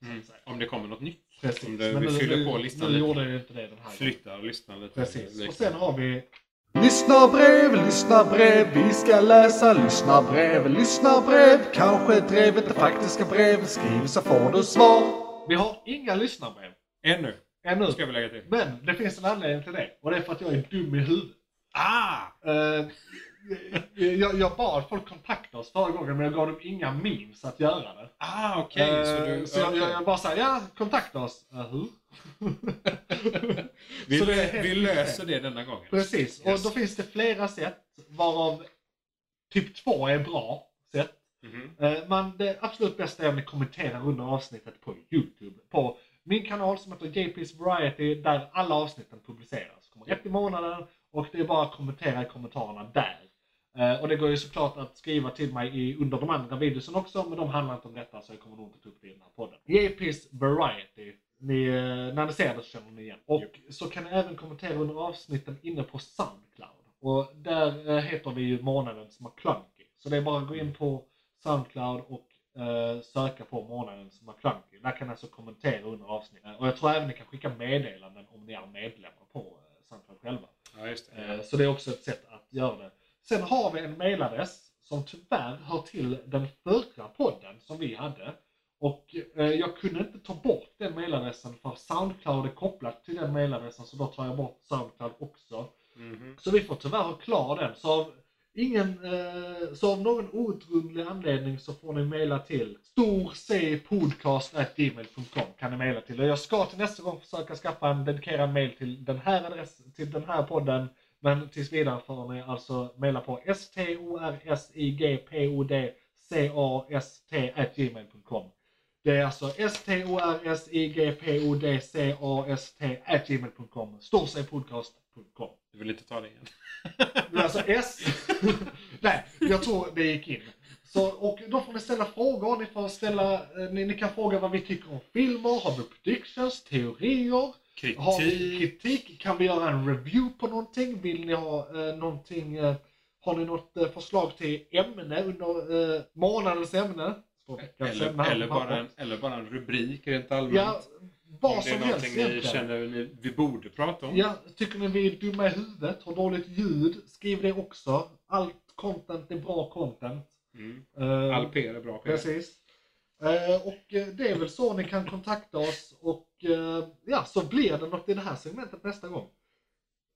S3: så att
S4: Mm.
S3: säga.
S4: Om det kommer något nytt.
S3: Precis.
S4: om det- vi fyller på listan
S3: nu
S4: lite.
S3: gjorde ju inte det den här gången.
S4: Flyttar lyssnar lite. Liksom.
S3: Precis.
S4: Lite.
S3: Och sen har vi
S6: Lyssna brev, lyssna brev, vi ska läsa lyssna brev, lyssna brev. Kanske drevet det faktiska brevet, skriv så får du svar.
S3: Vi har inga lyssnarbrev
S4: Ännu,
S3: ännu.
S4: ska vi lägga till.
S3: Men det finns en anledning till det. Och det är för att jag är dum i huvudet.
S4: Ah!
S3: Eh, jag, jag bad folk kontakta oss förra gången men jag gav dem inga memes att göra det.
S4: Ah, okej. så
S3: Eh,
S4: du...
S3: så jag,
S4: okej.
S3: jag, jag bara säger ja, kontakta oss. Eh, hur?
S4: vi,
S3: så det är
S4: lö-
S3: helt
S4: vi löser det denna gången. Yes.
S3: Precis, och då finns det flera sätt varav typ två är bra sätt.
S4: Mhm.
S3: Eh, Men det absolut bästa är om ni kommenterar under avsnittet på Youtube. På min kanal som heter JP's Variety där alla avsnitten publiceras. Kommer ett i månaden och det är bara att kommentera i kommentarerna där. Eh, Och det går ju såklart att skriva till mig i, under de andra videosen också men de handlar inte om detta så jag kommer nog inte ta upp det i den här podden. JP's Variety. Ni, eh, när ni ser det så känner ni igen. Och så kan ni även kommentera under avsnitten inne på Soundcloud. Och där eh, heter vi ju månadens McClunky. Så det är bara att gå in på Soundcloud och eh, söka på månadens McClunky. Där kan ni alltså kommentera under avsnittet. Och jag tror även ni kan skicka meddelanden om ni är medlemmar på eh, samtal själva.
S4: Ja, just det.
S3: Eh, Så det är också ett sätt att göra det. Sen har vi en mailadress som tyvärr hör till den förra podden som vi hade. Och eh, jag kunde inte ta bort den mailadressen för Soundcloud är kopplat till den mailadressen så då tar jag bort Soundcloud också.
S4: Mhm.
S3: Så vi får tyvärr ha kvar den. Så av, ingen, eh, så av någon outgrundlig anledning så får ni mejla till storcpodcast.gmail.com kan ni mejla till. Och jag ska till nästa gång försöka skaffa en dedikerad mejl till den här adressen, till den här podden. Men tills vidare får ni alltså mejla på storsigpodcast.gmail.com det är alltså storsigpodcast.gmail.com storsigpodcast.com
S4: Du vill inte ta det igen?
S3: men alltså S. Nej, jag tror det gick in. Så, och då får ni ställa frågor. Ni, får ställa, eh, ni, ni kan fråga vad vi tycker om filmer. Har vi predictions? Teorier? Har vi
S4: Kritik?
S3: kritik? Kan vi göra en review på någonting? Vill ni ha eh, någonting? Eh, har ni något eh, förslag till ämne under eh, månadens ämne? Så veckans
S4: Eller,
S3: ämne här på
S4: eller, bara en,
S3: pappret.
S4: eller bara en rubrik rent allmänt?
S3: Ja,
S4: Om
S3: vad
S4: det är
S3: som helst
S4: någonting ni
S3: egentligen.
S4: känner ni, vi borde prata om?
S3: Ja, tycker ni vi är dumma i huvudet, har dåligt ljud, skriv det också. Allt content är bra content.
S4: Mm.
S3: Eh,
S4: All PR är bra PR.
S3: Precis. Eh, och eh, det är väl så ni kan kontakta oss och eh, ja, så blir det något i det här segmentet nästa gång.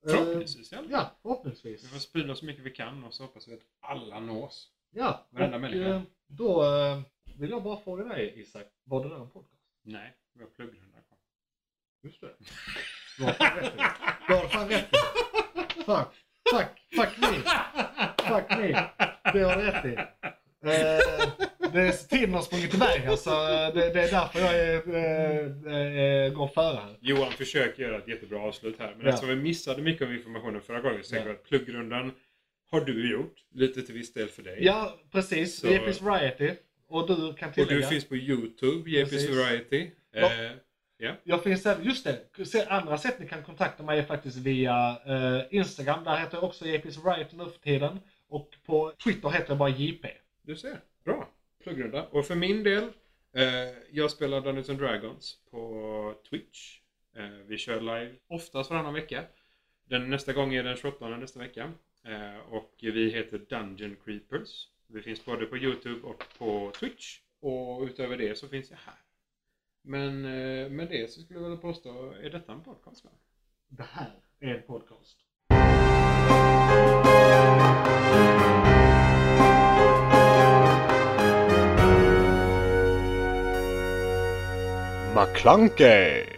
S3: Eh,
S4: Förhoppningsvis i alla fall.
S3: Ja,
S4: Vi får
S3: förhoppningsvis.
S4: sprida så mycket vi kan och så hoppas vi att alla nås.
S3: Ja,
S4: varenda
S3: och,
S4: människa.
S3: eh, Då eh, vill jag bara fråga dig Isak, var det där en podcast?
S4: Nej, vi har pluggrunda kvar.
S3: Just det. Du har fan rätt i det. Du har fan rätt i det. Fuck, fuck, fuck me. Fuck me. Det har du rätt i. Eh, det är tiden har sprungit iväg här så eh, det, det är därför jag är, eh, eh, går före här.
S4: Johan försöker göra ett jättebra avslut här. Men
S3: Ja.
S4: eftersom vi missade mycket av informationen förra gången så tänker jag att pluggrundan har du gjort. Lite till viss del för dig.
S3: Ja, precis.
S4: Så-
S3: JP's Variety. Och du kan
S4: och
S3: tillägga.
S4: du finns på Youtube, JP's
S3: Precis.
S4: Variety.
S3: Ja.
S4: Eh,
S3: Jag finns även, just det. Se- Andra sätt ni kan kontakta mig är faktiskt via eh, Instagram. Där heter jag också JP's Variety nu för tiden. Och på Twitter heter jag bara JP.
S4: Du ser, bra. Pluggrunda. Och för min del, eh, jag spelar Dungeons and Dragons på Twitch. Eh, vi kör live oftast varannan vecka. Den, nästa gång är den 28 nästa vecka. Eh, och vi heter Dungeon Creepers. Vi finns både på Youtube och på Twitch. Och utöver det så finns jag här. Men eh, med det så skulle jag vilja påstå, är detta en podcast? Va?
S3: Det här är en podcast.
S7: McClunkey!